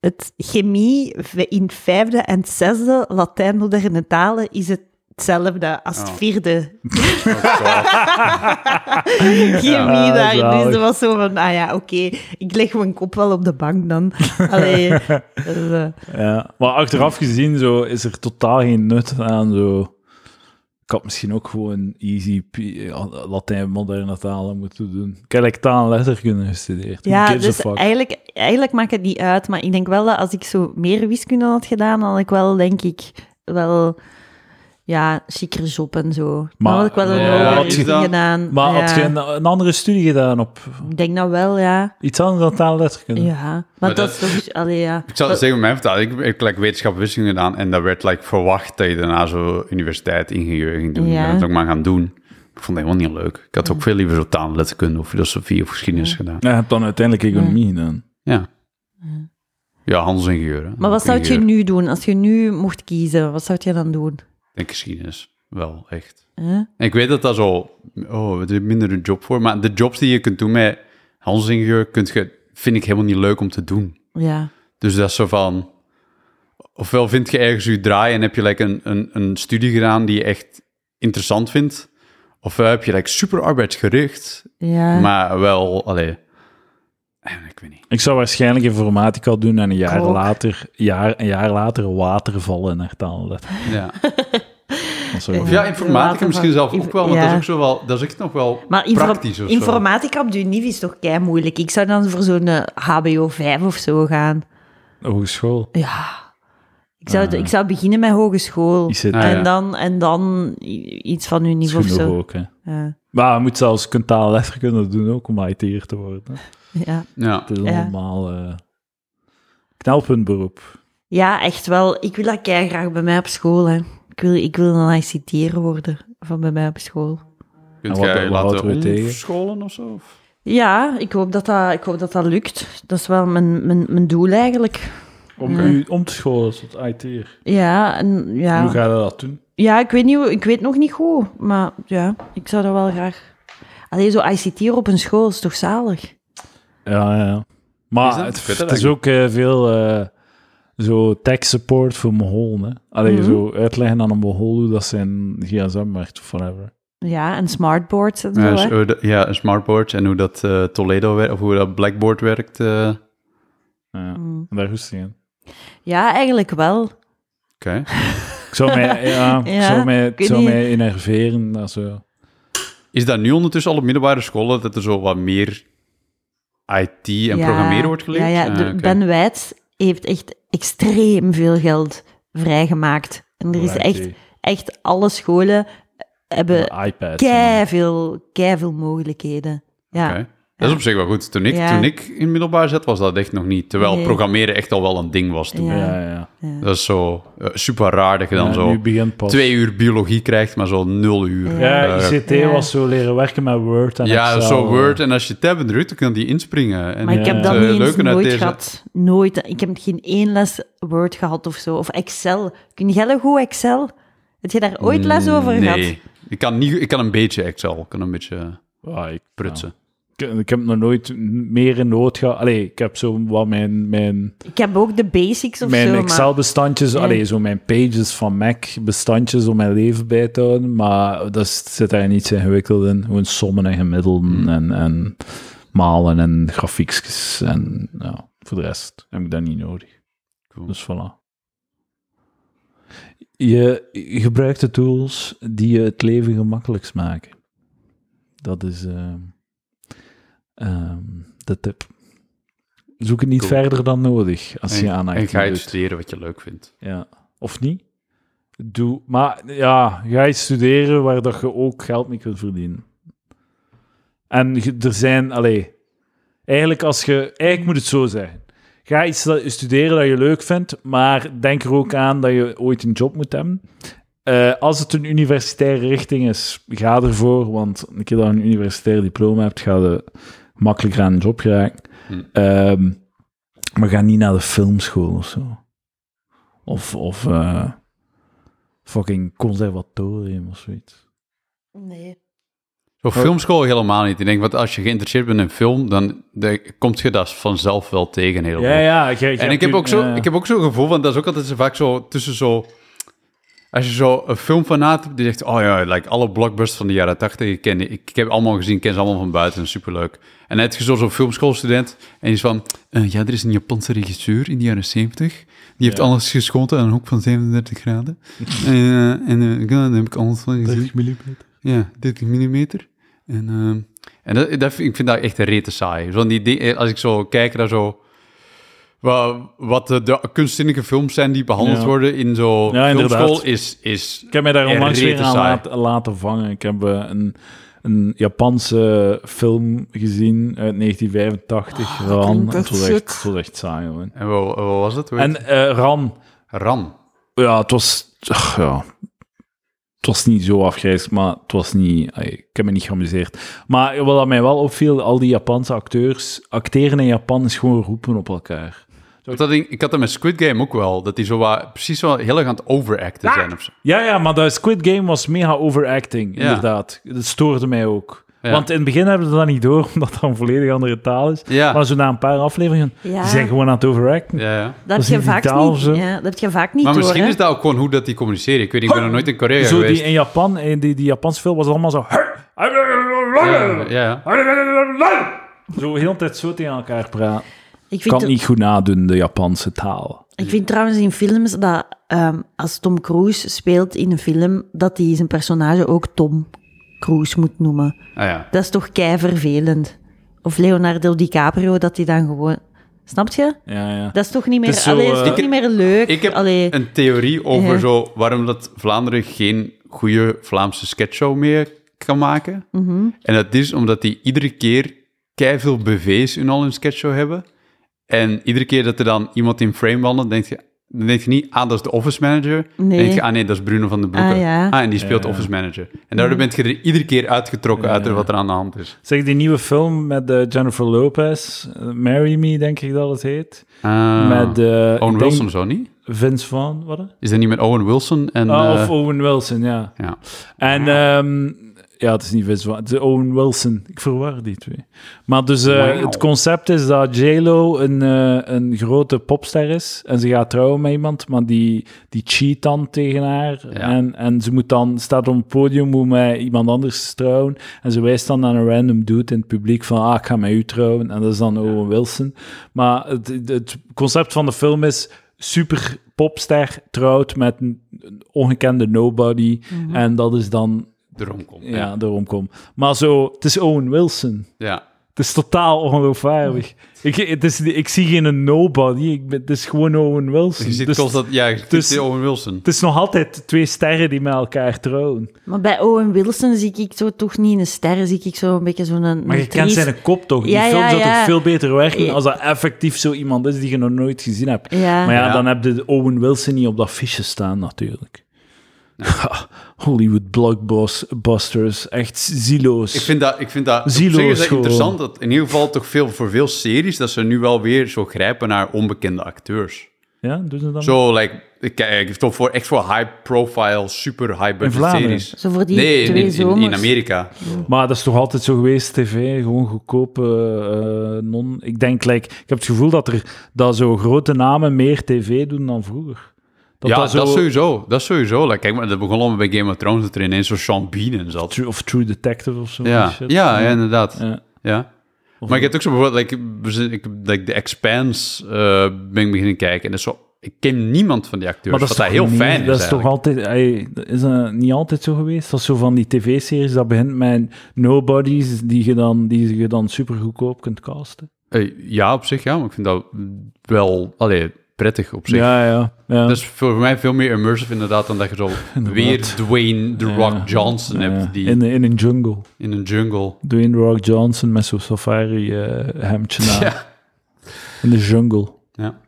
B: het chemie in het vijfde en het zesde, Latijn, moderne talen, is het hetzelfde als het
C: Oh.
B: vierde
C: Oh, God.
B: chemie
A: Ah,
B: daar.
A: zalig.
B: Dus dat was zo van, ah ja, oké, ik leg mijn kop wel op de bank dan. Allee, dus, eh,
A: Ja, maar achteraf gezien zo, is er totaal geen nut aan. Zo. Ik had misschien ook gewoon easy P- eh, Latijn moderne talen moeten doen. Ik heb like taal en letterkunde gestudeerd. Who
B: Ja,
A: gives a
B: dus
A: fuck?
B: eigenlijk, eigenlijk maakt het niet uit. Maar ik denk wel dat als ik zo meer wiskunde had gedaan, dan had ik wel, denk ik, wel... Ja, chiquer job en zo.
A: Maar-
B: Maar had ik wel een
A: Ja,
B: hogere
A: had je
B: richting
C: dan-
B: gedaan.
A: Maar
B: ja,
A: had je een, een andere studie gedaan op
B: Ik denk dat wel, ja.
A: iets anders dan taal en letterkunde?
B: Ja. Maar,
C: Maar
B: dat
C: dat-
B: is toch... Allee, ja.
C: Ik zal het zeggen, mijn vertaling, ik heb like, wetenschap en wiskunde gedaan en daar werd like, verwacht dat je daarna zo universiteit ingenieur ging doen.
B: Ja.
C: Ik ben het ook maar gaan doen. Ik vond het helemaal niet leuk. Ik had ook veel liever zo taal, en letterkunde of filosofie of geschiedenis gedaan.
A: Ja, je hebt dan uiteindelijk economie gedaan.
C: Ja. Ja, handelsingenieur. hè.
B: Maar
C: Ook
B: wat zou je
C: ingenieur.
B: nu doen? Als je nu mocht kiezen, wat zou je dan doen?
C: Ik denk geschiedenis. Wel, echt.
B: Huh?
C: En ik weet dat dat zo... Oh, er is minder een job voor. Maar de jobs die je kunt doen met handelsingenieur kunt je, vind ik helemaal niet leuk om te doen.
B: Ja.
C: Dus dat is zo van... Ofwel vind je ergens je draai en heb je like een, een, een studie gedaan die je echt interessant vindt. Ofwel heb je like super arbeidsgericht,
B: Ja.
C: maar wel... Allee, eh, ik weet niet.
A: Ik zou waarschijnlijk informatica doen en een jaar,
B: Klok.
A: later, jaar, een jaar later watervallen naar taal en letterkunde.
C: Ja,
A: Dat zou ik
B: Ja.
A: doen.
C: ja informatica
B: Later
C: misschien
B: van-
C: zelf ook wel, want
B: Ja.
C: dat is ook zo wel... Dat is echt nog wel
B: Maar info-
C: praktisch of zo.
B: informatica op de univ is toch kei moeilijk. Ik zou dan voor zo'n eh, HBO 5 of zo gaan.
A: Hogeschool.
B: Ja. Ik zou, ik zou beginnen met hogeschool.
A: ICT. Ah,
C: ja.
B: en, dan, en dan i- iets van unie
A: is
B: of
A: genoeg
B: zo.
A: ook, hè.
B: Ja.
A: Maar je moet zelfs je kunt taal en letterkunde doen ook om IT'er te worden.
B: Ja.
C: Ja.
A: Het is
B: Ja.
A: allemaal eh knelpuntberoep.
B: ja, echt wel. Ik wil dat kei graag bij mij op school. Hè. Ik, wil, ik wil een ICT'er worden van bij mij op school.
C: Kunt
A: En wat-
C: jij
A: wat houden we
C: laten
A: tegen?
C: omscholen of zo? Of?
B: Ja, ik hoop dat dat, ik hoop dat, dat lukt. Dat is wel mijn, mijn, mijn doel eigenlijk.
A: Om u om te scholen tot IT'er.
B: Ja, en, ja.
A: Hoe ga je dat doen?
B: Ja, ik weet, niet, hoe- ik weet nog niet goed, maar ja, ik zou dat wel graag... Alleen zo ICT op een school is toch zalig?
A: Ja, ja, ja.
C: Is
A: Maar
C: dat?
A: het,
C: Ik weet dat
A: het is ook eh, veel eh, zo tech support voor Moholen. Hè? Allee,
B: Mhm.
A: zo uitleggen aan een Mohol hoe dat zijn gsm werkt of whatever.
B: Ja, en smartboards en zo,
C: Ja,
B: hè.
C: dus, eh, de- ja, een smartboard en hoe dat eh, Toledo werkt, of hoe dat Blackboard werkt. eh, Oké.
A: Ja,
B: Mm.
A: daar goed in.
B: Ja, eigenlijk wel.
A: Ik zou mij, ja, ik
B: Ja,
A: zou mij,
B: ik
A: ik
B: weet
A: zou
B: niet.
A: mij enerveren. Dat zo.
C: Is dat nu ondertussen al op middelbare scholen dat er zo wat meer IT en
B: ja.
C: programmeren wordt geleerd?
B: Ja, ja
C: Ah,
B: de-
C: oké.
B: Ben Wijts heeft echt extreem veel geld vrijgemaakt. En er is
A: Voor
B: echt,
A: IT.
B: echt alle scholen hebben
A: Voor iPads.
B: kei veel, kei veel mogelijkheden. Ja.
C: Oké. Dat is op zich wel goed. Toen ik,
B: Ja.
C: toen ik in middelbaar zat, was dat echt nog niet. Terwijl
B: Nee.
C: programmeren echt al wel een ding was toen.
A: en-
B: Ja.
A: Ja, ja.
C: Dat is zo eh, super raar dat je dan
A: Ja,
C: zo
A: Nu begint pas.
C: twee uur biologie krijgt, maar zo nul uur.
A: Ja,
C: eh,
A: ICT
B: Ja.
A: was zo leren werken met Word en
C: ja,
A: Excel.
C: zo Word. En als je tab drukt, dan kan die inspringen. En
B: Maar ik heb
C: het,
B: dat
C: eh,
B: niet eens
C: leuke uit
B: nooit
C: deze-
B: gehad. Nooit. Ik heb geen één les Word gehad of zo. Of Excel. Kun jij dat goed, Excel? Heb je daar ooit les over
C: Mm, nee.
B: gehad?
C: Ik kan, niet, ik kan een beetje Excel. Ik kan een beetje
A: Ja, Ah, ik,
C: prutsen.
A: ja. Ik, ik heb nog nooit meer in nood gehad. Allee, ik heb zo wat mijn, mijn,
B: Ik heb ook de basics of
A: mijn
B: zo. maar-
A: Excel-bestandjes,
B: Ja.
A: allee, zo mijn pages van Mac-bestandjes om mijn leven bij te houden. Maar dat is- zit daar niets ingewikkeld in. Gewoon sommen en gemiddelden en, en malen en grafiekjes. En ja, voor de rest heb ik dat niet nodig.
C: Cool.
A: Dus voilà. Je gebruikt de tools die je het leven gemakkelijkst maken. Dat is ehm, ehm, de tip. Zoek het niet
C: Cool.
A: verder dan nodig als je
C: en,
A: aan
C: en
A: IT
C: ga je
A: doet.
C: studeren wat je leuk vindt.
A: Ja. Of niet? Doe, maar ja, ga iets studeren waar dat je ook geld mee kunt verdienen. En je- er zijn, allee, eigenlijk als je, eigenlijk moet het zo zijn. Ga iets dat- studeren dat je leuk vindt, maar denk er ook aan dat je ooit een job moet hebben. Eh, als het een universitaire richting is, ga ervoor, want een keer dat je een universitair diploma hebt, ga je makkelijker aan een job geraken.
C: Hm.
A: Ehm, maar ga niet naar de filmschool of zo. Of, of eh, fucking conservatorium of zoiets.
B: Nee.
C: Zo filmschool helemaal niet. Ik denk, want als je geïnteresseerd bent in film, dan dan komt je dat vanzelf wel tegen. Heel veel.
A: ja.
C: En ik heb, ook zo, ik heb ook zo'n gevoel, want dat is ook altijd zo vaak zo tussen zo... Als je zo een filmfanaat hebt die zegt, oh ja, like alle blockbusters van de jaren tachtig, ik, ken die- ik, ik heb allemaal gezien, ik ken ze allemaal van buiten, superleuk. En dan heb je zo- zo'n filmschoolstudent en die is van, eh, ja, er is een Japanse regisseur in de jaren zeventig, die heeft
A: Ja.
C: alles geschoten aan een hoek van 37 graden. Eh, en eh, ja, daar heb ik alles van gezien. Ja, 30 mm. En, ehm, en dat, dat, vind- ik vind dat echt een rete saai. Zo'n idee, als ik zo kijk naar zo... wa- Wat de, de kunstzinnige films zijn die behandeld
A: Ja.
C: worden in zo'n
A: Ja,
C: filmschool
A: inderdaad.
C: is... is
A: Ik heb mij daar
C: Ja,
A: onlangs weer
C: rete
A: aan
C: saai.
A: laten, laten vangen. Ik heb eh, een, een Japanse film gezien
C: Ah,
A: uit 1985, Ran.
B: klinkt
A: Het
B: echt
A: was
B: shit.
A: echt, het was echt saai, hoor.
C: en wat, wat was het?
A: En eh, Ran,
C: Ram.
A: ja, het was... ach, ja. Het was niet zo afgrijzelijk, maar het was niet... ey, Ik heb me niet geamuseerd. Maar wat mij wel opviel, al die Japanse acteurs... Acteren in Japan is gewoon roepen op elkaar.
C: Want Dat ding, ik had dat met Squid Game ook wel. Dat die zo wat, precies zo heel erg aan het overacten
A: Ah!
C: zijn. Of zo.
A: Ja, ja, maar dat Squid Game was mega overacting,
C: Ja.
A: inderdaad. Dat stoorde mij ook.
C: Ja.
A: Want in het begin hebben ze dat niet door, omdat dat een volledig andere taal is.
C: Ja.
A: Maar zo na een paar afleveringen,
B: Ja.
A: die zijn gewoon aan het overacten.
C: Ja, ja.
B: Dat
A: is
B: heb je
A: niet
B: vaak
A: vitaal,
B: niet,
A: zo.
B: ja, dat heb je vaak niet
C: Maar
B: door,
C: misschien
B: hè.
C: is dat ook gewoon hoe dat die communiceren. Ik weet niet, ik ben nog nooit in Korea
A: Zo
C: geweest.
A: die in Japan, in die, die Japanse film, was het allemaal zo...
C: Ja, ja.
A: Zo heel de tijd zo tegen elkaar praten.
B: Ik
A: Ik kan
B: vind,
A: het niet goed nadoen, de Japanse taal.
B: ik vind trouwens in films dat ehm, als Tom Cruise speelt in een film, dat hij zijn personage ook Tom Cruise moet noemen.
C: Ah, ja.
B: Dat is toch kei vervelend. Of Leonardo DiCaprio, dat hij dan gewoon... Snap je?
A: Ja, ja.
B: Dat is toch niet meer,
A: Het is zo,
B: allee, is
A: eh,
B: toch
A: ik-
B: niet meer leuk?
C: Ik heb
B: Allee.
C: een theorie over
B: Ja.
C: zo waarom dat Vlaanderen geen goede Vlaamse sketchshow meer kan maken.
B: Mhm.
C: En dat is omdat die iedere keer veel BV's in al hun sketchshow hebben. En iedere keer dat er dan iemand in frame wandelt, denk je... Dan denk je niet, ah, dat is de office manager. Dan
B: Nee.
C: denk je, ah nee, dat is Bruno van den Broeke.
B: Ah, ja.
C: en die speelt
A: Ja.
C: office manager. En daardoor ben je er iedere keer uitgetrokken uit
A: Ja.
C: wat er aan de hand is.
A: Zeg, die nieuwe film met eh, Jennifer Lopez, eh, Marry Me, denk ik dat het heet.
C: Ah.
A: Met eh, ik
C: Owen
A: denk
C: Wilson zo niet?
A: Vince Vaughn, wat? hè?
C: Is dat niet met Owen Wilson? En,
A: Ah,
C: eh,
A: of Owen Wilson, ja.
C: ja.
A: En ehm, ja, het is niet Vince Vaughn, het is Owen Wilson. Ik verwar die twee. Maar dus eh,
C: Wauw.
A: het concept is dat J-Lo een, eh, een grote popster is en ze gaat trouwen met iemand, maar die, die cheat dan tegen haar en, en ze moet dan, staat op het podium, moet met iemand anders trouwen en ze wijst dan aan een random dude in het publiek van ah, ik ga met u trouwen en dat is dan Owen Wilson. Maar het, het- het concept van de film is super popster trouwt met een een ongekende nobody en dat is dan
C: Erom komt.
A: ja, daarom kom. Maar zo, het is Owen Wilson.
C: ja.
A: Het is totaal ongeloofwaardig. Ik, het is, ik zie geen nobody, ik ben, het is gewoon Owen Wilson.
C: Je ziet
A: Dus
C: constant, ja, je ziet
A: dus-
C: die Owen Wilson.
A: het is nog altijd twee sterren die met elkaar trouwen.
B: Maar bij Owen Wilson zie ik zo toch niet een ster, zie ik zo een beetje zo'n... een
A: Maar je kent
B: triest-
A: zijn kop toch? Die
B: Ja,
A: film
B: ja,
A: zou
B: ja.
A: toch veel beter werken
B: Ja.
A: als dat effectief zo iemand is die je nog nooit gezien hebt.
B: Ja.
A: Maar ja,
C: Ja.
A: dan heb je de Owen Wilson niet op dat fiche staan natuurlijk. Hollywood blockbusters, echt zieloos.
C: Ik vind dat, ik vind dat, op
A: dus Zieloos
C: zich is dat
A: gewoon.
C: interessant. Dat in ieder geval toch veel, voor veel series dat ze nu wel weer zo grijpen naar onbekende acteurs.
A: Ja, doen ze dat?
C: Zo, like, ik kijk toch voor echt voor high profile, super high budget
A: Vlaanderen?
C: series.
B: Zo voor die
C: nee, in,
B: twee
C: in- in,
B: zomers.
C: Amerika.
A: Maar dat is toch altijd zo geweest, tv, gewoon goedkope eh, non... Ik denk, like, ik heb het gevoel dat, er, dat zo grote namen meer tv doen dan vroeger. Dat
C: ja,
A: dat zo-
C: sowieso. Dat sowieso. Like, kijk, maar dat begon allemaal bij Game of Thrones dat er ineens zo'n Sean Bean in zat.
A: True- Of True Detective of zo.
C: Ja,
A: die shit.
C: ja, ja, inderdaad.
A: Ja.
C: Ja. maar ik heb ook zo bijvoorbeeld, like, we zijn- ik, like, The Expanse eh, ben ik beginnen kijken. En dat is zo, ik ken niemand van die acteurs,
A: Maar
C: dat
A: dat
C: wat
A: is
C: dat
A: toch
C: heel
A: niet-
C: fijn is
A: Dat is toch
C: eigenlijk.
A: altijd... ey, dat is dat niet altijd zo geweest? Dat is zo van die tv-series, dat begint met nobodies die je dan, die je dan super goedkoop kunt casten.
C: Eh, ja, op zich ja, maar ik vind dat wel allee, prettig op zich.
A: Ja, ja. ja.
C: Dat is voor mij veel meer immersive inderdaad dan dat je zo weer Dwayne The Rock Johnson
A: Ja.
C: hebt die in,
A: in, in een jungle.
C: een jungle.
A: Dwayne The Rock Johnson met zo'n safari-hemdje aan.
C: Ja.
A: In de jungle.
C: Ja.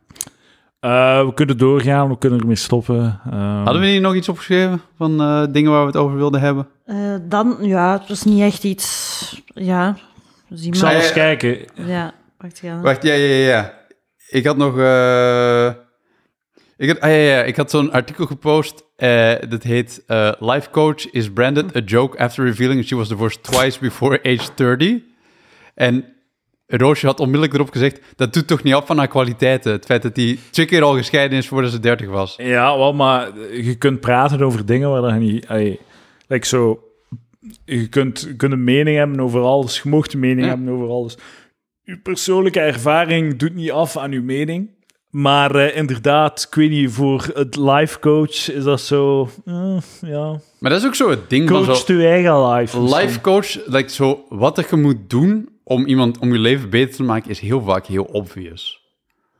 A: Eh, we kunnen doorgaan, we kunnen ermee stoppen. Ehm,
C: Hadden we hier nog iets opgeschreven van eh, dingen waar we het over wilden hebben?
B: Eh, dan, ja, het was niet echt iets... Ja, zie
A: Ik zal
B: maar.
A: eens kijken.
B: Ja, wacht ja.
C: Wacht, ja, ja, ja, ja. Ik had nog... eh, Ik had, ah, ja, ja, ik had zo'n artikel gepost. eh, dat heet... eh, Life coach is branded a joke after revealing she was divorced twice before age 30. En Roosje had onmiddellijk erop gezegd... Dat doet toch niet af van haar kwaliteiten. Het feit dat hij twee keer al gescheiden is voordat ze 30 was.
A: Ja, wel, maar je kunt praten over dingen waar dat je niet... allee, like zo, je kunt, je kunt een mening hebben over alles, je mocht een mening
C: Ja.
A: hebben over alles. Je persoonlijke ervaring doet niet af aan je mening. Maar eh, inderdaad, ik weet niet, voor het life coach is dat zo... eh, ja.
C: Maar dat is ook zo het ding van zo...
A: Coach je eigen life. misschien.
C: Life coach, like, zo, wat dat je moet doen om, iemand, om je leven beter te maken, is heel vaak heel obvious.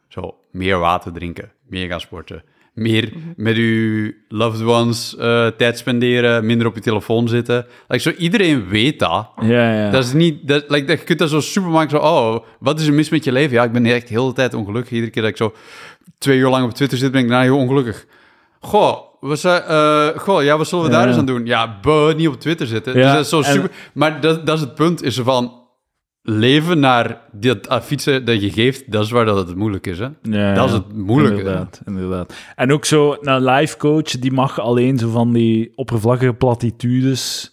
C: Zo, meer water drinken, meer gaan sporten, meer met je loved ones eh, tijd spenderen, minder op je telefoon zitten. Like, zo, iedereen weet dat.
A: Ja, ja.
C: Dat is niet, dat, like, dat, je kunt dat zo super makkelijk zo, oh, wat is er mis met je leven? Ja, ik ben echt de hele tijd ongelukkig. Iedere keer dat ik zo twee uur lang op Twitter zit, ben ik daarna heel ongelukkig. Goh, we zijn, eh, goh, ja, wat zullen we
A: Ja.
C: daar eens aan doen? Ja, buh, niet op Twitter zitten.
A: Ja,
C: dus dat is zo
A: en-
C: super, maar dat, dat is het punt, is van leven naar dat ah, fietsen dat je geeft, dat is waar dat het moeilijk is, hè?
A: Ja,
C: dat is
A: ja.
C: het moeilijke.
A: Inderdaad, inderdaad. En ook zo, een life coach, die mag alleen zo van die oppervlakkige platitudes,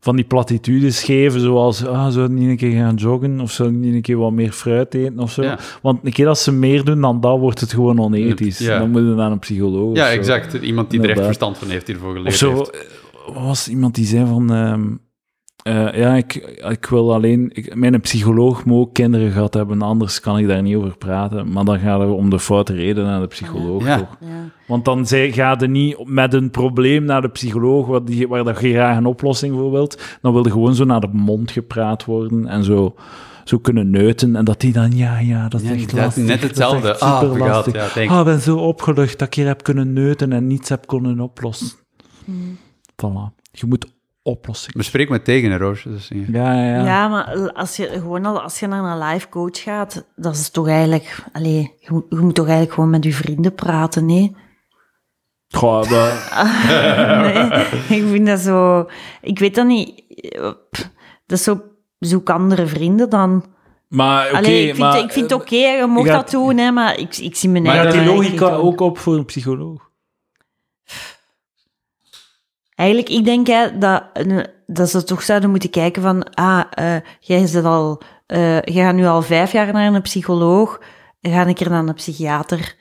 A: van die platitudes geven, zoals, ah, zou ik niet een keer gaan joggen, of zou ik niet een keer wat meer fruit eten, of zo.
C: Ja.
A: Want een keer als ze meer doen dan dat, wordt het gewoon onethisch.
C: Ja.
A: Dan moeten we naar een psycholoog of
C: Ja,
A: zo.
C: exact. Iemand die er echt
A: Inderdaad.
C: verstand van heeft, hiervoor geleerd
A: Of zo,
C: heeft.
A: eh, wat was iemand die zei van... ehm, eh, ja, ik, ik wil alleen... Ik, mijn psycholoog moet ook kinderen gehad hebben, anders kan ik daar niet over praten. Maar dan gaan we om de foute reden naar de psycholoog,
C: Ja.
A: toch?
B: ja.
A: Want dan zij, ga je niet met een probleem naar de psycholoog waar, die, waar dat je graag een oplossing voor wilt. Dan wil je gewoon zo naar de mond gepraat worden en zo, zo kunnen neuten. En dat die dan, ja, ja, dat is
C: Ja,
A: echt
C: inderdaad,
A: lastig. dat
C: net
A: is
C: hetzelfde.
A: echt
C: Ah,
A: superlastig.
C: vergaat, ja, thanks.
A: Ah, ik ben zo
B: Hmm.
A: opgelucht dat ik hier heb kunnen neuten en niets heb kunnen oplossen. Voilà. Je moet oplossing.
C: Bespreek me tegen, hè, Roos. Dus, ja.
A: Ja, ja, ja.
B: Ja, maar l- als je, gewoon al, als je naar een live coach gaat, dat is toch eigenlijk... Allee, je, moet- je moet toch eigenlijk gewoon met je vrienden praten, nee?
A: Goh, dat-
B: nee ik vind dat zo... Ik weet dat niet. Eh, pff, Dat is zo... Zoek andere vrienden dan.
A: Maar oké,
B: Allee, ik vind,
A: maar... eh,
B: ik vind het oké, je mocht
A: je gaat-
B: dat doen, hè, maar ik, ik zie mijn
A: Maar
B: eigen
A: gaat die
B: werk
A: logica
B: niet doen.
A: ook op voor een psycholoog?
B: Eigenlijk, ik denk hè, dat, eh, dat ze toch zouden moeten kijken van... Ah, eh, jij zit al... eh, jij gaat nu al vijf jaar naar een psycholoog. Ga ik er naar een psychiater.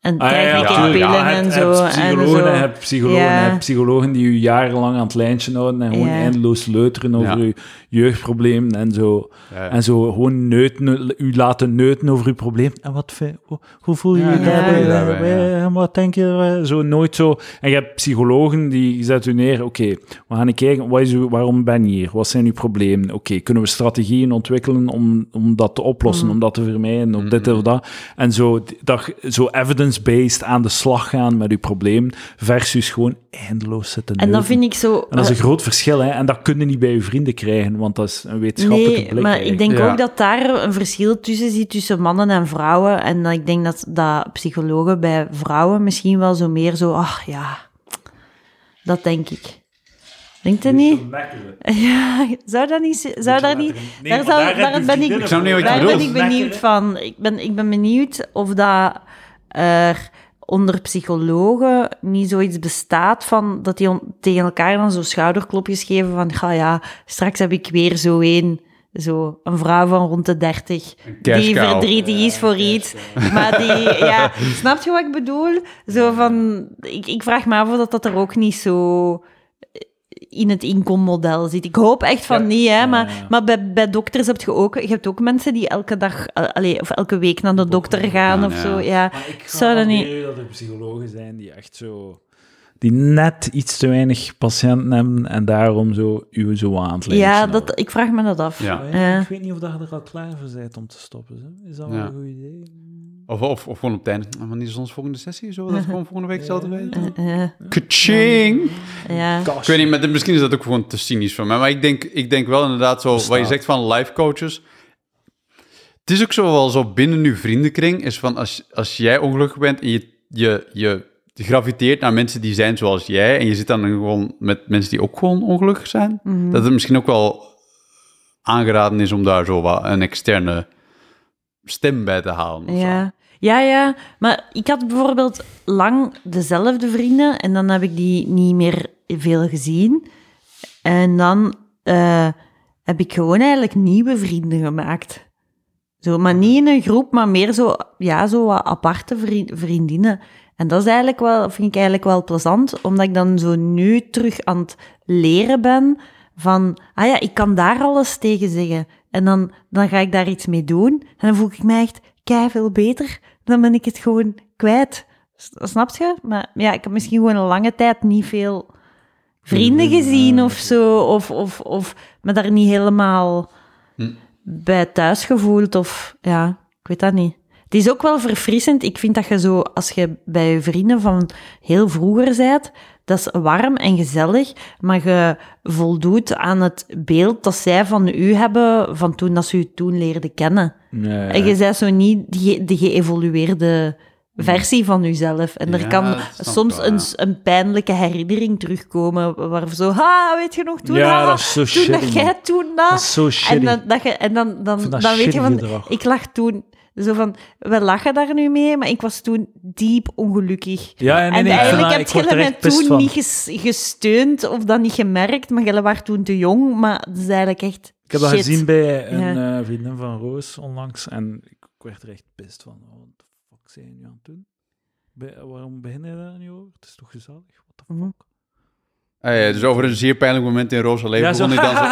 B: En
A: Ah,
B: krijg ik een
C: ja, ja,
B: pillen
A: je hebt-
B: en
A: je
B: zo.
A: hebt
B: en
A: Psychologen,
B: zo.
A: en je hebt psychologen, en je
B: Ja.
A: hebt psychologen die je jarenlang aan het lijntje houden en gewoon
B: Ja.
A: eindeloos leuteren over
C: Ja.
A: je jeugdproblemen en zo.
C: Ja, ja.
A: En zo gewoon neuten, u laten neuten over uw probleem. En wat, vind- hoe- hoe voel je
C: Ja,
A: je
B: ja,
A: daarbij?
B: ja,
C: daarbij, ja.
A: En Wat denk je? eh, Zo nooit zo. En je hebt psychologen die zetten u neer. Oké, we gaan kijken wat is uw- waarom ben je hier? Wat zijn uw problemen? Oké, kunnen we strategieën ontwikkelen om, om dat te oplossen,
B: Mm.
A: om dat te vermijden, of
B: Mm-hmm.
A: dit of dat? En zo, dat, zo evidence-based aan de slag gaan met uw probleem versus gewoon eindeloos zitten
B: En dan
A: neuken.
B: vind ik zo... eh,
A: En dat is een groot verschil, hè? En dat kunnen niet bij je vrienden krijgen, want dat is een wetenschappelijke
B: Nee,
A: blik.
B: maar ik
A: eigenlijk.
B: denk
C: Ja.
B: ook dat daar een verschil tussen zit tussen mannen en vrouwen. En dat ik denk dat, dat psychologen bij vrouwen misschien wel zo meer zo... Ach ja, dat denk ik. Denkt u niet? Ja, zou dat niet... Zou dat niet daar, zou, daar ben ik,
C: Ik snap niet wat je
B: daar ben
C: bedoelt.
B: ik benieuwd van. Ik ben, ik ben benieuwd of dat er onder psychologen niet zoiets bestaat van dat die on- tegen elkaar dan zo schouderklopjes geven van ga ja, straks heb ik weer zo een, zo een vrouw van rond de 30 die
C: kerstkaal.
B: verdrietig is voor iets. Maar die, ja, snap je wat ik bedoel? Zo van, ik, ik vraag me af of dat, dat er ook niet zo in het inkommodel zit. Ik hoop echt van
A: Ja.
B: niet, hè, maar,
A: ja.
B: maar bij, bij dokters heb je ook, je hebt ook mensen die elke dag, eh, allee, of elke week naar de dokter gaan
C: gaan,
B: of
C: ja.
B: zo. Ja.
A: Maar ik
B: Zou dat niet-
A: dat er psychologen zijn die echt zo... Die net iets te weinig patiënten hebben en daarom zo u zo aan het lijntje
B: Ja,
A: houden. Ah
B: dat, ik vraag me dat af.
C: Ja.
B: Ja.
A: Ik weet niet of dat je er al klaar voor bent om te stoppen. Hè? Is dat wel
C: Ja.
A: een goed idee?
C: Of, of, of gewoon op het einde. Ah, Wanneer is onze volgende sessie? Zullen we dat gewoon volgende week hetzelfde weten?
B: Eh,
C: Kaching!
B: ja.
A: Kast.
C: Ik weet niet, maar dit- misschien is dat ook gewoon te cynisch van mij. Maar ik denk, ik denk wel inderdaad zo, wat je zegt van life coaches. Het is ook zo wel zo binnen uw vriendenkring, is van als, als jij ongelukkig bent en je, je, je graviteert naar mensen die zijn zoals jij en je zit dan gewoon met mensen die ook gewoon ongelukkig zijn,
B: Mhm.
C: dat het misschien ook wel aangeraden is om daar zo wat een externe stem bij te halen. of zo.
B: Ja. ja, ja. Maar ik had bijvoorbeeld lang dezelfde vrienden en dan heb ik die niet meer veel gezien. En dan eh, heb ik gewoon eigenlijk nieuwe vrienden gemaakt. Zo, maar niet in een groep, maar meer zo, ja, zo wat aparte vri- vriendinnen. En dat is eigenlijk wel, vind ik eigenlijk wel plezant, omdat ik dan zo nu terug aan het leren ben van, ah ja, ik kan daar alles tegen zeggen. En dan, dan ga ik daar iets mee doen. En dan voel ik me echt kei veel beter. Dan ben ik het gewoon kwijt. S- Snap je? Maar ja, ik heb misschien gewoon een lange tijd niet veel vrienden gezien of zo. Of, of, of me daar niet helemaal bij thuis gevoeld of ja, ik weet dat niet. Het is ook wel verfrissend. Ik vind dat je zo, als je bij je vrienden van heel vroeger bent, dat is warm en gezellig, maar je voldoet aan het beeld dat zij van u hebben van toen dat ze u toen leerden kennen.
A: Nee.
B: En je bent zo niet die- de geëvolueerde versie van uzelf. En er
C: Ja,
B: kan
C: dat snap ik
B: soms
C: wel,
B: een,
C: ja.
B: s- een pijnlijke herinnering terugkomen, waar we zo, ha, weet je nog toen?
A: Ja,
B: ha,
A: dat is zo
B: toen dat
A: shitty,
B: jij
A: man.
B: toen dat.
A: Dat is zo
B: En
A: shitty.
B: dan, dat je, en dan, dan,
A: vind dat
B: dan weet je
A: shitty
B: van,
A: gedrag.
B: ik lag toen zo van, we lachen daar nu mee, maar ik was toen diep ongelukkig.
A: Ja, nee, nee, ik
B: en
A: vind
B: eigenlijk
A: dat-
B: heb
A: ik word
B: je
A: er
B: mij
A: echt pist
B: toen
A: van.
B: niet ges- gesteund of dat niet gemerkt, maar jullie waren toen te jong, maar dat is eigenlijk echt
A: Ik heb dat
B: shit.
A: gezien bij een
B: Ja.
A: eh, vriendin van Roos onlangs en ik werd er echt pist van. Oh, Wat de fuck zijn jullie aan het doen? Bij- waarom begin je daar niet over? Het is toch gezellig? What the fuck?
B: Mhm.
C: Ah ja, dus over een zeer pijnlijk moment in Roos' leven
A: Ja, zo,
C: begon hij dan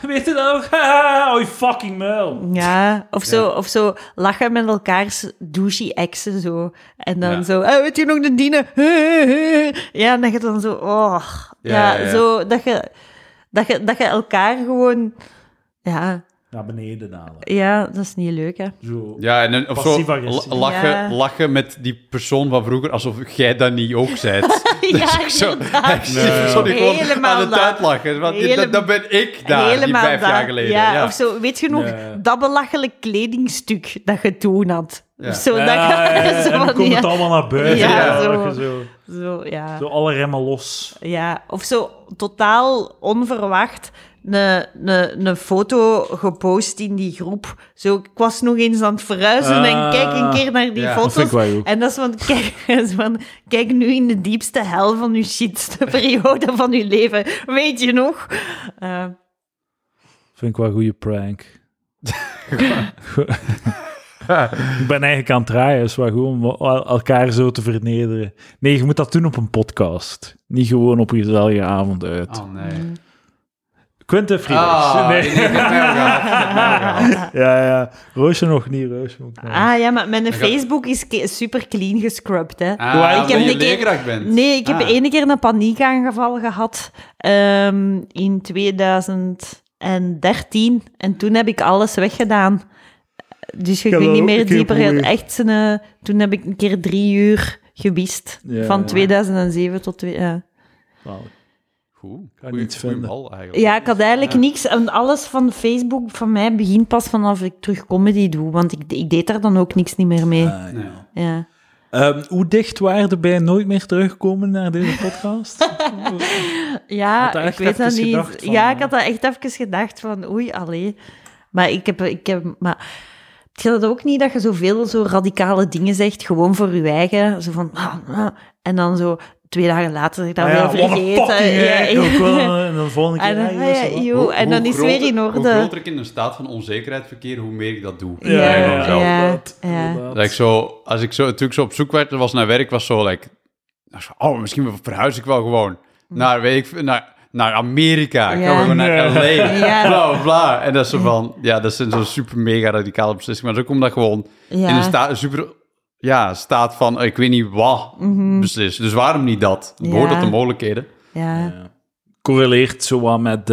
C: zo-
A: weet je dat ook? Haha, oh, je fucking muil.
B: Ja, of zo, of zo lachen met elkaars douchey exen zo. En dan
C: Ja.
B: zo, "Ah, weet je nog de dienen? Ja, en dat je dan zo, oh. Ja,
C: Ja, ja, ja.
B: zo dat je, dat, je, dat je elkaar gewoon, ja,
A: naar beneden halen.
B: Ja, dat is niet leuk, hè.
A: Zo.
C: Ja, en dan- of zo
A: Passief-agressief.
C: la- lachen,
B: Ja.
C: lachen met die persoon van vroeger, alsof jij dat niet ook zijt.
B: ja,
C: zo-
B: inderdaad.
C: Sorry, gewoon
B: Helemaal
C: aan de
B: dat.
C: tijd lachen. Want
B: Hele-
C: dat, dat ben ik daar, die
B: Helemaal
C: vijf
B: dat.
C: jaar geleden.
B: Ja,
C: Ja,
B: of zo. Weet je nog,
A: Ja.
B: dat belachelijk kledingstuk dat je toen had.
C: Ja.
B: Zo,
A: Ja,
B: dat,
A: ja, ja,
B: zo
A: en dan
B: van,
A: komt
B: ja.
A: het allemaal naar buiten.
B: Ja,
A: Ja,
B: zo.
A: dat je Zo.
B: Zo, ja.
A: zo alle remmen los.
B: ja. Of zo totaal onverwacht een foto gepost in die groep. Zo, ik was nog eens aan het verhuizen en
A: Ah,
B: kijk een keer naar die
C: ja.
B: foto's.
A: Dat vind ik wel goed.
B: En dat is van kijk, dat is van, kijk nu in de diepste hel van uw shitste periode van uw leven. Weet je nog? Eh,
A: Vind ik wel een goede prank. ik ben eigenlijk aan het draaien, is wel goed om el- elkaar zo te vernederen. Nee, je moet dat doen op een podcast. Niet gewoon op een gezellige avond uit.
C: Oh
B: Mm.
C: nee.
A: Quentin Friedrichs.
C: Ah,
A: Nee.
C: ik heb mij al gehad, ik heb mij al gehad.
A: Ja, ja. Roosje nog niet, Roosje nog niet.
B: Ah ja, maar mijn
C: ga-
B: Facebook is ke- super clean gescrubbed, hè.
C: Ah,
A: ik
B: heb
C: omdat je
B: een keer-
C: leerkracht bent.
B: Nee, ik heb
C: Ah.
B: de ene keer een paniekaangeval gehad ehm, in 2013. En toen heb ik alles weggedaan. Dus je
A: heb
B: kunt
A: dat
B: niet
A: ook
B: meer
A: een keer
B: dieper...
A: geprobeerd.
B: Echt, zo'n, eh, toen heb ik een keer drie uur gewist.
A: Ja,
B: van
A: ja.
B: 2007 tot... twee- eh. ja.
A: Nou,
C: Goed.
A: Kan
C: Goeie-
A: niets
C: goeie
A: vinden.
C: bal eigenlijk.
B: Ja, ik had eigenlijk
C: Ja.
B: niks. En alles van Facebook van mij begint pas vanaf ik terug comedy doe. Want ik, ik deed daar dan ook niks niet meer mee.
A: ah,
C: Nee.
A: ja.
B: Ja.
A: Ehm, hoe dicht waren er bij nooit meer terugkomen naar deze podcast?
B: Ja,
A: Had dat
B: ik
A: echt
B: weet dat
A: even
B: niet.
A: gedacht van,
B: ja,
A: eh,
B: ik had dat echt even gedacht van, oei, allee. Maar ik heb, ik heb, maar het geldt ook niet dat je zoveel zo radicale dingen zegt, gewoon voor je eigen, zo van, ah, ah, en dan zo twee dagen later zeg ik dat
A: Ah
B: weer
A: what a
B: vergeten.
A: fucking
B: Ja,
A: hack
B: ja.
A: ook wel. En dan volgende keer...
B: En,
A: ah,
B: dan,
A: yes,
B: ah,
A: wat?
B: ja, joe,
C: Hoe-
B: en
C: hoe
B: dan is het
C: groter-
B: weer in orde.
C: Hoe groter ik in een staat van onzekerheid verkeer, hoe meer ik dat doe.
B: Ja, ja,
C: Bij
B: ja.
C: mezelf.
A: inderdaad,
B: ja.
A: inderdaad.
C: Dat ik zo, als ik zo, toen ik zo op zoek werd, was naar werk, was zo, like, was zo, oh, misschien verhuis ik wel gewoon naar, weet ik, naar, naar Amerika. Ik
B: Hm. Ja.
C: kan gewoon naar LA.
B: Ja.
C: Bla, bla, bla. En dat is zo van, ja, dat zijn zo'n super mega radicale beslissingen. Maar dat is ook omdat ik gewoon
B: Ja.
C: in een, sta, een super ja, staat van, ik weet niet wat beslist. Dus waarom niet dat? Het Behoort
B: Mhm. Ja.
C: dat de mogelijkheden?
B: Ja.
A: Ja. Correleert zo wat met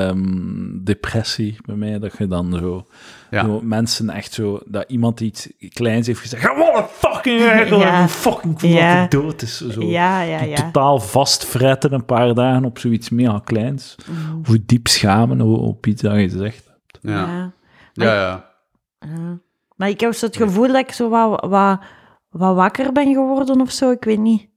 A: ehm, depressie bij mij, dat je dan zo...
C: Ja.
A: zo mensen echt zo... Dat iemand iets kleins heeft gezegd. "Ah, What a fucking hack!
B: Ja.
A: Hoe fucking voel
B: Ja.
A: dat hij dood is. Zo.
B: Ja, ja,
A: Die
B: ja.
A: totaal vastfretten een paar dagen op zoiets mega kleins.
B: Mhm.
A: Of je diep schamen o- op iets dat je zegt.
C: Ja, ja.
B: Ja.
C: ja,
B: ja. Maar ik heb zo het gevoel dat ik zo wat, wat, wat wakker ben geworden of zo, ik weet niet.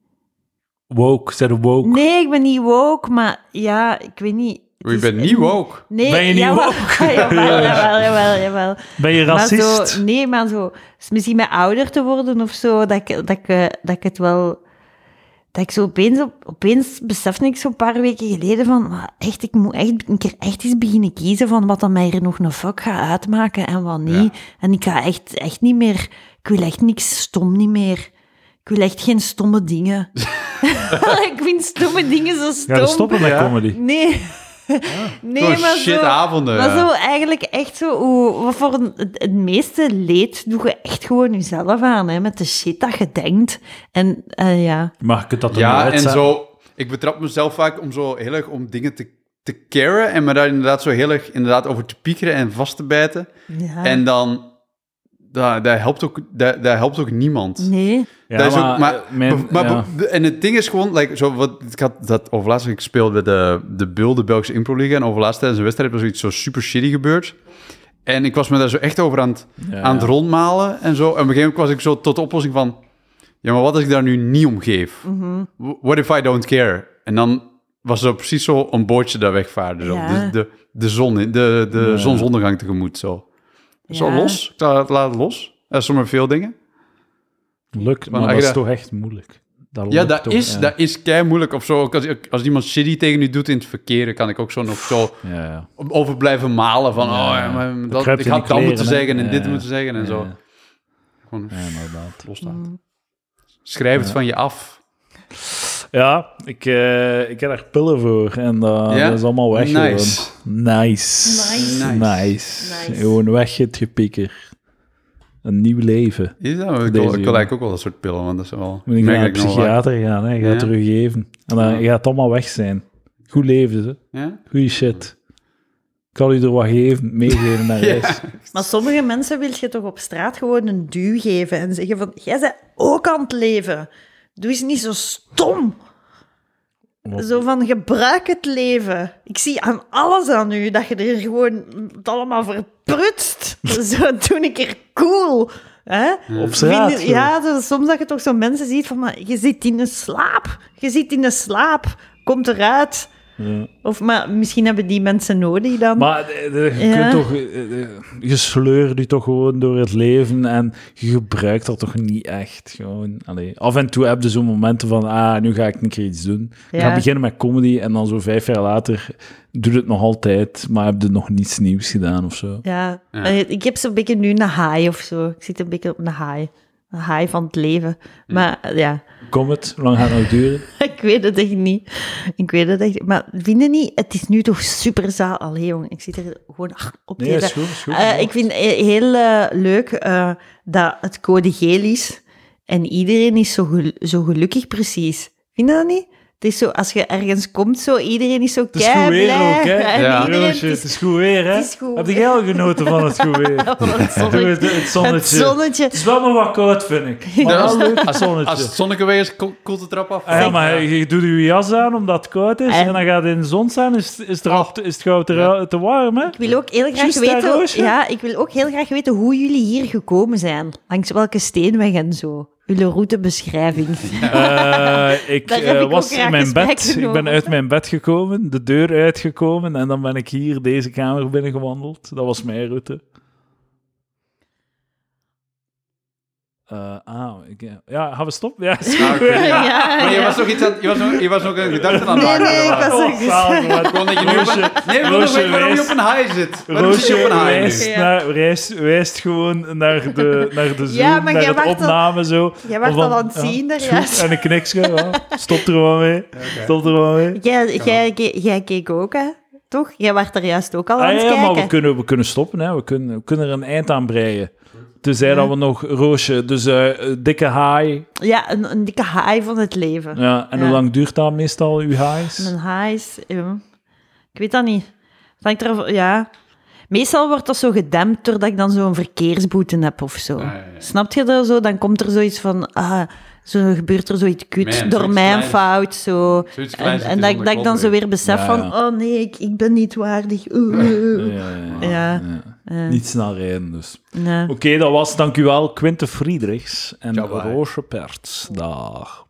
A: Woke, zijn woke.
B: Nee, ik ben niet woke, maar ja, ik weet niet. Het
C: Je
B: is-
C: bent nieuw ook.
B: Nee,
A: Ben je niet
B: jawel, Ah,
A: woke?
B: jawel, jawel, jawel, jawel.
A: Ben je
B: Maar
A: racist?
B: zo, nee, maar zo, is misschien met ouder te worden of zo, dat ik, dat ik, eh, dat ik het wel... Dat ik zo opeens, op- opeens besefte ik zo'n paar weken geleden van, maar echt, ik moet echt een keer echt eens beginnen kiezen van wat dan mij er nog een fuck gaat uitmaken en wat niet. En ik ga echt, echt niet meer, ik wil echt niks stom niet meer. Ik wil echt geen stomme dingen. ik vind stomme dingen zo stom.
A: Ga je stoppen Ah. met comedy?
B: Nee. Nee,
A: Oh,
C: Gewoon
B: maar
C: shit
B: zo...
C: avonden.
B: Maar
C: ja.
B: zo eigenlijk echt zo... Hoe, wat voor een, het, het meeste leed doe je echt gewoon jezelf aan, hè. Met de shit dat je denkt. En eh, ja...
A: Mag ik het dat er
C: Ja,
A: niet
C: en
A: uitzetten?
C: zo... Ik betrap mezelf vaak om zo heel erg om dingen te, te caren en me daar inderdaad zo heel erg inderdaad over te piekeren en vast te bijten.
B: ja.
C: En dan... Daar, daar, helpt ook, daar, daar helpt ook niemand.
B: Nee.
A: Ja,
C: dat is ook, maar,
A: eh, mijn-
C: be- maar
A: ja.
C: be- en het ding is gewoon, like, zo, wat, ik had dat overlaatst, ik speelde de, de Bul, de Belgische Impro Liga, en overlaatst tijdens een wedstrijd was er iets zo super shitty gebeurd. En ik was me daar zo echt over aan het,
A: Ja,
C: aan het
A: ja.
C: rondmalen en zo. En op een gegeven moment was ik zo tot de oplossing van, ja, maar wat als ik daar nu niet om geef?
B: Mhm.
C: Wh- What if I don't care? En dan was er precies zo een bootje daar wegvaarde. zo.
B: Ja.
C: De, de, de zon, in- de, de zonsondergang tegemoet, zo. Zo
B: Ja.
C: los, ik laat, laat het los. Dat is zomaar veel dingen.
A: Lukt, maar
C: als
A: dat
C: je
A: is
C: dat-
A: toch echt moeilijk. Dat
C: Ja,
A: lukt
C: dat
A: toch,
C: is,
A: ja.
C: dat is kei moeilijk of zo. Ook Als, als iemand shitty tegen u doet in het verkeer, dan kan ik ook zo nog zo
A: Ja, ja.
C: over blijven malen van, oh ja, maar
A: Dan
C: dat,
A: kruipt
C: ik
A: in de
C: had dat moeten
A: kleren, hè?
C: zeggen en
A: Ja,
C: dit
A: ja.
C: moeten zeggen en
A: Ja,
C: zo.
A: ja.
C: Gewoon
A: Ja, inderdaad.
C: loslaten. Schrijf het van je af.
A: Ja, ik, eh, ik heb daar pillen voor en eh,
C: Ja?
A: dat is allemaal weg.
C: Nice.
A: gewoon. Nice.
B: Nice.
A: Nice.
B: Nice.
A: Gewoon weg het gepieker. Een nieuw leven.
C: Is dat? Ik wil, ik
A: Deze
C: wil
A: jongen.
C: eigenlijk ook wel dat soort pillen, want dat is wel...
A: Moet ik
C: merk
A: naar een
C: ik nog wel.
A: psychiater gaan, hè. Je gaat
C: Ja.
A: terug geven. En dan
C: Ja.
A: gaat het allemaal weg zijn. Goed leven, ze.
C: Ja?
A: Goeie shit. kan u er wat geven, meegeven naar reis.
B: Maar sommige mensen wil je toch op straat gewoon een duw geven en zeggen van, jij bent ook aan het leven. Doe eens niet zo stom.
A: Wat-
B: Zo van, gebruik het leven. Ik zie aan alles aan u dat je er gewoon het allemaal verprutst. zo doe ik er cool. hè?
A: Op straat.
B: Minder- ja, zo- soms dat je toch zo mensen ziet van, maar je zit in een slaap. Je zit in een slaap. Komt eruit.
A: Ja.
B: Of, maar misschien hebben die mensen nodig dan.
A: Maar eh, eh, je,
B: Ja.
A: kunt toch, eh, eh, je sleurt je toch gewoon door het leven en je gebruikt dat toch niet echt. Gewoon, allee. Af en toe heb je zo'n momenten van, ah, nu ga ik een keer iets doen. Ik ga
B: Ja.
A: beginnen met comedy en dan zo vijf jaar later doet het nog altijd, maar heb je nog niets nieuws gedaan of zo.
B: Ja,
C: Ja.
B: eh, ik heb zo'n beetje nu een haai of zo. Ik zit een beetje op een haai. Een haai van het leven. Maar eh, ja,
A: Kom het, hoe lang gaat het nog duren?
B: ik weet het echt niet. Ik weet het echt Maar vinden niet, het is nu toch super zaal. Allee, jong, ik zit er gewoon ach, op
A: Nee,
B: die-
A: is goed, is goed.
B: Eh, ik vind eh, heel eh, leuk eh, dat het code geel is. En iedereen is zo, gel- zo gelukkig precies. Vind je dat niet? Het is zo, als je ergens komt, zo, iedereen is zo
A: Het is goed weer
B: blij.
A: ook, hè?
B: En
C: Ja.
B: iedereen, het
A: Roosje,
B: is
A: het is goed weer, hè?
B: het is goed.
A: Heb je al genoten van het goed weer?
B: het
A: Doe
B: zonnetje.
A: het, het zonnetje.
B: Het zonnetje.
A: Het is wel nog wat koud, vind ik. Maar
C: Ja,
A: wel leuk, het
C: als,
A: zonnetje.
C: als het zonneke weer is, ko- koelt de trap af.
A: Ah ja, maar je, je doet je jas aan omdat het koud is en,
B: En-
A: dan gaat het in de zon staan, is, is, het rap- is het gauw te, ra- te warm, hè?
B: Ik wil ook heel graag
A: Juist daar, Roosje?
B: weten. Ja, ik wil ook heel graag weten hoe jullie hier gekomen zijn. Langs welke steenweg en zo. Jullie routebeschrijving.
A: Eh, ik
B: Daar
A: eh,
B: heb ik ook
A: was in
B: graag
A: mijn
B: gesprekken
A: bed, ik ben
B: over.
A: uit mijn bed gekomen, de deur uitgekomen en dan ben ik hier deze kamer binnengewandeld. Dat was mijn route. Eh, ah, ik, ja, gaan we stoppen? Ja, is goed.
C: Ja, oké.
B: Ah, ja,
C: Maar je
B: ja.
C: was nog iets aan, je was nog, je was nog een gedachte aan het
B: Nee,
C: maken.
B: nee, ik
C: daarna.
B: was-
A: Oh, zalig, man.
C: Gewoon dat je nu...
A: Roosje-
C: nee, we willen
A: Roosje
C: weten waarom je
A: wijst-
C: op een high zit. Waarom zit je
A: Roosje
C: op een high nu?
A: wijst, naar, wijst, wijst gewoon naar de, naar de Zoom,
B: Ja,
A: naar
B: maar jij
A: het
B: wacht al-
A: opname zo.
B: jij wacht
A: Of dan-
B: al aan het
A: ja,
B: zien daar,
A: is goed.
B: juist.
A: En een kniksje, ja. stop er wel mee. Stop er wel mee.
B: Jij, jij, jij, jij keek ook, hè? Toch? Jij werd er juist ook al aan
A: Ah,
B: het
A: ja, maar we
B: kijken.
A: kunnen, we kunnen stoppen, hè. We, kunnen, we kunnen er een eind aan breien. Tenzij dat we nog Roosje, dus eh, eh, dikke haai.
B: Ja, een, een dikke haai van het leven.
A: Ja, en
B: Ja.
A: hoe lang duurt dat meestal, uw haais?
B: Een haai is... ja. Ik weet dat niet. Het hangt ervan- Ja. Meestal wordt dat zo gedempt doordat ik dan zo'n verkeersboete heb of zo.
C: Ah, ja, ja.
B: Snap je dat zo? Dan komt er zoiets van... Ah, zo gebeurt er zoiets kut
C: Man,
B: door
C: zoiets
B: mijn
C: kleins.
B: fout. Zo.
C: Zoiets kleins
B: En,
C: dat
B: en
C: je
B: dat, ik-
C: zonder
B: dat ik dan
C: klop
B: zo
C: weet.
B: weer besef
A: Ja,
B: van...
A: ja.
B: Oh nee, ik, ik ben niet waardig. Oeh, oeh,
A: Ja,
B: oeh.
A: ja, ja.
B: Ja,
A: Ja. Niet snel rijden, dus.
B: nee.
A: Oké, dat was, dank u wel, Quinte Friedrichs en
C: Ciao, bye.
A: Roosje Perts. Dag.